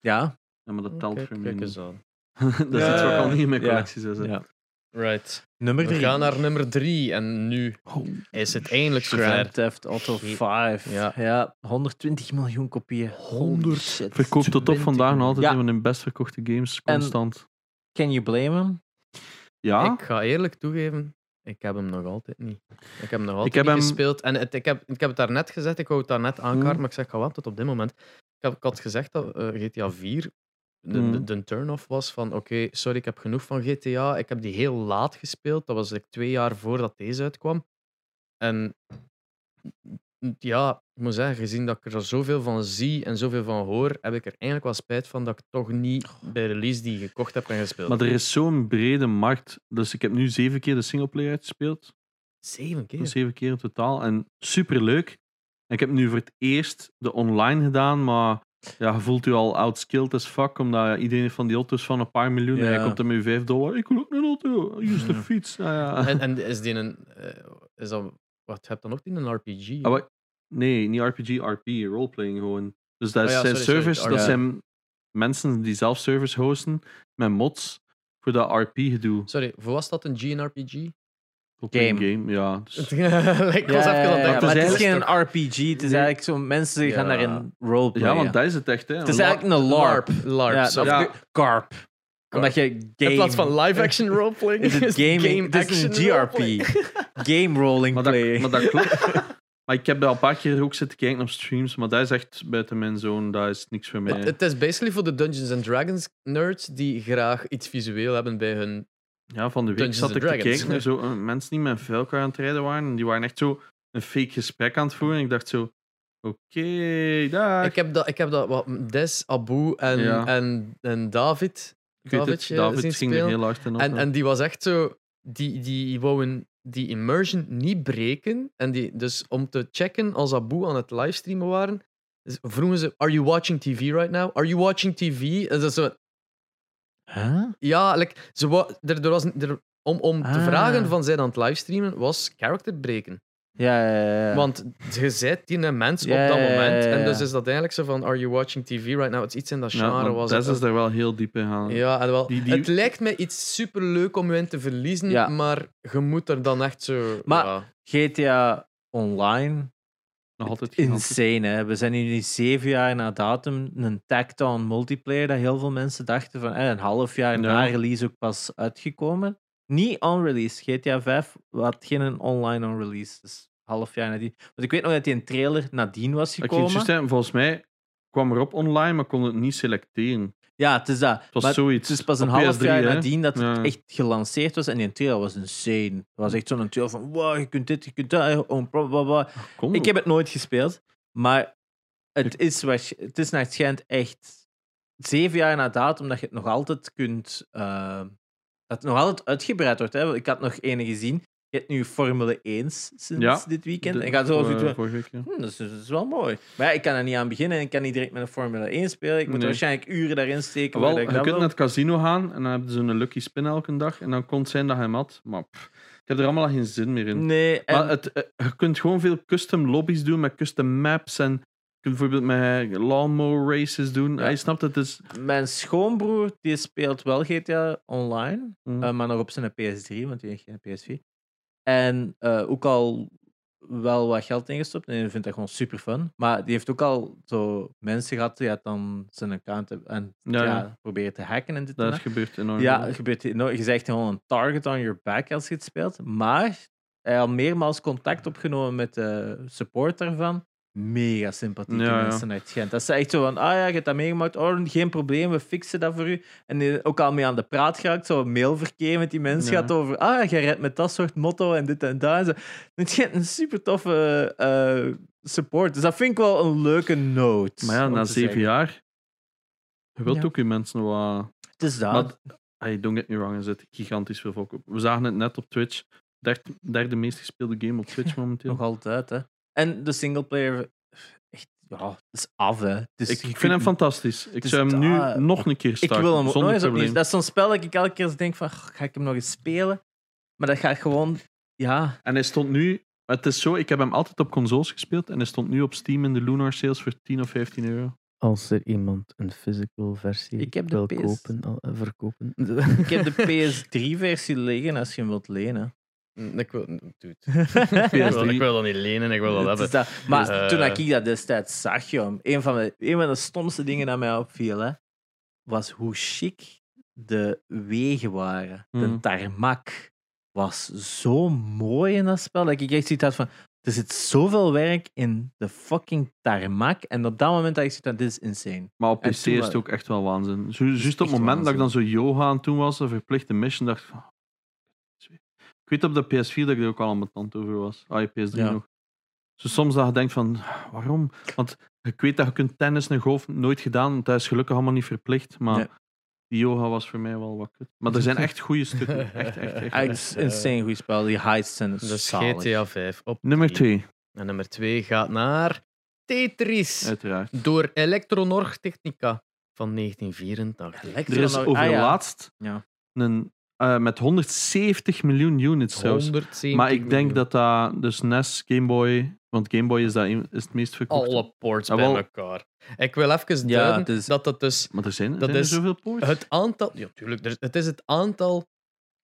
B: Ja.
A: ja, maar dat telt voor mij
C: Mm. Kijk
A: niet.
C: eens aan.
A: [LAUGHS] dat is iets wat ik al niet in mijn
B: Ja.
A: collectie zou zetten.
B: Ja.
C: Right.
B: Nummer
C: We
B: drie.
C: gaan naar nummer 3 en nu
A: Oh.
C: is het eindelijk
B: Grand
C: zover.
B: Theft Auto
C: Ge-
B: 5. Ja.
C: Ja.
B: 120 miljoen kopieën.
C: 100
B: Shit.
A: Verkoopt tot op
C: 20
A: vandaag nog altijd
B: Ja.
A: een van de best verkochte games,
B: En-
A: constant.
B: Can you blame him?
A: ja,
C: Ik ga eerlijk toegeven, ik heb hem nog altijd niet. Ik heb hem nog altijd
A: heb
C: niet
A: hem- Hmm.
C: gespeeld. En het, ik, heb, ik heb het daarnet gezegd, ik wou het daarnet aankaarten, maar ik zeg, ik ga wachten tot op dit moment. Ik, heb, ik had gezegd dat eh, GTA 4 de, de,
A: Mm.
C: de turn-off was van, oké, sorry, ik heb genoeg van GTA. Ik heb die heel laat gespeeld. Dat was like, twee jaar voordat deze uitkwam. En ja, ik moet zeggen, gezien dat ik er zoveel van zie en zoveel van hoor, heb ik er eigenlijk wel spijt van dat ik toch niet bij release die gekocht heb en gespeeld.
A: Oh. maar er is zo'n brede markt. Dus ik heb nu zeven keer de singleplayer uitgespeeld.
C: Zeven keer.
A: Dus Zeven keer in totaal. En superleuk. En ik heb nu voor het eerst de online gedaan, maar ja, je voelt u al outskilled as fuck, omdat iedereen heeft van die auto's van een paar miljoen en
B: Ja.
A: jij komt er met je vijf dollar. Ik wil ook een auto. Use de
C: Ja.
A: fiets. Nou ja.
B: [LAUGHS]
C: En, en is die een. eh, is dat, wat heb je dan ook die een RPG?
A: Ah, wat- Nee, niet RPG, RP, roleplaying gewoon. Dus dat
C: Oh ja,
A: zijn
C: sorry, sorry,
A: servers,
C: RP.
A: dat zijn mensen die zelf servers hosten met mods voor dat RP-gedoe.
C: Sorry, voor was dat een [LAUGHS] GNRPG?
A: Roleplaying game, ja. Dus
C: ik was even aan het
B: maar
C: denken.
A: dat
B: het is
A: is
B: geen RPG. Het is
A: Nee.
B: eigenlijk zo, mensen die gaan
C: Ja.
B: naar een roleplay.
A: Ja, want dat is het echt. Hè.
B: Het is eigenlijk een LARP.
C: LARP. LARP.
B: Ja,
C: sorry.
B: of
A: Ja.
B: de- Carp. Omdat je game...
C: In plaats van
B: [LAUGHS]
C: live action roleplaying [LAUGHS]
B: Is het gaming?
C: game
B: het is een
C: action
B: GRP.
C: roleplaying.
B: [LAUGHS] Game rolling
A: maar,
B: play.
A: dat, maar
C: [LAUGHS]
A: dat klopt. maar ik heb daar al een paar keer ook zitten kijken op streams, maar dat is echt buiten mijn zone, dat is niks voor mij.
C: Het, het is basically voor de Dungeons and Dragons nerds die graag iets visueel hebben bij hun.
A: ja, van de week
C: Dungeons
A: zat
C: and
A: ik te
C: Dragons.
A: kijken naar zo, eh, mensen die met vuil aan het rijden waren, en die waren echt zo een fake gesprek aan het voeren. En ik dacht zo, oké, daar.
C: Ik heb dat, ik heb dat wat Des, Abu en,
A: Ja.
C: en, en David.
A: Ik weet het,
B: eh,
C: Davidje zien
A: David ging er
C: spelen.
A: heel hard in op.
C: En,
A: ja.
C: en die was echt zo, die, die wouden die immersion niet breken. En die, dus om te checken als Abu aan het livestreamen waren, dus vroegen ze: Are you watching TV right now? Are you watching TV? En ze zo,
B: Huh?
C: ja, like, ze wou- er, er was, er, om, om te
B: Ah.
C: vragen van zij aan het livestreamen was character breken.
B: Ja, ja, ja, ja.
C: Want je zet die een mens
B: Ja,
C: op dat
B: ja, ja,
C: moment.
B: ja,
C: En
B: ja.
C: dus is dat eigenlijk zo van: Are you watching TV right now? Het is iets in dat
A: Ja,
C: genre
A: maar
C: was.
A: Des
C: het.
A: is daar wel heel diep in gaan.
C: Ja, en wel,
A: Die- die-
C: het lijkt mij iets superleuk om je in te verliezen,
B: Ja.
C: maar je moet er dan echt zo...
B: Maar-
C: ja.
B: GTA Online
A: Nog altijd gigantisch.
B: Insane, hè? We zijn hier nu zeven jaar na datum. Een tag-down multiplayer dat heel veel mensen dachten van eh, een half jaar na
A: Ja.
B: release ook pas uitgekomen. Niet on-release. GTA 5 had geen online on-release. Dus half jaar nadien. Want ik weet nog dat die een trailer nadien was
A: Ik ging het
B: gekomen.
A: juist zeggen, volgens mij kwam erop online, maar kon het niet selecteren.
B: Ja, het is dat.
A: Het was
B: Maar
A: zoiets.
B: het is pas een
A: Op
B: half
A: PS3,
B: jaar
A: hè.
B: nadien dat het
A: Ja.
B: echt gelanceerd was. En die trailer was insane. Het was echt zo'n trailer van wow, je kunt dit, je kunt dat. Oh, bla, bla, bla.
A: Kon
B: Ik heb het nooit gespeeld, maar het is, waarsch- het is naar het schijnt echt zeven jaar na datum dat je het nog altijd kunt. eh, dat het nog altijd uitgebreid wordt. Hè? Want Ik had nog ene gezien. Je hebt nu Formule 1 sinds
A: Ja.
B: dit weekend.
A: De- eh,
B: En ik had zo
A: voor-
B: zoiets van,
A: vorige week, ja.
B: hm, dat, is, dat is wel mooi. Maar ja, ik kan er niet aan beginnen en ik kan niet direct met een Formule 1 spelen. Ik moet
A: Nee.
B: waarschijnlijk uren daarin steken.
A: Wel,
B: voordat ik
A: je
B: dat
A: kunt naar
B: wil.
A: het casino gaan en dan hebben ze een lucky spin elke dag. En dan kon het zijn dat hij hem had. Maar pff, ik heb er allemaal geen zin meer in.
B: Nee, en-
A: Maar het, eh, je kunt gewoon veel custom lobby's doen met custom maps. En je kunt bijvoorbeeld met lawnmower races doen.
B: Ja.
A: Hij snapt het. Dus,
B: mijn schoonbroer die speelt wel GTA Online.
A: mm,
B: Eh, maar nog op zijn PS3, want die heeft geen PS4. En eh, ook al wel wat geld ingestopt en die vindt dat gewoon super fun. Maar die heeft ook al zo mensen gehad die het dan zijn account hebben en ja,
A: Ja, ja.
B: proberen te hacken en dit en
A: Dat
B: dat.
A: gebeurt enorm
B: Ja,
A: veel.
B: het gebeurt hier nooit. Je zegt gewoon een target on your back als je het speelt. Maar hij had meermaals contact opgenomen met de support daarvan. Mega sympathieke
A: Ja, ja.
B: mensen uit Gent. Dat ze echt zo van, ah ja, je hebt dat meegemaakt. Oh, geen probleem, we fixen dat voor u. En die ook al mee aan de praat geraakt. Zo mailverkeer met die mensen
A: Ja.
B: gaat over, ah, jij redt met dat soort motto en dit en dat. En zo. Het is een super toffe eh, support. Dus dat vind ik wel een leuke note.
A: Maar ja,
B: om
A: na
B: te
A: zeven
B: zeggen.
A: jaar. Je wilt
B: Ja.
A: ook je mensen wat.
B: Het is dat.
A: Maar, hey, don't get me wrong, er zit gigantisch veel volk op. We zagen het net op Twitch. Derde, derde meest gespeelde game op Twitch momenteel.
B: [LAUGHS] Nog altijd, hè. En de singleplayer, echt, ja, het is af, hè. Het is-
A: ik,
B: je
A: ik vind
B: kunt-
A: hem fantastisch. Ik
B: is
A: zou hem nu
B: daar-
A: nog een keer
B: Dus ah, Ik
A: starten.
B: wil hem ook nog
A: zonder
B: eens opnieuw.
A: probleem.
B: Dat is zo'n spel dat ik elke keer denk van, "Goh, ga ik hem nog eens spelen? Maar dat gaat gewoon, ja,
A: En hij stond nu. Het is zo, ik heb hem altijd op consoles gespeeld en hij stond nu op Steam in de Lunar Sales voor 10 of 15 euro.
D: Als er iemand een physical versie
B: Ik heb de
D: wil
B: PS.
D: kopen, al- eh, verkopen.
B: ik heb
A: [LAUGHS]
D: [LAUGHS]
B: de PS3-versie liggen als je hem wilt lenen.
C: Mm, Ik wil,
D: [LAUGHS]
C: dude.
B: Het
C: Ik, wil,
A: PS3.
C: ik wil dat niet lenen, ik wil dat
B: is
C: hebben.
B: dat. Maar
C: Eh.
B: toen ik dat destijds zag, joh, een, van de, een van de stomste dingen dat mij opviel, hè, was hoe chic de wegen waren. De
A: Hmm.
B: tarmac was zo mooi in dat spel. Dat ik echt zoiets had van, er zit zoveel werk in de fucking tarmac. En op dat moment dat ik zoiets had, dit is insane.
A: Maar op
B: En
A: PC is
B: toen
A: het
B: wel.
A: ook echt wel waanzin. Zo- Juist op het
B: echt
A: moment dat ik dan zo yoga aan toen was, een verplichte mission, dacht ik van... "Ah, Ik weet op de PS4 dat ik er ook al aan mijn tand over was. Ah, je PS3
B: Ja.
A: nog. Zo soms dat je denkt van, waarom? Want ik weet dat je kunt tennis en golf nooit gedaan, want dat is gelukkig allemaal niet verplicht, maar
B: Nee.
A: die yoga was voor mij wel wat kut. Maar er zijn echt goede
B: [LAUGHS]
A: stukken. Echt, echt, echt.
B: Eigenlijk is het een insane goed spel. Die heists zijn
C: Dus
B: zalig.
C: GTA 5 op
A: Nummer
C: drie.
A: 2,
C: En nummer 2 gaat naar Tetris
A: uiteraard.
C: door Electronorg Technica van 1984.
B: Lekker
A: Er is
B: dan ook- ah, ja.
A: overlaatst
B: Ja.
A: een, eh, met 170 miljoen units zelfs.
C: 170
A: Maar ik denk
C: miljoen.
A: dat dat, dus NES, Game Boy, want Game Boy is, dat een- is het meest verkocht.
C: alle ports
A: Ah,
C: bij
A: wel.
C: elkaar. Ik wil even
B: Ja,
C: duiden
B: het is-
C: dat dat dus
A: Maar er zijn, er
C: Dat
A: zijn er
C: is
A: zoveel ports.
C: het aantal... Ja, tuurlijk. er- Het is het aantal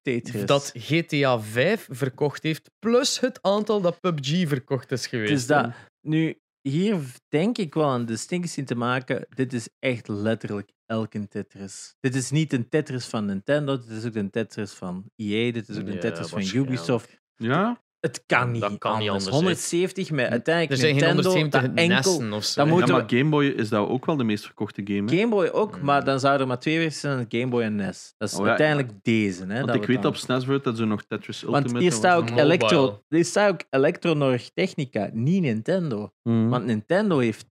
B: Tetris.
C: dat GTA 5 verkocht heeft, plus het aantal dat PUBG verkocht is geweest.
B: Dus dat, nu, hier denk ik wel een distinctie te maken. Dit is echt letterlijk elke Tetris. Dit is niet een Tetris van Nintendo, dit is ook een Tetris van EA, dit is ook een
C: Ja,
B: Tetris van
C: waarschijnlijk.
B: Ubisoft.
A: Ja?
B: Het kan niet,
C: Dat kan
B: anders.
C: niet anders, hè.
B: 170 met
C: Er
B: uiteindelijk
C: zijn geen
B: Nintendo,
C: 170
B: dat enkel...
C: nesten of zo.
B: dat
C: hè.
B: moet-
A: ja, maar
B: moeten
A: Game Boy is dat ook wel de meest verkochte game. Hè?
B: Game Boy ook,
C: Mm.
B: maar dan zouden er maar twee versies zijn, Game Boy en NES. Dat is
A: Oh ja,
B: uiteindelijk deze. Hè, dat
A: Want
B: we
A: ik weet
B: dan-
A: op SNES wordt dat zo nog Tetris Ultimate.
B: Want hier staat ook,
C: Mobile.
B: Electro, hier staat ook Electronorg Technica, niet Nintendo.
A: Hm.
B: Want Nintendo heeft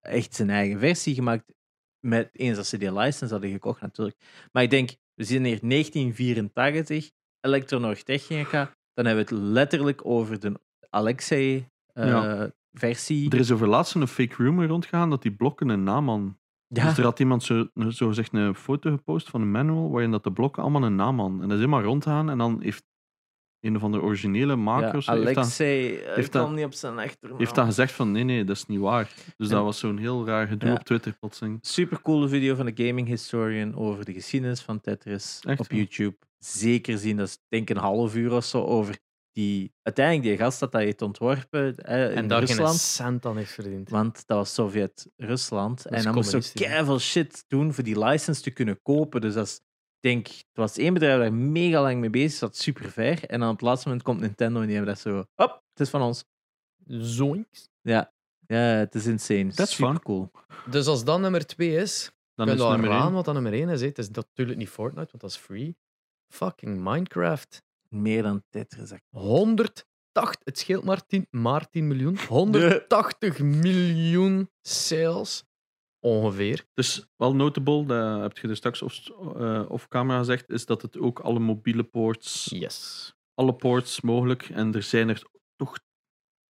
B: echt zijn eigen versie gemaakt. Met, eens dat ze die license hadden gekocht, natuurlijk. Maar ik denk, we zien hier 1984, Electronorg Technica. Dan hebben we het letterlijk over de eh,
A: Ja.
B: Alexei-versie.
A: Er is over laatst een fake rumor rondgegaan dat die blokken een naam hadden. Dus er had iemand zo, zo zegt een foto gepost van een manual waarin dat de blokken allemaal een naam hadden. En dat is helemaal rondgaan en dan heeft een van de originele makers of zo, heeft dan-
B: Alexei, eh,
A: heeft
B: ik kwam
A: dat-
B: niet op zijn achternaam.
A: heeft dan gezegd van nee, nee, dat is niet waar. Dus
B: En-
A: dat was zo'n heel raar gedoe
B: Ja.
A: op Twitter plotseling.
B: supercoole video van de gaming historian over de geschiedenis van Tetris
A: Echt,
B: op
A: ja.
B: YouTube. Zeker zien, dat is denk ik een half uur of zo over die uiteindelijk die gast dat hij heeft ontworpen hè, in
C: en daar geen
B: Rusland.
C: cent aan heeft verdiend.
B: Want dat was Sovjet-Rusland. En
C: is
B: dan moest ze
C: communistisch, hè.
B: keiveel shit doen voor die license te kunnen kopen. Dus dat is, denk, het was één bedrijf daar mega lang mee bezig zat, super ver. En dan op het laatste moment komt Nintendo en die hebben dat zo. Hop, het is van ons.
C: Zoinks.
B: Ja, het is insane.
A: That's fun.
B: super cool.
C: Dus als dat nummer 2 is,
A: Dus Dan
C: kun
A: is
C: je
A: het
C: al
A: nummer
C: raden
A: één.
C: wat dat nummer 1 is. hè. Het is natuurlijk niet Fortnite, want dat is free. Fucking Minecraft.
B: Meer dan Tetris. dat
C: 180, het scheelt maar 10, maar 10 miljoen. 180 miljoen sales. Ongeveer.
A: Dus wel notable, dat heb je er straks of, eh off camera gezegd, is dat het ook alle mobiele ports,
C: Yes.
A: alle ports mogelijk, en er zijn er toch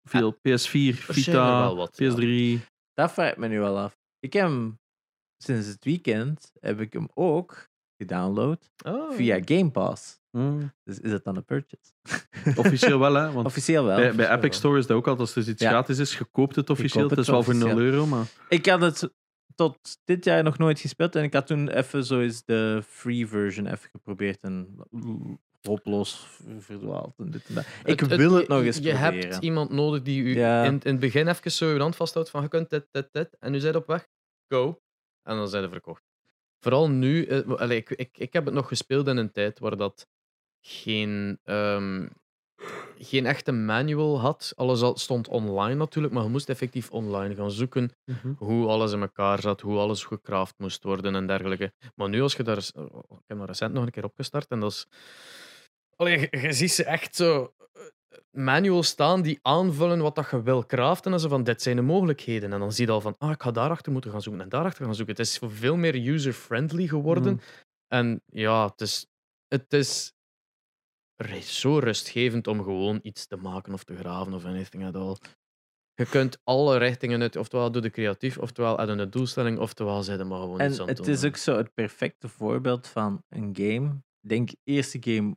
A: veel. PS4,
C: zijn Ah, er
A: Vita,
C: wel wat, ja.
A: PS3.
C: [LAUGHS]
B: Dat vraag ik me nu wel af. Ik heb hem sinds het weekend heb ik hem ook gedownload
C: Oh.
B: via Game Pass.
A: Mm.
B: Dus is dat dan een
C: [LAUGHS]
B: purchase?
A: Officieel wel, hè? Want
B: [LAUGHS] Officieel wel.
A: bij, bij
C: officieel
A: Epic
C: wel.
A: Store is dat ook altijd, als er dus iets
B: Ja.
A: gratis is, je koopt het officieel.
B: koopt
A: Het is
B: het
A: wel voor 0
B: officieel.
A: euro, maar
B: Ik had het tot dit jaar nog nooit gespeeld en ik had toen even zo eens de free version even geprobeerd en hopeloos verdwaald. En dit en dat. Ik
C: Het- het-
B: wil het,
C: je-
B: nog eens
C: Je
B: proberen.
C: hebt iemand nodig die u
B: Ja.
C: in, in het begin even zo je hand vasthoudt van je kunt dit, dit, dit. En nu zijn op weg. Go. En dan zijn ze verkocht. Vooral nu. eh, w- allee, ik, ik, ik heb het nog gespeeld in een tijd waar dat geen, ehm, geen echte manual had. Alles al- stond online natuurlijk, maar je moest effectief online gaan zoeken hoe alles in elkaar zat, hoe alles gecraft moest worden en dergelijke. Maar nu, als je daar. eens- oh, oh, Ik heb hem recent nog een keer opgestart en dat is. Allee, je, je ziet ze echt zo. eh, Manuals staan die aanvullen wat dat je wil craften. En zo van: dit zijn de mogelijkheden. En dan zie je al van: ah, ik ga daarachter moeten gaan zoeken en daarachter gaan zoeken. Het is veel meer user-friendly geworden. En ja, het is, het is re- zo rustgevend om gewoon iets te maken of te graven of anything at all. Je kunt alle richtingen uit, oftewel doe de creatief, oftewel uit een doelstelling, oftewel zet hem maar gewoon iets
B: En
C: aan
B: het
C: doen.
B: is ook zo het perfecte voorbeeld van een game. Ik denk, eerste game,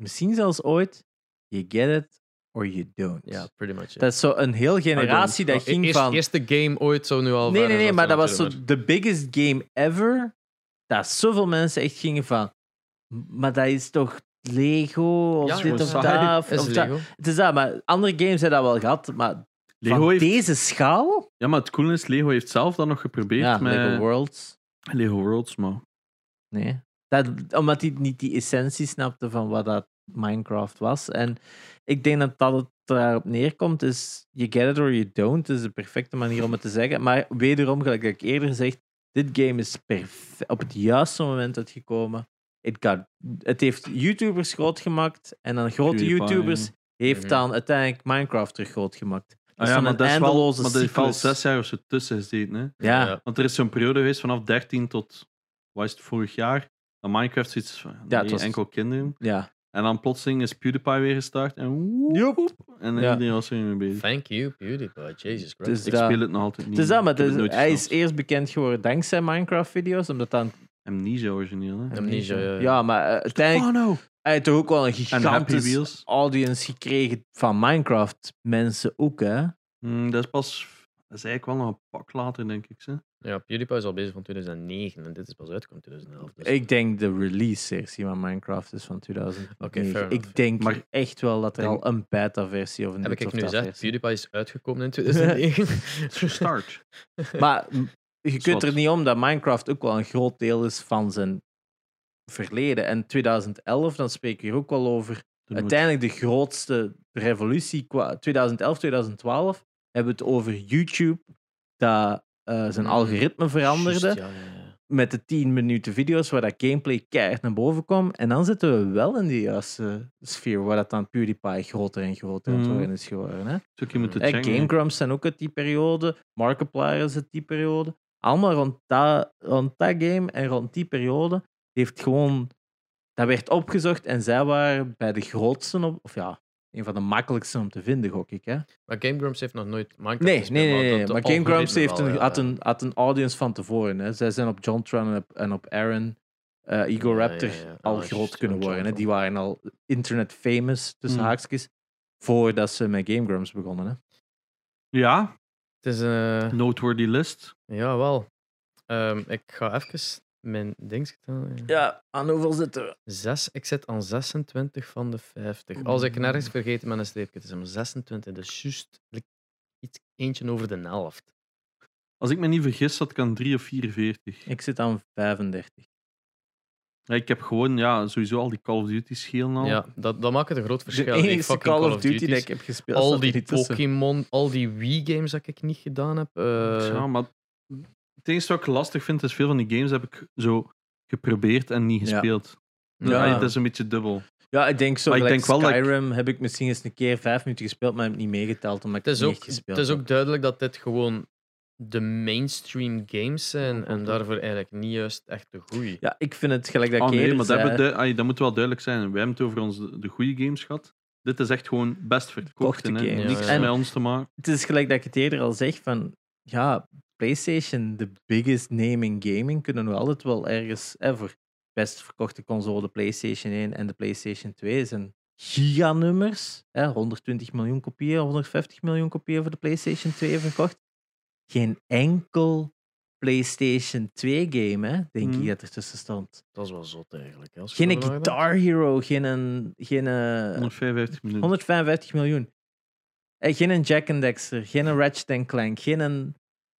B: misschien zelfs ooit. You get it or you don't.
C: Ja, pretty much. ja.
B: Dat is zo een hele generatie
C: Maar oh, e-
B: dat ging
C: eerst-
B: van...
C: eerste game ooit zo nu al.
B: nee,
C: ver
B: nee,
C: is
B: nee, maar dat was
C: natuurlijk,
B: zo de biggest game ever. Dat zoveel mensen echt gingen van... Maar dat is toch Lego of
C: Ja,
B: dit
A: ja.
B: of
A: Saai.
B: dat.
C: maar-
B: of-
C: Is
B: of dat.
C: Lego.
B: Het is dat, maar andere games hebben dat wel gehad. Maar
A: Lego
B: van
A: heeft,
B: deze schaal...
A: Ja, maar het coole is, Lego heeft zelf dat nog geprobeerd
B: Ja,
A: met
B: Lego Worlds.
A: Lego Worlds, maar...
B: Nee. Dat, omdat hij niet die essentie snapte van wat dat Minecraft was. En ik denk dat dat het daarop neerkomt, is you get it or you don't. Dat is de perfecte manier om het te zeggen. Maar wederom, gelijk ik eerder gezegd, dit game is perfe- op het juiste moment uitgekomen. It got, het heeft YouTubers groot gemaakt en dan grote
A: PewDiePie.
B: YouTubers heeft
C: Mhm.
B: dan uiteindelijk Minecraft terug groot gemaakt. Dat
A: Ah
B: is
A: ja,
B: dan
A: maar
B: Dus een
A: dat is wel,
B: eindeloze
A: maar dat heeft wel
B: cyclus.
A: zes jaar of zo tussen gezeten. Hè?
B: Ja,
C: Ja.
A: Want er is zo'n periode geweest vanaf 13 tot, wat is het, vorig jaar? Dat Minecraft zoiets van,
B: het
A: nee,
B: was-
A: enkel kinderen.
B: ja.
A: En dan plotseling is PewDiePie weer gestart. En, woep, en
B: Ja.
A: iedereen was er weer mee bezig.
C: Thank you, PewDiePie. Jesus Christ.
B: Dus
A: Ik
B: dat-
A: speel het nog altijd niet.
B: Het is dat, maar
A: Ik heb
B: het is-
A: nooit
B: hij is
A: gespeeld.
B: eerst bekend geworden dankzij Minecraft-video's, omdat dan
A: Amnesia origineel, hè?
C: Amnesia, ja, ja.
B: Ja, maar eh, uiteindelijk
A: Oh no!
B: hij heeft toch ook wel een
A: En Happy
B: gigantische
A: Wheels.
B: audience gekregen van Minecraft mensen ook, hè?
A: Hmm, dat is pas... Dat is eigenlijk wel nog een pak later, denk ik. Hè?
C: Ja, PewDiePie is al bezig van 2009 en dit is pas uitgekomen in 2011. dus-
B: Ik denk de release-versie van Minecraft is van 2000.
C: Oké, fair enough.
B: ik denk
A: Maar-
B: echt wel dat er
A: Denk-
B: al een beta-versie of een
C: Heb
B: dit
C: ik
B: of
C: nu
B: dat
C: gezegd?
B: versie.
C: PewDiePie is uitgekomen
B: [LAUGHS]
C: in 2009.
A: Start.
B: Maar m, je kunt er
A: Zwart.
B: niet om dat Minecraft ook wel een groot deel is van zijn verleden. En 2011, dan spreken we hier ook wel over uiteindelijk de grootste revolutie qua 2011, 2012 hebben we het over YouTube dat eh, zijn
C: Mm,
B: algoritme veranderde
C: Juist, ja, ja, ja.
B: met de 10 minuten video's waar dat gameplay keihard naar boven kwam en dan zitten we wel in de juiste sfeer waar dat dan PewDiePie groter en groter aan het
A: Mm.
B: worden is geworden. Hè?
A: Zoek je moeten
C: Eh,
B: Eh,
A: checken.
B: Game Grumps zijn ook uit die periode, Markiplier is uit die periode. Allemaal rond dat, rond dat game en rond die periode heeft gewoon... Dat werd opgezocht en zij waren bij de grootste, op, of ja, een van de makkelijkste om te vinden, gok ik. Hè?
C: Maar Game Grumps heeft nog nooit Minecraft
B: Nee, nee,
C: gespeeld,
B: nee, nee,
C: dat-
B: nee,
C: dat
B: Maar Game
C: algoritme
B: Grumps heeft
C: wel, eh,
B: een,
C: ja.
B: had, een, had een audience van tevoren. Hè. Zij zijn op John Tron en op, en op Aaron, eh Igor
C: Ja, ja,
B: Raptor,
C: ja.
B: al
C: Ah,
B: groot
C: juist,
B: kunnen worden.
C: John
B: Hè.
C: Tron. Hmm.
B: Die waren al internet famous, tussen
A: Mm.
B: haakjes, voordat ze met Game Grumps begonnen. Hè.
A: Ja,
C: Het is eh
A: noteworthy list.
C: jawel. Ehm, ik ga even mijn ding tellen.
B: Ja, aan hoeveel zitten we?
C: Zes, ik zit aan 26 van de
B: Oh,
C: 50. Als ik nergens vergeten met een streepje, het is om 26. Dus juist like, iets eentje over de helft.
A: Als ik me niet vergis, zat ik aan 3 of 44.
B: Ik zit aan 35.
A: Ja, ik heb gewoon ja, sowieso al die Call of Duty schelen al.
C: Ja, dat, dat maakt een groot
B: Oh. De
C: verschil. die
B: enige
C: fucking
B: Call of Duty die
C: Duty's.
B: ik heb gespeeld.
C: al
B: staat er
C: die
B: niet tussen.
C: Pokémon, al die Wii-games dat ik niet gedaan heb. eh,
A: Ja, maar het enige wat ik lastig vind, is veel van die games heb ik zo geprobeerd en niet
B: Ja.
A: gespeeld.
B: Ja.
A: Ja. het is een beetje dubbel.
B: Ja, ik denk zo.
A: Maar ik
B: gelijk
A: denk wel dat ik-
B: Skyrim heb ik misschien eens een keer vijf minuten gespeeld, maar heb ik niet meegeteld omdat ik
C: Het is,
B: niet
C: ook,
B: echt gespeeld
C: het is
B: heb.
C: ook duidelijk dat dit gewoon de mainstream games zijn en
A: Mhm.
C: daarvoor eigenlijk niet juist echt de goeie.
B: Ja, ik vind het gelijk dat
A: Ah,
B: ik
A: nee,
B: eerder
A: maar dat,
B: zei,
A: hebben we du- ai, dat moet wel duidelijk zijn. We hebben het over ons de, de goede games gehad. Dit is echt gewoon best verkochte.
B: Verkochte
A: hè.
B: games.
A: Niks
C: Ja, ja.
A: met ons te maken.
B: het is gelijk dat ik het eerder al zeg van ja, PlayStation, de biggest name in gaming, kunnen we altijd wel ergens ever. Best verkochte console, de PlayStation 1 en de PlayStation 2 zijn giganummers. Hè, 120 miljoen kopieën, 150 miljoen kopieën voor de PlayStation 2 verkocht. Geen enkel PlayStation 2-game, hè, denk
A: Mhm.
B: ik, dat er tussen stond.
C: Dat is wel zot eigenlijk. hè, als je
B: Geen
C: erover nadenkt.
B: Guitar Hero, geen... een- geen eh,
A: 155
C: Hm.
A: minuten.
B: 155 miljoen. Eh, geen een Jack and Dexter, geen een Ratchet and Clank, geen een...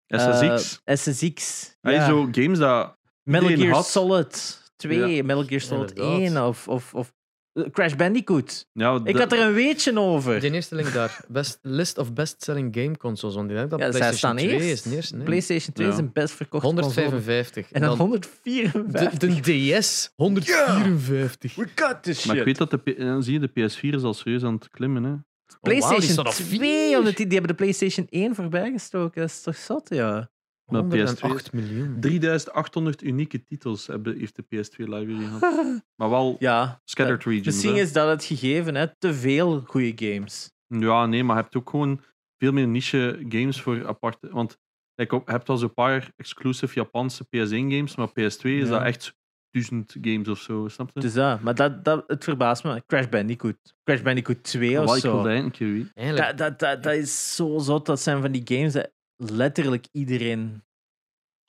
B: eh,
A: SSX.
B: SSX.
A: Hij
B: ja.
A: Ah, zo games dat...
B: Metal
A: iedereen
B: Gear
A: had.
B: Solid 2, Metal Gear Solid
C: Inderdaad.
B: 1 of, of, of eh, Crash Bandicoot.
A: Ja,
B: Ik
A: dat-
B: had er een weetje over.
C: De eerste link daar. Best, list of best-selling game consoles. Want ik denk dat
B: Ja, zij
C: PlayStation
B: staan
C: 2
B: eerst.
C: is. Eerst, nee.
B: PlayStation 2
A: Ja.
B: is een best verkochte console.
C: 155.
B: En
C: En
B: dan
C: dan
B: 154.
C: de, de DS. 154.
B: We got this
A: Maar ik weet Oh, dat de, P- dan zie je, de PS4 is al serieus aan het klimmen. Hè.
B: PlayStation 2, omdat die, die hebben de PlayStation 1 voorbij gestoken. Dat is toch zot,
A: [LAUGHS]
B: ja.
A: Maar PS2
C: 108 miljoen.
A: 3800 unieke titels hebben, heeft de PS2 library gehad. Maar wel
B: Ja,
A: scattered regions.
B: misschien
A: hè.
B: Eh, is dat het gegeven, hè. Te veel goede games.
A: Ja, nee, maar je hebt ook gewoon veel meer niche games voor aparte. Want kijk, op- je hebt al zo'n paar exclusive Japanse PS1-games, maar PS2 is
B: Ja.
A: dat echt duizend games of zo, snap je?
B: Dus dat, maar dat, dat, het verbaast me. Crash Bandicoot. Crash Bandicoot 2
A: Ah,
B: of
A: wel, ik wil
B: zo.
A: dat eigenlijk een keer weten.
C: Eigenlijk.
B: Dat, dat, dat, dat is zo zot. Dat zijn van die games dat letterlijk iedereen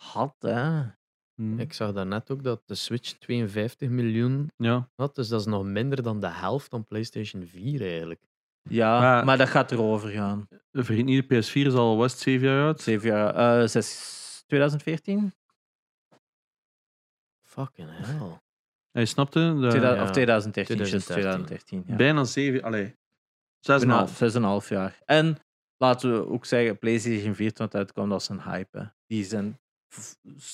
B: had, hè.
A: Hm.
C: Ik zag daarnet ook dat de Switch 52 miljoen
A: Ja.
C: had. Dus dat is nog minder dan de helft van PlayStation 4 eigenlijk.
B: Ja,
A: Maar-
B: maar dat gaat erover gaan.
A: Vergeet niet, de PS4 is al West 7 jaar oud.
B: Zeven jaar, eh, zes- 2014?
C: Fucking hell.
A: Hij snapte? dat-
B: Tweeda-
C: ja.
B: Of 2013,
C: 2013.
B: 2013 ja.
A: Bijna 7, allee. 6,5.
B: Bijna zes en een half jaar. En laten we ook zeggen, PlayStation 4 toen het uitkwam, dat is een hype. hè. Die zijn,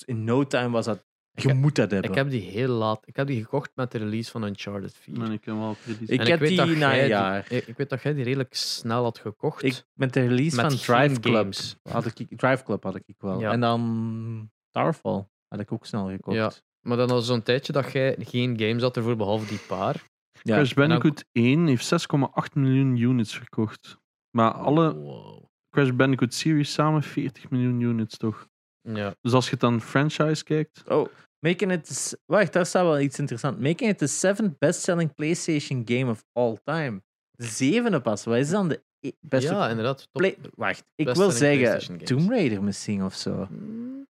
B: in no time was dat, je
C: heb-
B: moet dat hebben.
C: Ik heb die heel laat. Ik heb die gekocht met de release van Uncharted 4.
A: Maar ik kan wel kritisch.
B: Ik
C: En
B: heb
C: weet
B: die
C: dat
B: na
C: jij
B: een
C: die-
B: jaar.
C: Ik, ik weet dat jij die redelijk snel had gekocht.
B: Ik, met de release
C: Met
B: van
C: geen
B: Drive Club,
C: games.
B: had ik, Drive Club had ik wel.
C: Ja.
B: En dan Towerfall had ik ook snel gekocht.
C: Ja. Maar dan was zo'n tijdje dat jij geen games had ervoor behalve die paar.
B: Ja.
A: Crash Bandicoot 1 heeft 6,8 miljoen units verkocht. Maar
B: Oh.
A: alle
C: Wow.
A: Crash Bandicoot series samen 40 miljoen units toch?
C: Ja.
A: Dus als je het dan franchise kijkt.
B: Oh, making it. the s- Wacht, daar staat wel iets interessants. Making it the seventh best-selling PlayStation game of all time. Zevende pas. Wat is dan de e- beste?
C: ja, inderdaad. Top.
B: play- Wacht, ik wil
C: best-selling
B: zeggen
C: PlayStation games.
B: Tomb Raider misschien of zo.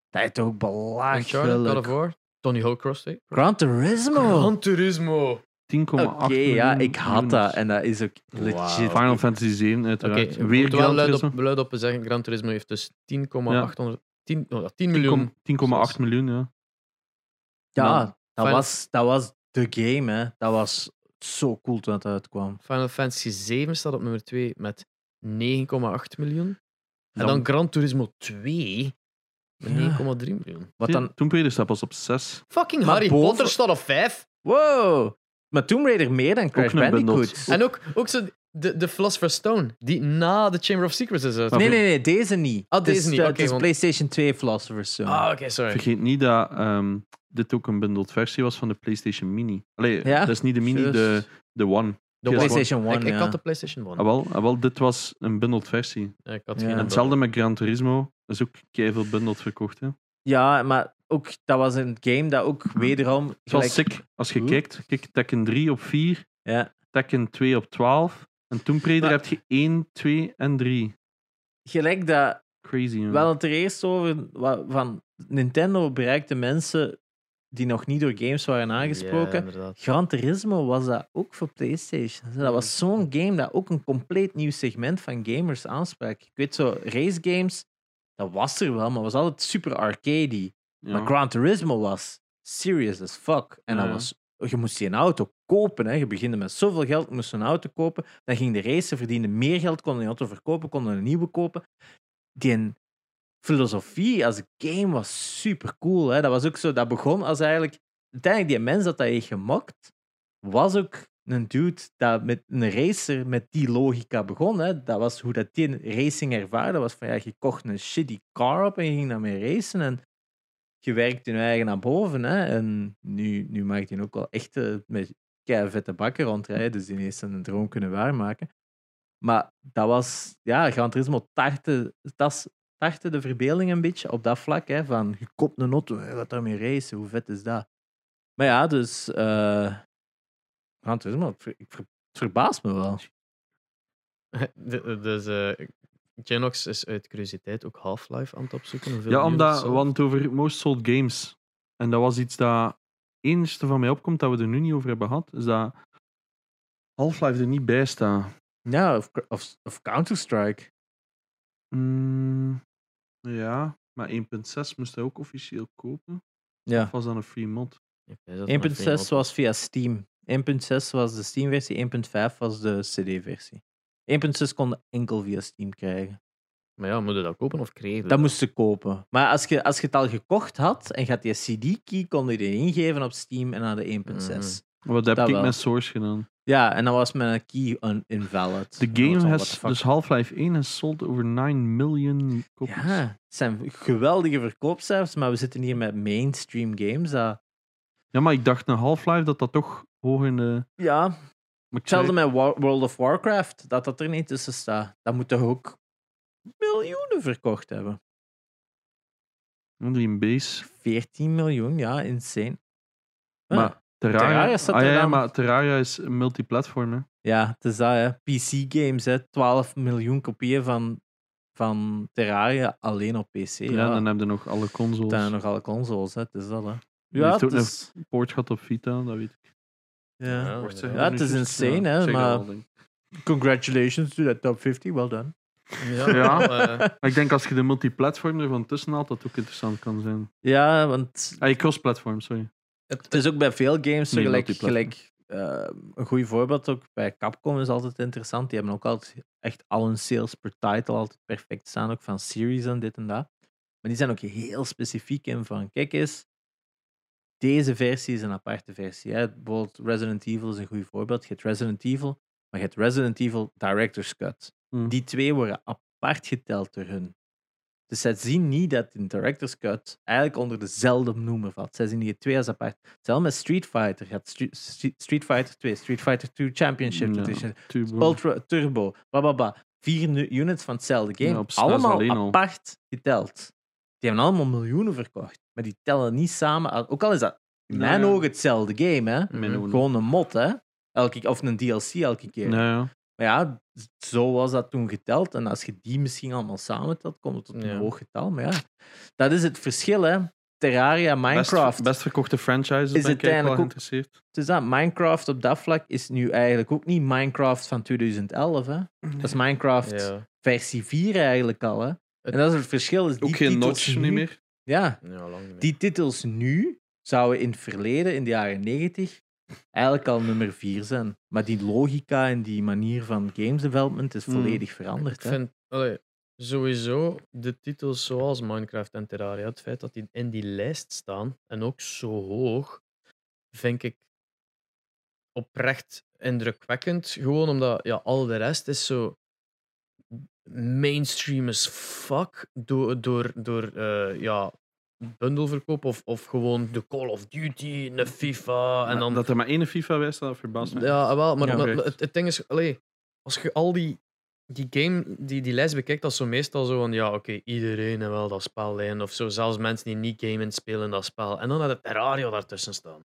B: Dat is toch
C: Hm, Uncharted, God of
B: belachelijk.
C: War, Tony Hawk Cross 2.
B: Gran
A: Oh.
B: Turismo.
C: Gran Turismo.
A: 10,8
B: Oké,
A: miljoen
B: ja, ik had dat
A: units.
B: en dat is ook legit.
A: Final Fantasy 7
C: Oké,
A: uiteraard.
C: we
A: Weer
C: moeten wel
A: Gran
C: luid
A: Turismo.
C: op, luid op zeggen, Gran Turismo heeft dus 10,800 10, oh ja, 10 miljoen.
A: 10,8 miljoen, ja.
B: Ja,
C: Man,
B: dat
C: Final-
B: was, dat was de game, hè. Dat was zo cool toen het uitkwam.
C: Final Fantasy 7 staat op nummer 2 met 9,8 miljoen. En
B: Dan-
C: dan Gran Turismo 2 met
B: Ja.
C: 9,3 miljoen.
B: Wat dan
A: Toen Raider staat pas op 6.
C: Fucking
B: Maar
C: Harry
B: boven-
C: Potter staat op 5.
B: Wow! Maar Tomb Raider meer dan Crash
A: een bundel.
B: Bandicoot.
C: En ook, ook zo de, de Philosopher's Stone, die na de Chamber of Secrets is uit.
A: Maar-
B: Nee, nee, nee, deze niet.
C: Ah,
B: Het is
C: deze niet,
B: de-
C: oké,
B: Het is
C: want-
B: PlayStation 2 Philosopher's Stone.
C: Ah, oké, sorry.
A: Vergeet niet dat ehm, dit ook een bundeld versie was van de PlayStation Mini. Allee,
B: Ja,
A: dat is niet de Mini, de,
C: Juist.
A: de One.
C: De
B: PlayStation
C: One. Ik,
B: 1,
C: ik
B: ja.
C: had de PlayStation 1.
A: Ah, wel, ah, wel, dit was een bundeld versie.
C: Ik had
B: Ja.
C: geen
A: En
B: En
A: hetzelfde met Gran Turismo. Dat is ook keiveel bundeld verkocht. Hè. Het
B: Ja, maar ook, dat was een game dat ook
C: Hmm.
B: wederom...
A: is wel
B: gelijk-
A: sick. Als je
B: Goed.
A: kijkt, kijk, Tekken 3 op 4,
B: Ja.
A: Tekken 2 op 12. En Tomb Raider
B: Maar-
A: heb je 1, 2 en 3.
B: Gelijk dat...
A: Crazy,
C: Hmm.
A: hè.
B: Wel het er eerst over... wa- Van Nintendo bereikte mensen die nog niet door games waren aangesproken.
C: [LAUGHS]
B: Gran Turismo was dat ook voor PlayStation. Dat was zo'n game dat ook een compleet nieuw segment van gamers aansprak. Ik weet zo, race games, dat was er wel, maar was altijd super arcadey.
A: Ja.
B: Maar Gran Turismo was serious as fuck. En dat
A: Ja.
B: was, je moest die een auto kopen. Hè. Je beginde met zoveel geld, je moest een auto kopen. Dan ging de race, verdiende meer geld, kon een auto verkopen, kon een nieuwe kopen. Die filosofie als game was super cool. Hè. Dat was ook zo, dat begon als eigenlijk. Uiteindelijk, die mens dat hij heeft gemokt, was ook een dude dat met een racer met die logica begon. Hè. Dat was hoe dat die racing ervaarde. was van ja, je kocht een shitty car op en je ging daarmee racen. En je werkt in je eigen naar boven. Hè? En nu, nu maakt hij ook wel echt eh, met vette bakken rondrijden. Dus ineens zijn droom kunnen waarmaken. Maar dat was, ja, Gran Turismo tartte, tas- tartte de verbeelding een beetje op dat vlak. Hè? Van je koopt een auto, je gaat daarmee racen, hoe vet is dat? Maar ja, dus eh Gran Turismo, ik ver- ik ver- het verbaast me wel.
C: dus eh, Genox is uit curiositeit ook Half-Life aan het opzoeken. hoeveel
A: Ja,
C: uur
A: omdat,
C: dat zal-
A: want over Most Sold Games. En dat was iets dat enigste van mij opkomt dat we er nu niet over hebben gehad. Is dat Half-Life er niet bij staat.
B: Ja, of, of, of Counter-Strike.
A: Mm, ja, maar 1.6 moest hij ook officieel kopen.
B: Ja.
A: Of was dat een free mod?
C: Ik wijs dat maar
B: 1.6
C: even op.
B: was via Steam. 1.6 was de Steam-versie, 1.5 was de CD-versie. 1.6 kon je enkel via Steam krijgen.
C: Maar ja, moet je dat kopen of krijgen?
B: Dat moest je kopen. Maar als je, als je het al gekocht had en je had die CD-key, kon je die ingeven op Steam en naar de 1.6.
C: Mhm.
A: Wat heb
B: Dat
A: ik
B: wel.
A: met Source gedaan?
B: Ja, en dan was mijn key un- invalid.
A: De
B: En dan was
A: game
B: al,
A: has,
B: what the fuck.
A: dus Half-Life 1 has sold over 9 million copies.
B: Ja, het zijn geweldige verkoopcijfers, maar we zitten hier met mainstream games. Dat,
A: Ja, maar ik dacht na Half-Life dat dat toch hoog in de...
B: ja,
A: Maar ik zei-
B: hetzelfde met Wa- World of Warcraft, dat dat er niet tussen staat. Dat moet toch ook miljoenen verkocht hebben?
A: die in base.
B: 14 miljoen, ja, insane. Ah, Ja,
A: Maar Terraria,
B: Terraria staat
A: ah, ja,
B: er
A: ja,
B: dan.
A: maar Terraria is multiplatform. Hè.
B: Ja, het is dat, hè. PC-games, hè. 12 miljoen kopieën van, van Terraria alleen op PC. Ja,
A: Ja, dan heb je nog alle consoles.
B: dan nog alle consoles, hè. Het is dat, hè.
A: Die
B: Ja,
A: heeft ook
B: het is...
A: Poort gaat op Vita, dat weet ik.
B: ja.
C: Ja,
A: Wordt ze
C: ja.
A: nu
B: het is
A: juist?
B: insane, hè,
A: ik zeg dat
B: maar-
A: wel, denk ik.
B: Congratulations to that top 50, well done.
C: Ja,
A: Ja.
C: eh,
A: Maar ik denk als je de multiplatform ervan tussen haalt, dat ook interessant kan zijn.
B: [LAUGHS] Ja, want
A: Ah, je cross-platform, sorry.
B: het is ook bij veel games zo
A: Nee,
B: gelijk.
A: multiplatform.
B: gelijk eh, een goed voorbeeld ook bij Capcom is altijd interessant. Die hebben ook altijd echt al hun sales per title altijd perfect staan. Ook van series en dit en dat. Maar die zijn ook heel specifiek in van: kijk eens, deze versie is een aparte versie. Hè? Bijvoorbeeld Resident Evil is een goed voorbeeld. Je hebt Resident Evil, maar je hebt Resident Evil Director's Cut.
A: Hmm.
B: Die twee worden apart geteld door hun. Dus zij zien niet dat een Director's Cut eigenlijk onder dezelfde noemer valt. Zij zien die twee als apart. Hetzelfde met Street Fighter. Je had Stre- Stre- Street Fighter 2, Street Fighter 2 Championship
A: Ja,
B: Edition,
A: Turbo.
B: Ultra Turbo, bla bla bla. Vier nu- units van hetzelfde
A: Ja,
B: game.
A: op zes alleen al.
B: allemaal apart geteld. Die hebben allemaal miljoenen verkocht. Maar die tellen niet samen. al- Ook al is dat in
A: Nou
B: mijn
A: ja. Mm.
B: ogen hetzelfde game, hè?
A: Mijn
C: Mhm.
A: ogen.
B: Gewoon een mod, hè? Elke, of een DLC elke keer.
A: Ja, ja.
B: Maar ja, zo was dat toen geteld. En als je die misschien allemaal samentelt, komt het tot een
C: Ja.
B: hoog getal. Maar ja, dat is het verschil, hè. Terraria, Minecraft.
A: Best, best verkochte franchise,
B: Is
A: ben ik eigenlijk
B: uiteindelijk
A: wel
B: ook-
A: geïnteresseerd.
B: Het is dat. Minecraft op dat vlak is nu eigenlijk ook niet Minecraft van 2011, hè. Dat is Minecraft
C: ja.
B: versie 4 eigenlijk al, hè. En dat is het verschil. Is die
A: Ook geen
B: titels
A: notch
B: nu-
A: niet meer.
B: Ja,
C: Ja, lang niet meer.
B: die titels nu zouden in het verleden, in de jaren 90, eigenlijk al nummer 4 zijn. Maar die logica en die manier van games development is
A: Hmm.
B: volledig veranderd.
C: Ik
B: hè.
C: vind allee, sowieso de titels zoals Minecraft en Terraria, het feit dat die in die lijst staan en ook zo hoog, vind ik oprecht indrukwekkend. Gewoon omdat ja, al de rest is zo mainstream as fuck door, door, door eh, ja, bundelverkoop of, of gewoon de Call of Duty, de FIFA en
A: Maar
C: dan
A: Dat er maar één FIFA bij staat, dat verbaast me.
C: ja, ah, wel, maar,
B: Ja.
C: maar-
A: Oké.
C: maar het, het ding is, allee, als je al die, die game, die, die lijst bekijkt, dat is zo meestal zo van, ja, oké, iedereen heeft wel dat spel in, of zo, zelfs mensen die niet gamen spelen dat spel. En dan had het Terraria daartussen staan.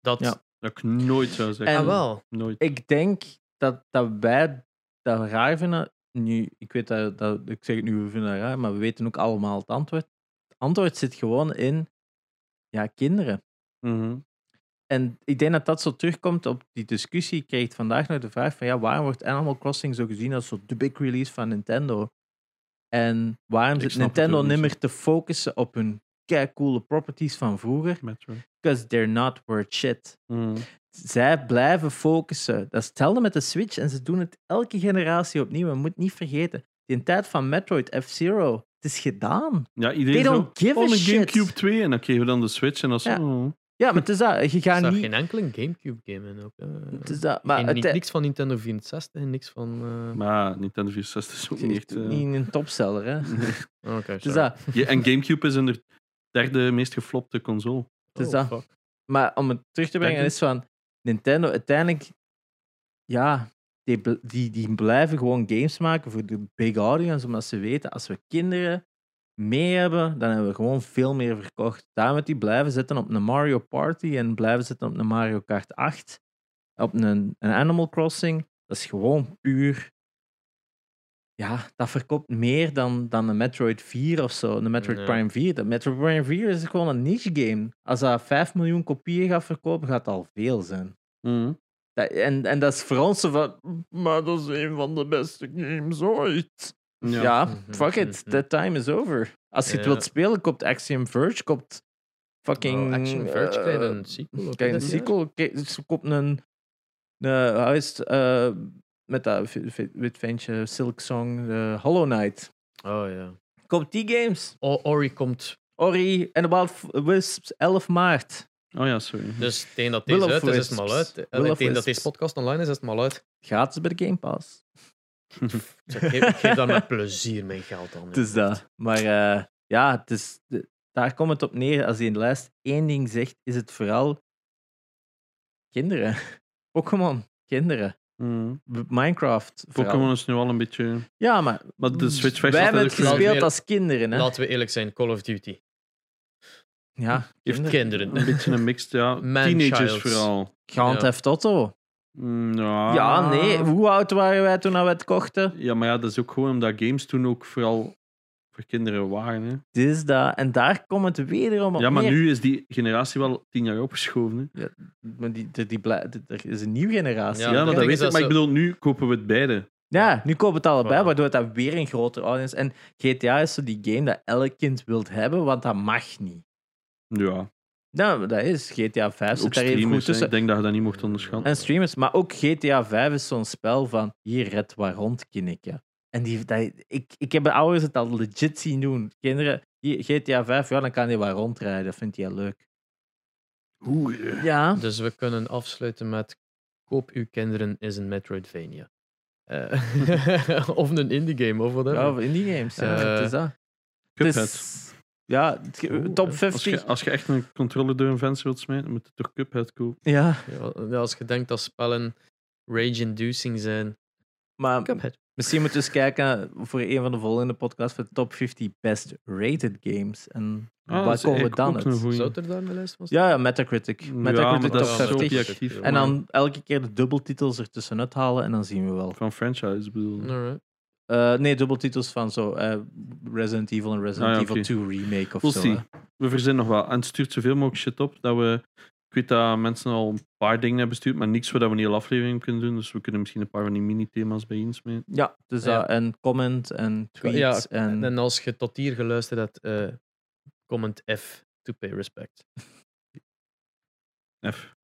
C: Dat,
B: Ja.
A: Dat ik nooit zou zeggen.
B: En-
C: ah, wel.
A: Nooit.
B: Ik denk dat, dat wij dat raar vinden. Nu, ik weet dat, dat ik zeg het nu, we vinden dat raar, maar we weten ook allemaal het antwoord. Het antwoord zit gewoon in ja, kinderen.
A: Mhm.
B: En ik denk dat dat zo terugkomt op die discussie. Ik kreeg vandaag nog de vraag van ja, waarom wordt Animal Crossing zo gezien als zo de big release van Nintendo? En waarom
A: Ik
B: zit
A: snap het
B: Nintendo
A: ook niet,
B: niet meer te focussen op hun coole properties van vroeger?
A: Metroid.
B: Because they're not worth shit
A: Mhm.
B: zij blijven focussen. Dat is hetzelfde met de Switch en ze doen het elke generatie opnieuw. We moeten niet vergeten, die tijd van Metroid F-Zero, het is gedaan.
A: Ja,
B: They
A: iedereen zo...
B: don't give
A: Oh,
B: a
A: een
B: shit.
A: Gamecube 2 en dan kregen we dan de Switch en dan zo...
B: Ja.
A: oh.
B: Ja, maar het is dat. Je
C: Er
B: gaat
C: staat
B: niet...
C: geen enkele Gamecube-game in ook. hè.
B: Het is dat. Maar
C: Geen-
B: het, e-
C: niet- niks van Nintendo 64, niks van... eh,
A: Maar Nintendo 64 is ook
B: het is
A: niet echt... eh,
B: niet een topseller, hè. Het
C: Oh, Oké,
B: is
C: Mm, sorry.
B: dat.
A: Ja, en Gamecube is in de derde meest geflopte console.
B: het is
C: Oh,
B: dat.
C: fuck.
B: Maar om het terug te brengen
A: Dank u.
B: is van Nintendo uiteindelijk, ja, die, bl- die, die blijven gewoon games maken voor de big audience, omdat ze weten als we kinderen mee hebben, dan hebben we gewoon veel meer verkocht. Daarom dat die blijven zitten op een Mario Party en blijven zitten op een Mario Kart 8, op een, een Animal Crossing. Dat is gewoon puur ja, dat verkoopt meer dan, dan een Metroid 4 of zo. Een Metroid
C: Ja.
B: Prime 4. De Metroid Prime 4 is gewoon een niche game. Als dat 5 miljoen kopieën gaat verkopen, gaat dat al veel zijn.
A: Mhm.
B: Dat- en, en dat is voor ons zo van. Maar dat is een van de beste games ooit. Ja,
C: Mhm,
B: fuck it.
C: mhm.
B: That time is over. Als je het
C: Ja.
B: wilt spelen, koopt Axiom Verge, koopt fucking.
C: Wow, Nou, Action Verge
B: eh,
C: krijgt een sequel. ook
B: krijgt een
C: dit jaar.
B: sequel. krijgt- Ze koopt een. een hoe is het, eh, met dat v- v- wit ventje, Silk Song, eh, Hollow Knight.
C: Oh ja.
B: Koopt die games.
C: O- Ori komt.
B: Ori en de Wild F- Wisps, 11 maart.
A: Oh ja, sorry.
C: Dus tegen dat
B: Will
C: deze
B: of
C: uit is, is het
B: Wisps.
C: mal uit.
B: Will
C: Eh,
B: of
C: Tegen
B: Wisps.
C: dat deze podcast online is, is het mal uit. Dus
B: Gratis bij de Game Pass.
C: Ik zeg, geef, ik geef daar met plezier mijn geld aan.
B: Het is dat. Maar eh, ja, het is, de- daar komt het op neer. Als die lijst één ding zegt, is het vooral kinderen. [LAUGHS] Pokémon, kinderen.
A: Mhm.
B: B- Minecraft. vooral.
A: Pokémon is nu al een beetje.
B: Ja, maar
A: Maar de Switch
B: wij
A: versie
B: hebben het
A: had ook-
B: gespeeld
C: Meer-
B: als kinderen. Hè?
C: Laten we eerlijk zijn, Call of Duty.
B: ja,
C: Heeft
B: kinderen.
A: Een
C: kinderen.
A: beetje een mixed, ja.
C: Man-child.
A: Teenagers vooral.
B: Grand
C: Ja.
B: Theft Auto.
A: Mm, Ja.
B: Ja, nee. Hoe oud waren wij toen we het kochten?
A: Ja, maar ja, dat is ook gewoon omdat games toen ook vooral voor kinderen waren. Hè.
B: Dit is dat. En daar komt het wederom op
A: Ja, maar
B: neer.
A: nu is die generatie wel tien jaar opgeschoven. Hè.
B: Maar die, die, die blij- die- er is een nieuwe generatie.
C: Ja,
A: Ja,
C: maar
A: maar
C: ik
A: dat weet
C: denk dat
A: ik. Maar ik
C: ze-
A: bedoel, nu kopen we het beide.
B: Ja, nu kopen het allebei,
C: Voilà.
B: waardoor dat weer een grotere audience. En GTA is zo die game dat elk kind wilt hebben, want dat mag niet.
A: Ja,
B: Nou, dat is. GTA 5
A: ook
B: zit daar even goed
A: streamers. hè.
B: tussen.
A: Ik denk dat je dat niet mocht onderschatten.
B: En streamers, maar ook GTA 5 is zo'n spel van hier red waar rond, kinnikken. En die, dat, ik, ik heb mijn ouders het al legit zien doen. Kinderen, hier, GTA 5, ja, dan kan die waar rondrijden. Dat vindt hij leuk.
A: Oeh. eh,
B: Ja.
C: [LAUGHS] Dus we kunnen afsluiten met koop uw kinderen is een Metroidvania. Eh, [LAUGHS] of een indie game of
B: Ja,
C: whatever.
B: in die games. Ja,
C: Eh,
B: het is dat. Het
A: Cuphead.
B: is, ja, het-
C: Oeh,
B: top
C: als
A: Als
B: 50.
A: je, als je echt een controller door een venster wilt smijten, moet je toch Cuphead kopen.
B: Ja,
C: Ja, ja, als je denkt dat spellen rage-inducing zijn.
B: maar
C: Cuphead.
B: Misschien moeten we eens kijken voor een van de volgende podcasts voor de top 50 best rated games. En
A: Ah, dat
B: waar
A: is
B: komen we
A: eigenlijk
B: dan
A: ook een
B: uit?
A: goeie.
C: Zou er daar mijn lijst van staan?
B: Ja, ja, Metacritic.
A: ja, maar
B: Metacritic
A: dat
B: top
A: is zo
B: 50.
A: objectief.
C: En
B: En dan elke keer de dubbeltitels ertussenuit halen en dan zien we wel.
A: Van franchise bedoel.
C: Alright.
B: Eh, nee, dubbeltitels van zo eh, Resident Evil en Resident
A: Ah, ja,
B: Evil
A: oké.
B: 2 Remake of
A: We'll
B: zo.
A: see.
B: hè.
A: We verzinnen nog wel. En stuurt zoveel mogelijk shit op dat we. Ik weet dat mensen al een paar dingen hebben gestuurd, maar niks waar dat we een hele aflevering op kunnen doen. Dus we kunnen misschien een paar van die mini-thema's bij insmeten.
B: Ja, dus
C: Ja.
B: dat. En comment en tweets.
C: Ja,
B: en,
C: En als je tot hier geluisterd hebt, eh, comment F to pay respect.
A: F.